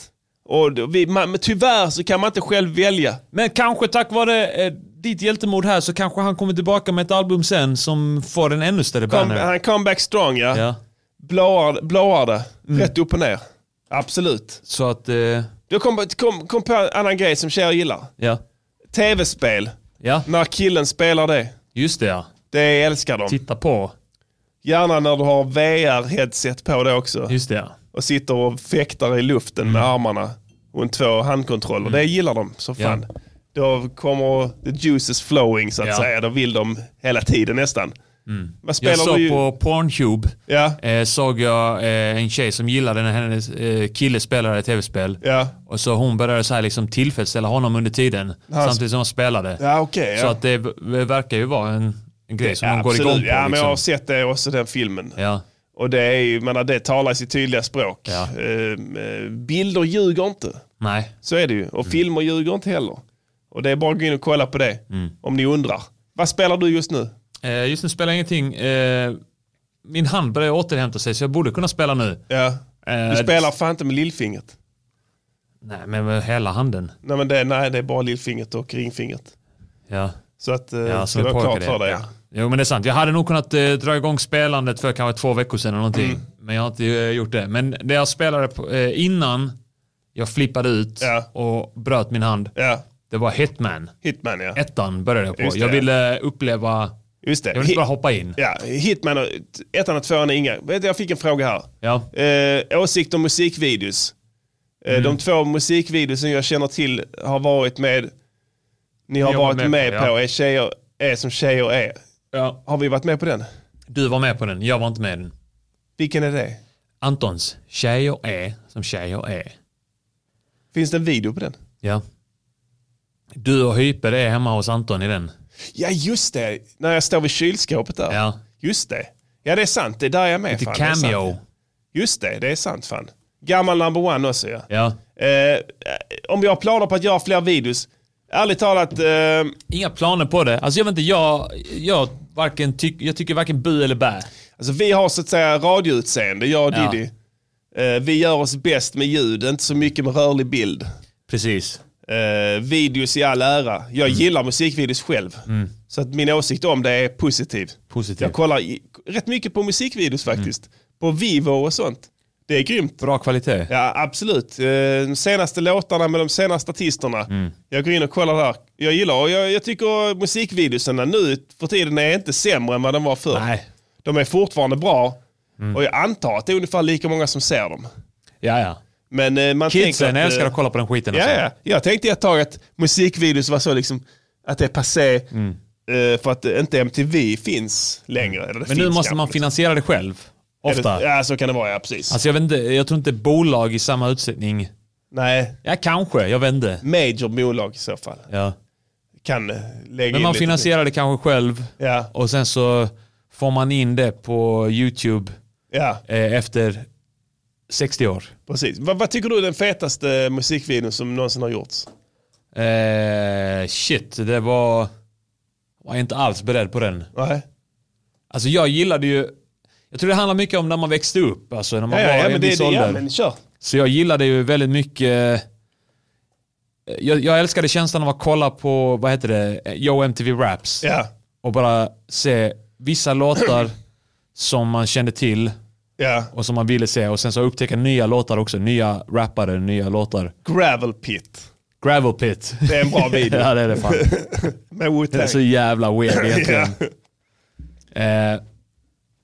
Speaker 2: Och då- vi, man, men tyvärr så kan man inte själv välja.
Speaker 1: Men kanske tack vare eh, ditt hjältemod här så kanske han kommer tillbaka med ett album sen som får en ännu större
Speaker 2: Come,
Speaker 1: banner.
Speaker 2: han comeback strong ja.
Speaker 1: Ja. Mm.
Speaker 2: Blåar, blåar det, rätt upp och ner. Absolut.
Speaker 1: Så att... Eh,
Speaker 2: Du kom, kom, kom på en annan grej som tjejer gillar.
Speaker 1: ja.
Speaker 2: Tv-spel. När killen spelar det.
Speaker 1: Just det ja.
Speaker 2: Det älskar de.
Speaker 1: Titta på.
Speaker 2: Gärna när du har VR-headset på det också.
Speaker 1: Just det ja.
Speaker 2: Och sitter och fäktar i luften med armarna. Och två handkontroller. Det gillar de som
Speaker 1: Mm. Ja.
Speaker 2: fan. Då kommer the juices flowing så att
Speaker 1: Ja. Mm.
Speaker 2: säga. Då vill de hela tiden nästan. Vad spelar
Speaker 1: Jag såg
Speaker 2: du ju-
Speaker 1: på Pornhub,
Speaker 2: Ja.
Speaker 1: eh, såg jag eh, en tjej som gillade när hennes eh, kille spelade ett tv-spel.
Speaker 2: Ja.
Speaker 1: Och så hon började så här liksom tillfredsställa honom under tiden,
Speaker 2: Han-
Speaker 1: samtidigt som hon spelade.
Speaker 2: Ja, okej,
Speaker 1: Så
Speaker 2: ja.
Speaker 1: att det v- verkar ju vara en, en grej som
Speaker 2: Ja,
Speaker 1: hon går
Speaker 2: absolut.
Speaker 1: igång på.
Speaker 2: Ja, men jag har
Speaker 1: liksom.
Speaker 2: sett det också, den filmen.
Speaker 1: Ja.
Speaker 2: Och det, är, ju- jag menar, det talar sitt tydliga språk. Ehm, eh, bilder ljuger inte.
Speaker 1: Nej.
Speaker 2: Så är det ju. Och
Speaker 1: Mm.
Speaker 2: filmer ljuger inte heller. Och det är bara att gå in och kolla på det.
Speaker 1: Mm.
Speaker 2: Om ni undrar. Vad spelar du just nu?
Speaker 1: Eh, just nu spelar jag ingenting. Eh, min hand börjar återhämta sig så jag borde kunna spela nu.
Speaker 2: Ja.
Speaker 1: Eh,
Speaker 2: Du spelar fan inte med lillfingret.
Speaker 1: Nej, men med hela handen.
Speaker 2: Nej, men det, nej, det är bara lillfingret och ringfingret.
Speaker 1: Ja.
Speaker 2: Så att eh,
Speaker 1: Ja,
Speaker 2: ska det
Speaker 1: en
Speaker 2: vara klart
Speaker 1: poker
Speaker 2: för
Speaker 1: det.
Speaker 2: dig.
Speaker 1: Ja. Jo, men det är sant. Jag hade nog kunnat eh, dra igång spelandet för kanske två veckor sedan eller någonting.
Speaker 2: Mm.
Speaker 1: Men jag har inte eh, gjort det. Men det jag spelade på, eh, innan jag flippade ut och bröt min hand. Det var Hitman.
Speaker 2: Hitman, ja.
Speaker 1: Ettan började jag på.
Speaker 2: Just det,
Speaker 1: jag
Speaker 2: ja.
Speaker 1: ville uppleva...
Speaker 2: Just det.
Speaker 1: Jag ville inte bara hoppa in.
Speaker 2: Ja, Hitman, och- ettan och tvåan är inga. Vet du, jag fick en fråga här.
Speaker 1: Ja.
Speaker 2: Eh, åsikt om musikvideos. Eh,
Speaker 1: Mm.
Speaker 2: De två musikvideos som jag känner till har varit med ni har varit med, med på, på ja. är, tjejer, är som tjejer är. Ja. Har vi varit med på den?
Speaker 1: Du var med på den, jag var inte med den.
Speaker 2: Vilken är det?
Speaker 1: Antons, tjejer är som tjejer är.
Speaker 2: Finns det en video på den?
Speaker 1: Ja. Du och Hyper är hemma hos Anton i den.
Speaker 2: Ja just det, när jag står vid kylskåpet där. Ja. Just det. Ja det är sant, det är där jag är med.
Speaker 1: Lite
Speaker 2: fan.
Speaker 1: cameo.
Speaker 2: Det just det, det är sant fan. Gammal number one också ja.
Speaker 1: ja.
Speaker 2: Eh, om vi har planer på att göra fler videos, ärligt talat. Eh...
Speaker 1: Inga planer på det. Alltså jag vet inte, jag, jag, varken tyck, jag tycker varken bu eller bä.
Speaker 2: Alltså vi har så att säga radioutseende, jag och ja. Diddy. Eh, vi gör oss bäst med ljud, inte så mycket med rörlig bild.
Speaker 1: Precis.
Speaker 2: Eh, videos i all ära. Jag mm. gillar musikvideos själv. Mm. Så att min åsikt om det är positiv.
Speaker 1: positiv.
Speaker 2: Jag kollar i, rätt mycket på musikvideos faktiskt. Mm. På Vivo och sånt. Det är grymt.
Speaker 1: Bra kvalitet.
Speaker 2: Ja, absolut. Eh, De senaste låtarna med de senaste artisterna. Mm. Jag går in och kollar där. Jag gillar, jag, jag tycker musikvideosarna nu för tiden är inte sämre än vad de var förr.
Speaker 1: Nej.
Speaker 2: De är fortfarande bra mm. och jag antar att det är ungefär lika många som ser dem.
Speaker 1: Ja, ja.
Speaker 2: Men eh, man
Speaker 1: Kidsen
Speaker 2: tänker
Speaker 1: att, älskar att kolla på den skiten. alltså.
Speaker 2: Ja, ja. Jag tänkte ett tag att musikvideos var så liksom, att det är passé. Mm. För att inte MTV finns längre.
Speaker 1: Men finns nu måste kanske. man finansiera det själv. Ofta.
Speaker 2: Ja, så kan det vara, ja precis.
Speaker 1: Alltså jag, vet inte, jag tror inte bolag i samma utsträckning.
Speaker 2: Nej.
Speaker 1: Ja, kanske. Jag vet inte.
Speaker 2: Major bolag i så fall.
Speaker 1: Ja.
Speaker 2: Kan eh, lägga
Speaker 1: Men man finansierar lite. det kanske själv.
Speaker 2: Ja.
Speaker 1: Och sen så får man in det på YouTube
Speaker 2: ja.
Speaker 1: eh, efter 60 år.
Speaker 2: Precis. Vad, vad, tycker du är den fetaste eh, musikvideon som någonsin har gjorts?
Speaker 1: Eh, shit, det var... Jag är inte alls beredd på den.
Speaker 2: Nej.
Speaker 1: Alltså jag gillade ju... Jag tror det handlar mycket om när man växte upp. Alltså när man
Speaker 2: ja,
Speaker 1: var
Speaker 2: ja,
Speaker 1: en
Speaker 2: men
Speaker 1: viss
Speaker 2: det,
Speaker 1: ålder.
Speaker 2: Ja, men kör.
Speaker 1: Så jag gillade ju väldigt mycket... Jag, jag älskade känslan av att kolla på, vad heter det, Yo MTV Raps.
Speaker 2: Ja.
Speaker 1: Och bara se vissa låtar som man kände till
Speaker 2: ja.
Speaker 1: och som man ville se. Och sen så upptäcka nya låtar också. Nya rappare, nya låtar.
Speaker 2: Gravel Pit.
Speaker 1: Gravel Pit.
Speaker 2: Det är en bra video.
Speaker 1: <laughs> ja, det är
Speaker 2: <laughs>
Speaker 1: det fan.
Speaker 2: Med wu
Speaker 1: Det
Speaker 2: <laughs>
Speaker 1: är så jävla weird egentligen. yeah. eh,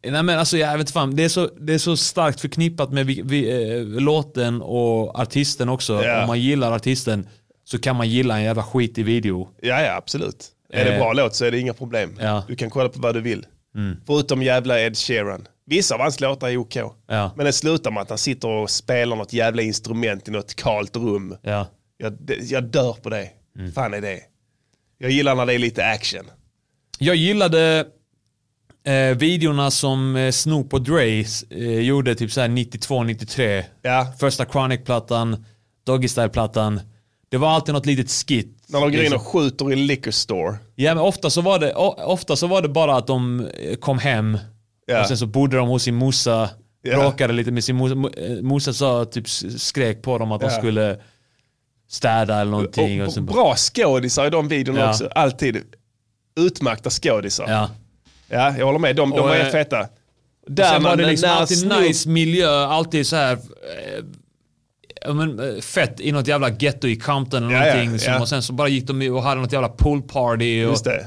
Speaker 1: Nej men alltså jag vet fan, det är så, det är så starkt förknippat med vi, vi, eh, låten och artisten också.
Speaker 2: Ja.
Speaker 1: Om man gillar artisten så kan man gilla en jävla skit i video.
Speaker 2: Ja, ja absolut. Är eh. det bra låt så är det inga problem.
Speaker 1: Ja.
Speaker 2: Du kan kolla på vad du vill.
Speaker 1: Mm.
Speaker 2: Förutom jävla Ed Sheeran. Vissa av hans låtar är OK.
Speaker 1: Ja.
Speaker 2: Men det slutar med att han sitter och spelar något jävla instrument i något kalt rum.
Speaker 1: Ja.
Speaker 2: Jag, jag dör på det. Mm. Fan är det. Jag gillar när det är lite action.
Speaker 1: Jag gillade eh, videorna som eh, Snoop och Dre eh, gjorde typ såhär 92-93.
Speaker 2: Ja.
Speaker 1: Första Chronic-plattan, Doggy Style-plattan. Det var alltid något litet skit.
Speaker 2: När de går in och skjuter i en liquor store.
Speaker 1: Ja men ofta så var det, o, ofta så var det bara att de eh, kom hem
Speaker 2: Ja.
Speaker 1: och sen så bodde de hos sin morsa.
Speaker 2: Ja.
Speaker 1: Bråkade lite med sin morsa. Mo- eh, Morsan sa typ s- skrek på dem att
Speaker 2: Ja.
Speaker 1: de skulle städa eller någonting.
Speaker 2: Och,
Speaker 1: och sen bara-
Speaker 2: bra skådisar i de videorna
Speaker 1: Ja.
Speaker 2: också. Alltid utmärkta skådisar.
Speaker 1: Ja.
Speaker 2: Ja, jag håller med. De, de
Speaker 1: Och,
Speaker 2: var
Speaker 1: eh,
Speaker 2: helt feta.
Speaker 1: Och sen var
Speaker 2: man-
Speaker 1: det liksom
Speaker 2: när
Speaker 1: alltid
Speaker 2: Snoop-
Speaker 1: nice miljö, alltid så här eh, ja, men, eh, fett i något jävla ghetto i Compton eller
Speaker 2: Ja, ja,
Speaker 1: någonting. som,
Speaker 2: ja.
Speaker 1: Och sen så bara gick de ju och hade något jävla poolparty. Och,
Speaker 2: Just det.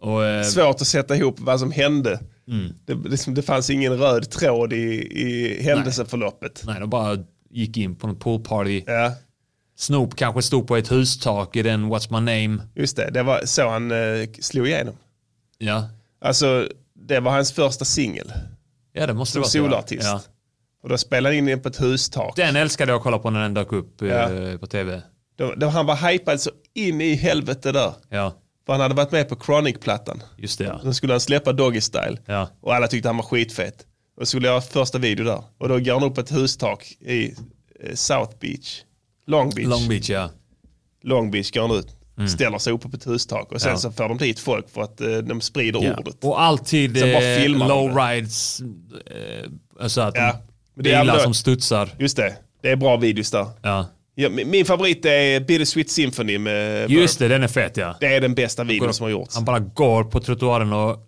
Speaker 1: och, eh,
Speaker 2: Svårt att sätta ihop vad som hände.
Speaker 1: Mm.
Speaker 2: Det, liksom, det fanns ingen röd tråd i, i händelseförloppet.
Speaker 1: nej, de bara gick in på något poolparty.
Speaker 2: Ja,
Speaker 1: Snoop kanske stod på ett hustak i den What's My Name.
Speaker 2: just det. Det var så han eh, slog igenom.
Speaker 1: Ja,
Speaker 2: Alltså, det var hans första singel
Speaker 1: ja det måste det
Speaker 2: som
Speaker 1: vara. så, ja.
Speaker 2: soloartist.
Speaker 1: Ja.
Speaker 2: Och då spelade han in den på ett hustak.
Speaker 1: Den älskade jag att kolla på när den dök upp eh,
Speaker 2: Ja.
Speaker 1: på tv.
Speaker 2: Då, då han var hypad så in i helvete där.
Speaker 1: Ja,
Speaker 2: För han hade varit med på Chronic-plattan.
Speaker 1: just det ja.
Speaker 2: Sen skulle han släppa Doggy Style.
Speaker 1: Ja.
Speaker 2: Och alla tyckte han var skitfett. Och så skulle jag göra första video där. Och då går han upp på ett hustak i eh, South Beach. Long Beach.
Speaker 1: Long Beach ja.
Speaker 2: Long Beach går han ut. Ställer sig uppe på ett hustak. Och sen
Speaker 1: Mm. Ja.
Speaker 2: så får de dit folk för att eh, de sprider
Speaker 1: Ja.
Speaker 2: ordet.
Speaker 1: Och alltid
Speaker 2: Sen bara
Speaker 1: eh,
Speaker 2: filmar de
Speaker 1: low
Speaker 2: det.
Speaker 1: rides. Eh, alltså att
Speaker 2: Ja.
Speaker 1: de,
Speaker 2: Men det är
Speaker 1: bilar
Speaker 2: ändå-
Speaker 1: som studsar.
Speaker 2: Just det. Det är bra videos där.
Speaker 1: Ja.
Speaker 2: Ja, min, min favorit är Bittersweet Symphony med
Speaker 1: Just det, den är fet ja.
Speaker 2: Det är den bästa videon som har gjorts.
Speaker 1: Han bara går på trottoaren och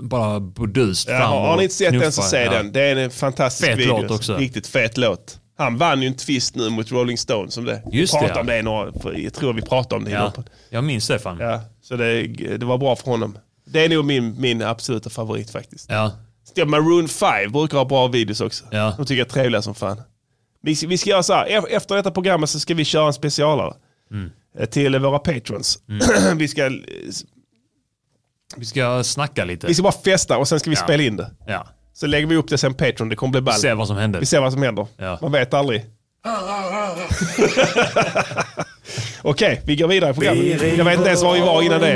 Speaker 1: bara burdust
Speaker 2: Ja,
Speaker 1: fram och
Speaker 2: har ni inte sett den så
Speaker 1: knuffar.
Speaker 2: se
Speaker 1: Ja.
Speaker 2: den. Det är en fantastisk
Speaker 1: Fet
Speaker 2: video.
Speaker 1: låt också.
Speaker 2: Riktigt fet låt. Han vann ju en twist nu mot Rolling Stones. Som det.
Speaker 1: Just
Speaker 2: vi
Speaker 1: det,
Speaker 2: pratade
Speaker 1: ja.
Speaker 2: om det i några, för jag tror vi pratade om det i någon
Speaker 1: Ja.
Speaker 2: podd.
Speaker 1: Jag minns det fan. Ja.
Speaker 2: ja. Så det, det var bra för honom. Det är nog min, min absoluta favorit faktiskt.
Speaker 1: Ja.
Speaker 2: Ja, Maroon 5 brukar ha bra videos också.
Speaker 1: Ja.
Speaker 2: De tycker jag är
Speaker 1: Mm.
Speaker 2: trevliga som fan. Vi, ska- vi ska göra så här, e- efter detta programmet så ska vi köra en specialare. till våra patrons. Mm. <clears throat> vi ska...
Speaker 1: Vi ska snacka lite.
Speaker 2: Vi ska bara festa och sen ska vi
Speaker 1: Ja.
Speaker 2: spela in det.
Speaker 1: Ja.
Speaker 2: Så lägger vi upp det sen på Patreon, det kommer bli ball.
Speaker 1: Vi ser vad som händer.
Speaker 2: Vi ser vad som händer.
Speaker 1: Ja.
Speaker 2: Man vet aldrig. <laughs> Okej, vi går vidare i programmet. Jag vet inte ens var vi var innan det.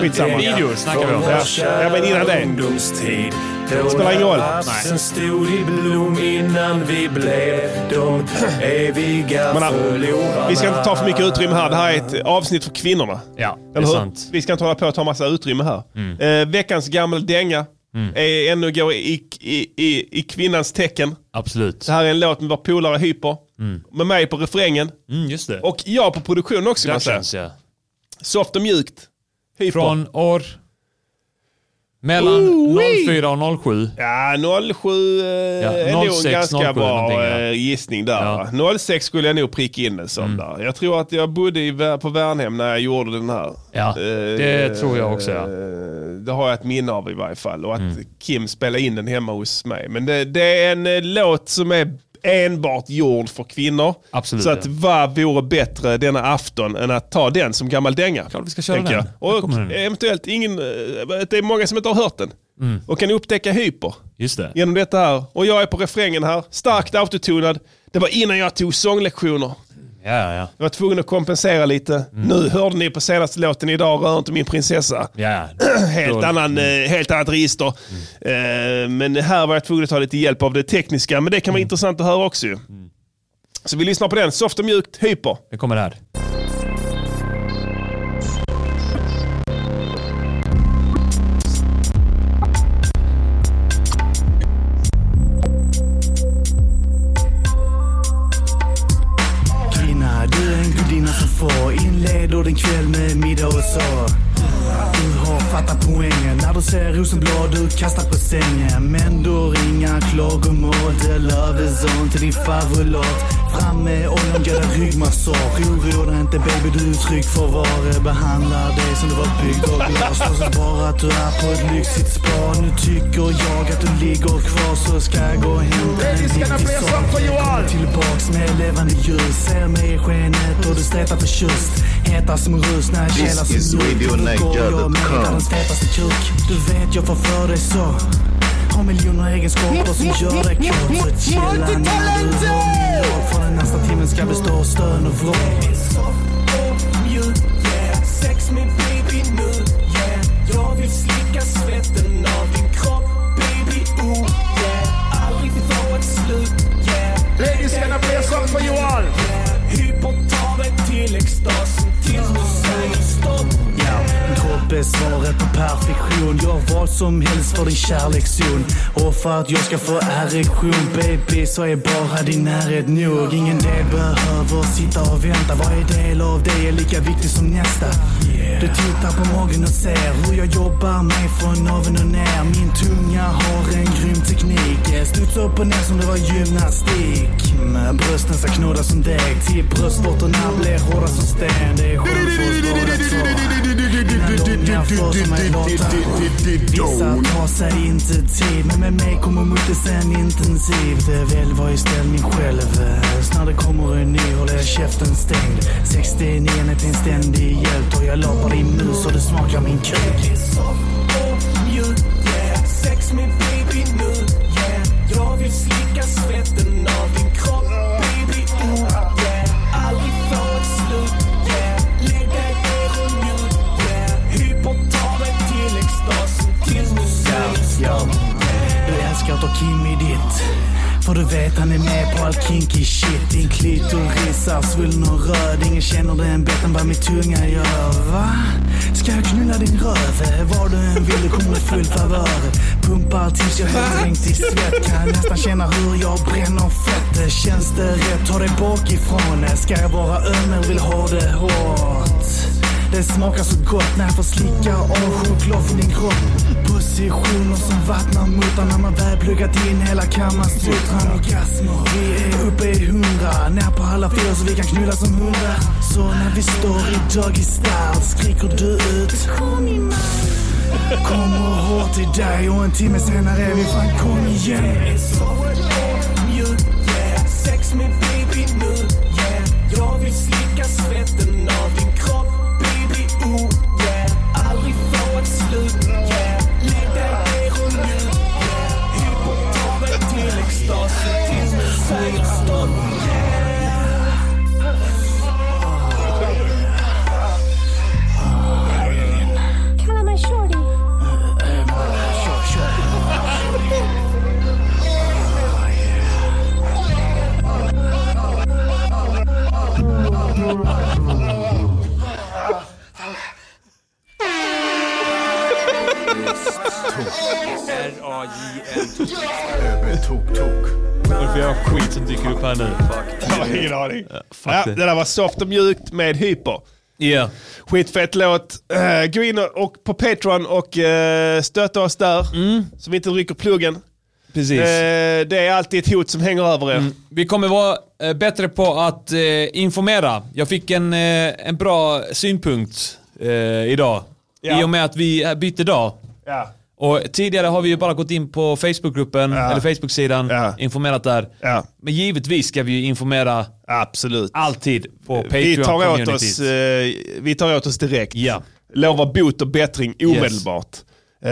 Speaker 2: Skitsamma.
Speaker 1: Videor snackar vi om.
Speaker 2: Ja, ja men innan det.
Speaker 18: ungdomstid.
Speaker 2: Det spelar ingen roll.
Speaker 18: Sen stod i blom innan vi blev de eviga
Speaker 2: Men, alltså-
Speaker 18: förlorarna.
Speaker 2: Vi ska inte ta för mycket utrymme här. Det här är ett avsnitt för kvinnorna.
Speaker 1: Ja, det är
Speaker 2: Eller hur?
Speaker 1: sant.
Speaker 2: Vi ska inte hålla på att ta massa utrymme här.
Speaker 1: Mm.
Speaker 2: Eh, veckans gammel dänga
Speaker 1: Mm.
Speaker 2: är ännu går i, i, i, i kvinnans tecken.
Speaker 1: Absolut.
Speaker 2: Det här är en låt med vår polare Hyper.
Speaker 1: Mm.
Speaker 2: Med mig på refrängen.
Speaker 1: Mm, just det.
Speaker 2: Och jag på produktion också. kan man säga.
Speaker 1: Productions, ja.
Speaker 2: Soft och mjukt. Hyper.
Speaker 1: Från år... Mellan
Speaker 2: Ooh-wee.
Speaker 1: 04 och 07.
Speaker 2: Ja, 07 eh, är nog en
Speaker 1: 06,
Speaker 2: ganska
Speaker 1: 07 någonting,
Speaker 2: bra
Speaker 1: ja. Mm.
Speaker 2: eh, gissning där. va? 06 skulle jag nog pricka in den som där. Jag tror att jag bodde i, Vä- på Värnhem när jag gjorde den här. Eh,
Speaker 1: Ja, det tror jag också, ja. Mm.
Speaker 2: Det har jag ett minne av i varje fall. Och att Kim spelade in den hemma hos mig. Men det, det är en eh, låt som är enbart gjord för kvinnor.
Speaker 1: Absolut,
Speaker 2: Så att
Speaker 1: ja.
Speaker 2: vad vore bättre denna afton än att ta den som gammal dänga? Klart
Speaker 1: vi ska köra den. Här
Speaker 2: Och
Speaker 1: kommer den.
Speaker 2: eventuellt ingen, eh, det är många som inte har hört den.
Speaker 1: Mm.
Speaker 2: Och kan upptäcka hyper
Speaker 1: Just det.
Speaker 2: genom detta här. Och jag är på refrängen här, starkt autotonad. Det var innan jag tog sånglektioner.
Speaker 1: Ja, ja.
Speaker 2: Jag var tvungen att kompensera lite.
Speaker 1: Mm.
Speaker 2: Nu hörde ni på senaste låten idag, Rör inte min prinsessa. <clears throat>
Speaker 1: Ja.
Speaker 2: Helt,
Speaker 1: Då- Mm.
Speaker 2: annan, eh, helt annat register. Eh, Men här var jag tvungen att ta lite hjälp av det tekniska, men det kan vara
Speaker 1: Mm.
Speaker 2: intressant att höra också ju. Så vi lyssnar på den, soft och mjukt, hyper.
Speaker 1: Det kommer här.
Speaker 9: Kvinna, du är en gudinna som få Inleder din kväll med middag och så Du har fattat poängen När du ser rosenblad du kastar på sängen Men du har inga klagomål Det Löfvezon till din favoritlåt Fram med oljan, gör dig ryggmassage Oroa dig inte baby, du är trygg för var Behandlar dig som du var byggd och glas Och så bara att du är på ett lyxigt spa Nu tycker jag att du ligger kvar Så ska jag gå och hämta en viktig sak Kommer tillbaks med levande ljus Ser mig i skenet och du stretar förtjust Hetar som rus när jag
Speaker 4: This
Speaker 9: kelar
Speaker 4: is
Speaker 9: som
Speaker 4: Radio Nigeria dot com.
Speaker 9: världens fetaste kuk Du vet jag får för dig så Har miljoner egenskaper som gör dig kåt Så chilla när du är låg. För den nästa timmen ska bestå av stön och vrål
Speaker 18: Sex med baby nu, yeah Jag vill slicka svetten av din kropp, baby, ooh, yeah Aldrig få ett slut, yeah Ladies gonna play a song for you all Hypertavet till extasen tills du säger stopp
Speaker 9: Ja, Min kropp är svaret på perfektion Gör vad som helst för din kärlekszon Och för att jag ska få erektion baby så är bara din närhet nog Ingen del behöver sitta och vänta Varje del av dig är lika viktig som nästa Du tittar på magen och ser hur jag jobbar mig från naveln och ner Min tunga har en grym teknik Studs upp och ner som det var gymnastik Men Brösten ska knåda som deg till bröstvårtorna blir hårda som sten Det är skönt för oss båda Vissa tar sig inte tid Men med mig kommer muttisen intensivt Välj var i ställning själv Så när det kommer en ny håller jag käften stängd 69 är till en ständig hjälp Och jag lapar din mus och du smakar min kuk
Speaker 18: Yeah, sex med baby nu, yeah Jag vill slicka svetten av din kropp, baby, ooh, yeah Aldrig få ett slut, yeah Lägg dig ner och njut, yeah Hypertalet till extasen tills du säger stopp
Speaker 9: Du älskar att ha Kim i ditt för du vet han är med på all kinky shit Din klitoris är svullen och röd Ingen känner den bättre än vad min tunga gör Va? Ska jag knulla din röv? Vad du än vill du kommer i full favör Pumpar tills jag helt dränkt i svett Kan nästan känna hur jag bränner fett Känns det rätt? Ta dig bakifrån Ska jag vara öm eller vill ha det hårt? Det smakar så gott när jag får slicka av choklad från din kropp. Positioner som vattnar muttan när man väl pluggat in hela kammarsutran. Orgasmer. Vi är uppe i hundra, ner på alla fyra så vi kan knulla som hundar. Så när vi står i doggy style skriker du ut. Kom i Kommer hårt till dig och en timme senare är vi fan kom igen.
Speaker 18: Mjukt, yeah Sex med baby nu, yeah Jag vill slicka svetten av din kropp
Speaker 9: Oh, yeah.
Speaker 19: Kalla mig shorty.
Speaker 9: Eh, bara kör, kör.
Speaker 10: R-A-J-N.
Speaker 2: Tok-tok.
Speaker 1: Vad är skit som dyker upp här nu?
Speaker 2: Jag har ingen aning.
Speaker 1: fuck
Speaker 2: Ja,
Speaker 1: det.
Speaker 2: det där var soft och mjukt med hyper.
Speaker 1: Ja.
Speaker 2: Skitfett låt. Eh, Gå in och, och på Patreon och eh, stötta oss där. Så vi inte rycker pluggen.
Speaker 1: Precis.
Speaker 2: Eh, det är alltid ett hot som hänger över er.
Speaker 1: Vi kommer vara eh, bättre på att eh, informera. Jag fick en, eh, en bra synpunkt eh, idag.
Speaker 2: Ja.
Speaker 1: I och med att vi eh, bytte dag.
Speaker 2: Ja.
Speaker 1: Och tidigare har vi ju bara gått in på Facebookgruppen,
Speaker 2: Ja.
Speaker 1: eller Facebook-sidan, informerat där. Men givetvis ska vi ju informera
Speaker 2: Absolut.
Speaker 1: alltid på
Speaker 2: Eh, Vi tar, åt
Speaker 1: Patreon-communityt.
Speaker 2: oss, eh, vi tar åt oss direkt. Ja. Lova bot och bättring omedelbart. Eh,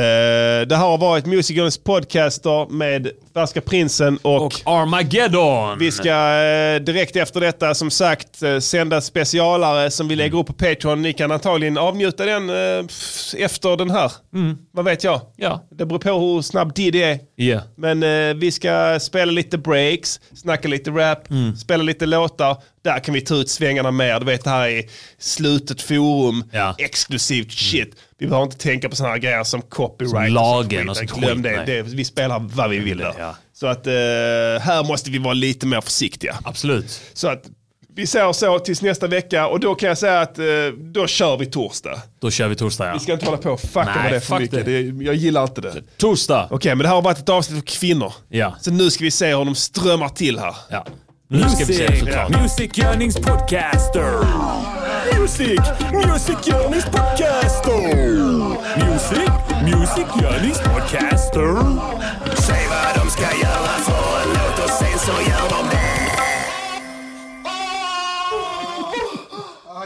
Speaker 2: det här har varit Musikerns podcaster med Färska Prinsen och,
Speaker 1: Armageddon.
Speaker 2: Vi ska eh, direkt efter detta som sagt eh, sända specialare som vi lägger upp på Patreon. Ni kan antagligen avnjuta den eh, f- efter den här. Vad vet jag?
Speaker 1: Ja.
Speaker 2: Det beror på hur snabb Diddy är.
Speaker 1: Ja.
Speaker 2: Men eh, vi ska spela lite breaks, snacka lite rap,
Speaker 1: Mm.
Speaker 2: spela lite låtar. Där kan vi ta ut svängarna mer. Du vet, det här är slutet forum,
Speaker 1: Mm.
Speaker 2: exklusivt shit. Vi behöver inte tänka på sådana här grejer som copyright.
Speaker 1: Som lagen
Speaker 2: och
Speaker 1: och
Speaker 2: sånt skit.
Speaker 1: sånt
Speaker 2: Glöm
Speaker 1: skit,
Speaker 2: det.
Speaker 1: nej.
Speaker 2: det. Vi spelar vad vi vill där.
Speaker 1: Ja.
Speaker 2: Så att eh, här måste vi vara lite mer försiktiga.
Speaker 1: Absolut.
Speaker 2: Så att vi säger så tills nästa vecka och då kan jag säga att eh, då kör vi torsdag.
Speaker 1: Då kör vi torsdag ja.
Speaker 2: Vi ska inte hålla på och fucka
Speaker 1: Nej,
Speaker 2: med det för
Speaker 1: fuck
Speaker 2: mycket.
Speaker 1: det.
Speaker 2: Det, jag gillar inte det.
Speaker 1: Torsdag.
Speaker 2: Okej, men det här har varit ett avsnitt för kvinnor.
Speaker 1: Ja.
Speaker 2: Så nu ska vi se hur de strömmar till här.
Speaker 1: Ja.
Speaker 8: Musikgörningspodcaster. Music, musikgörningspodcaster. Music, musikgörningspodcaster. Säg vad de ska göra för en låt och sen så gör de det.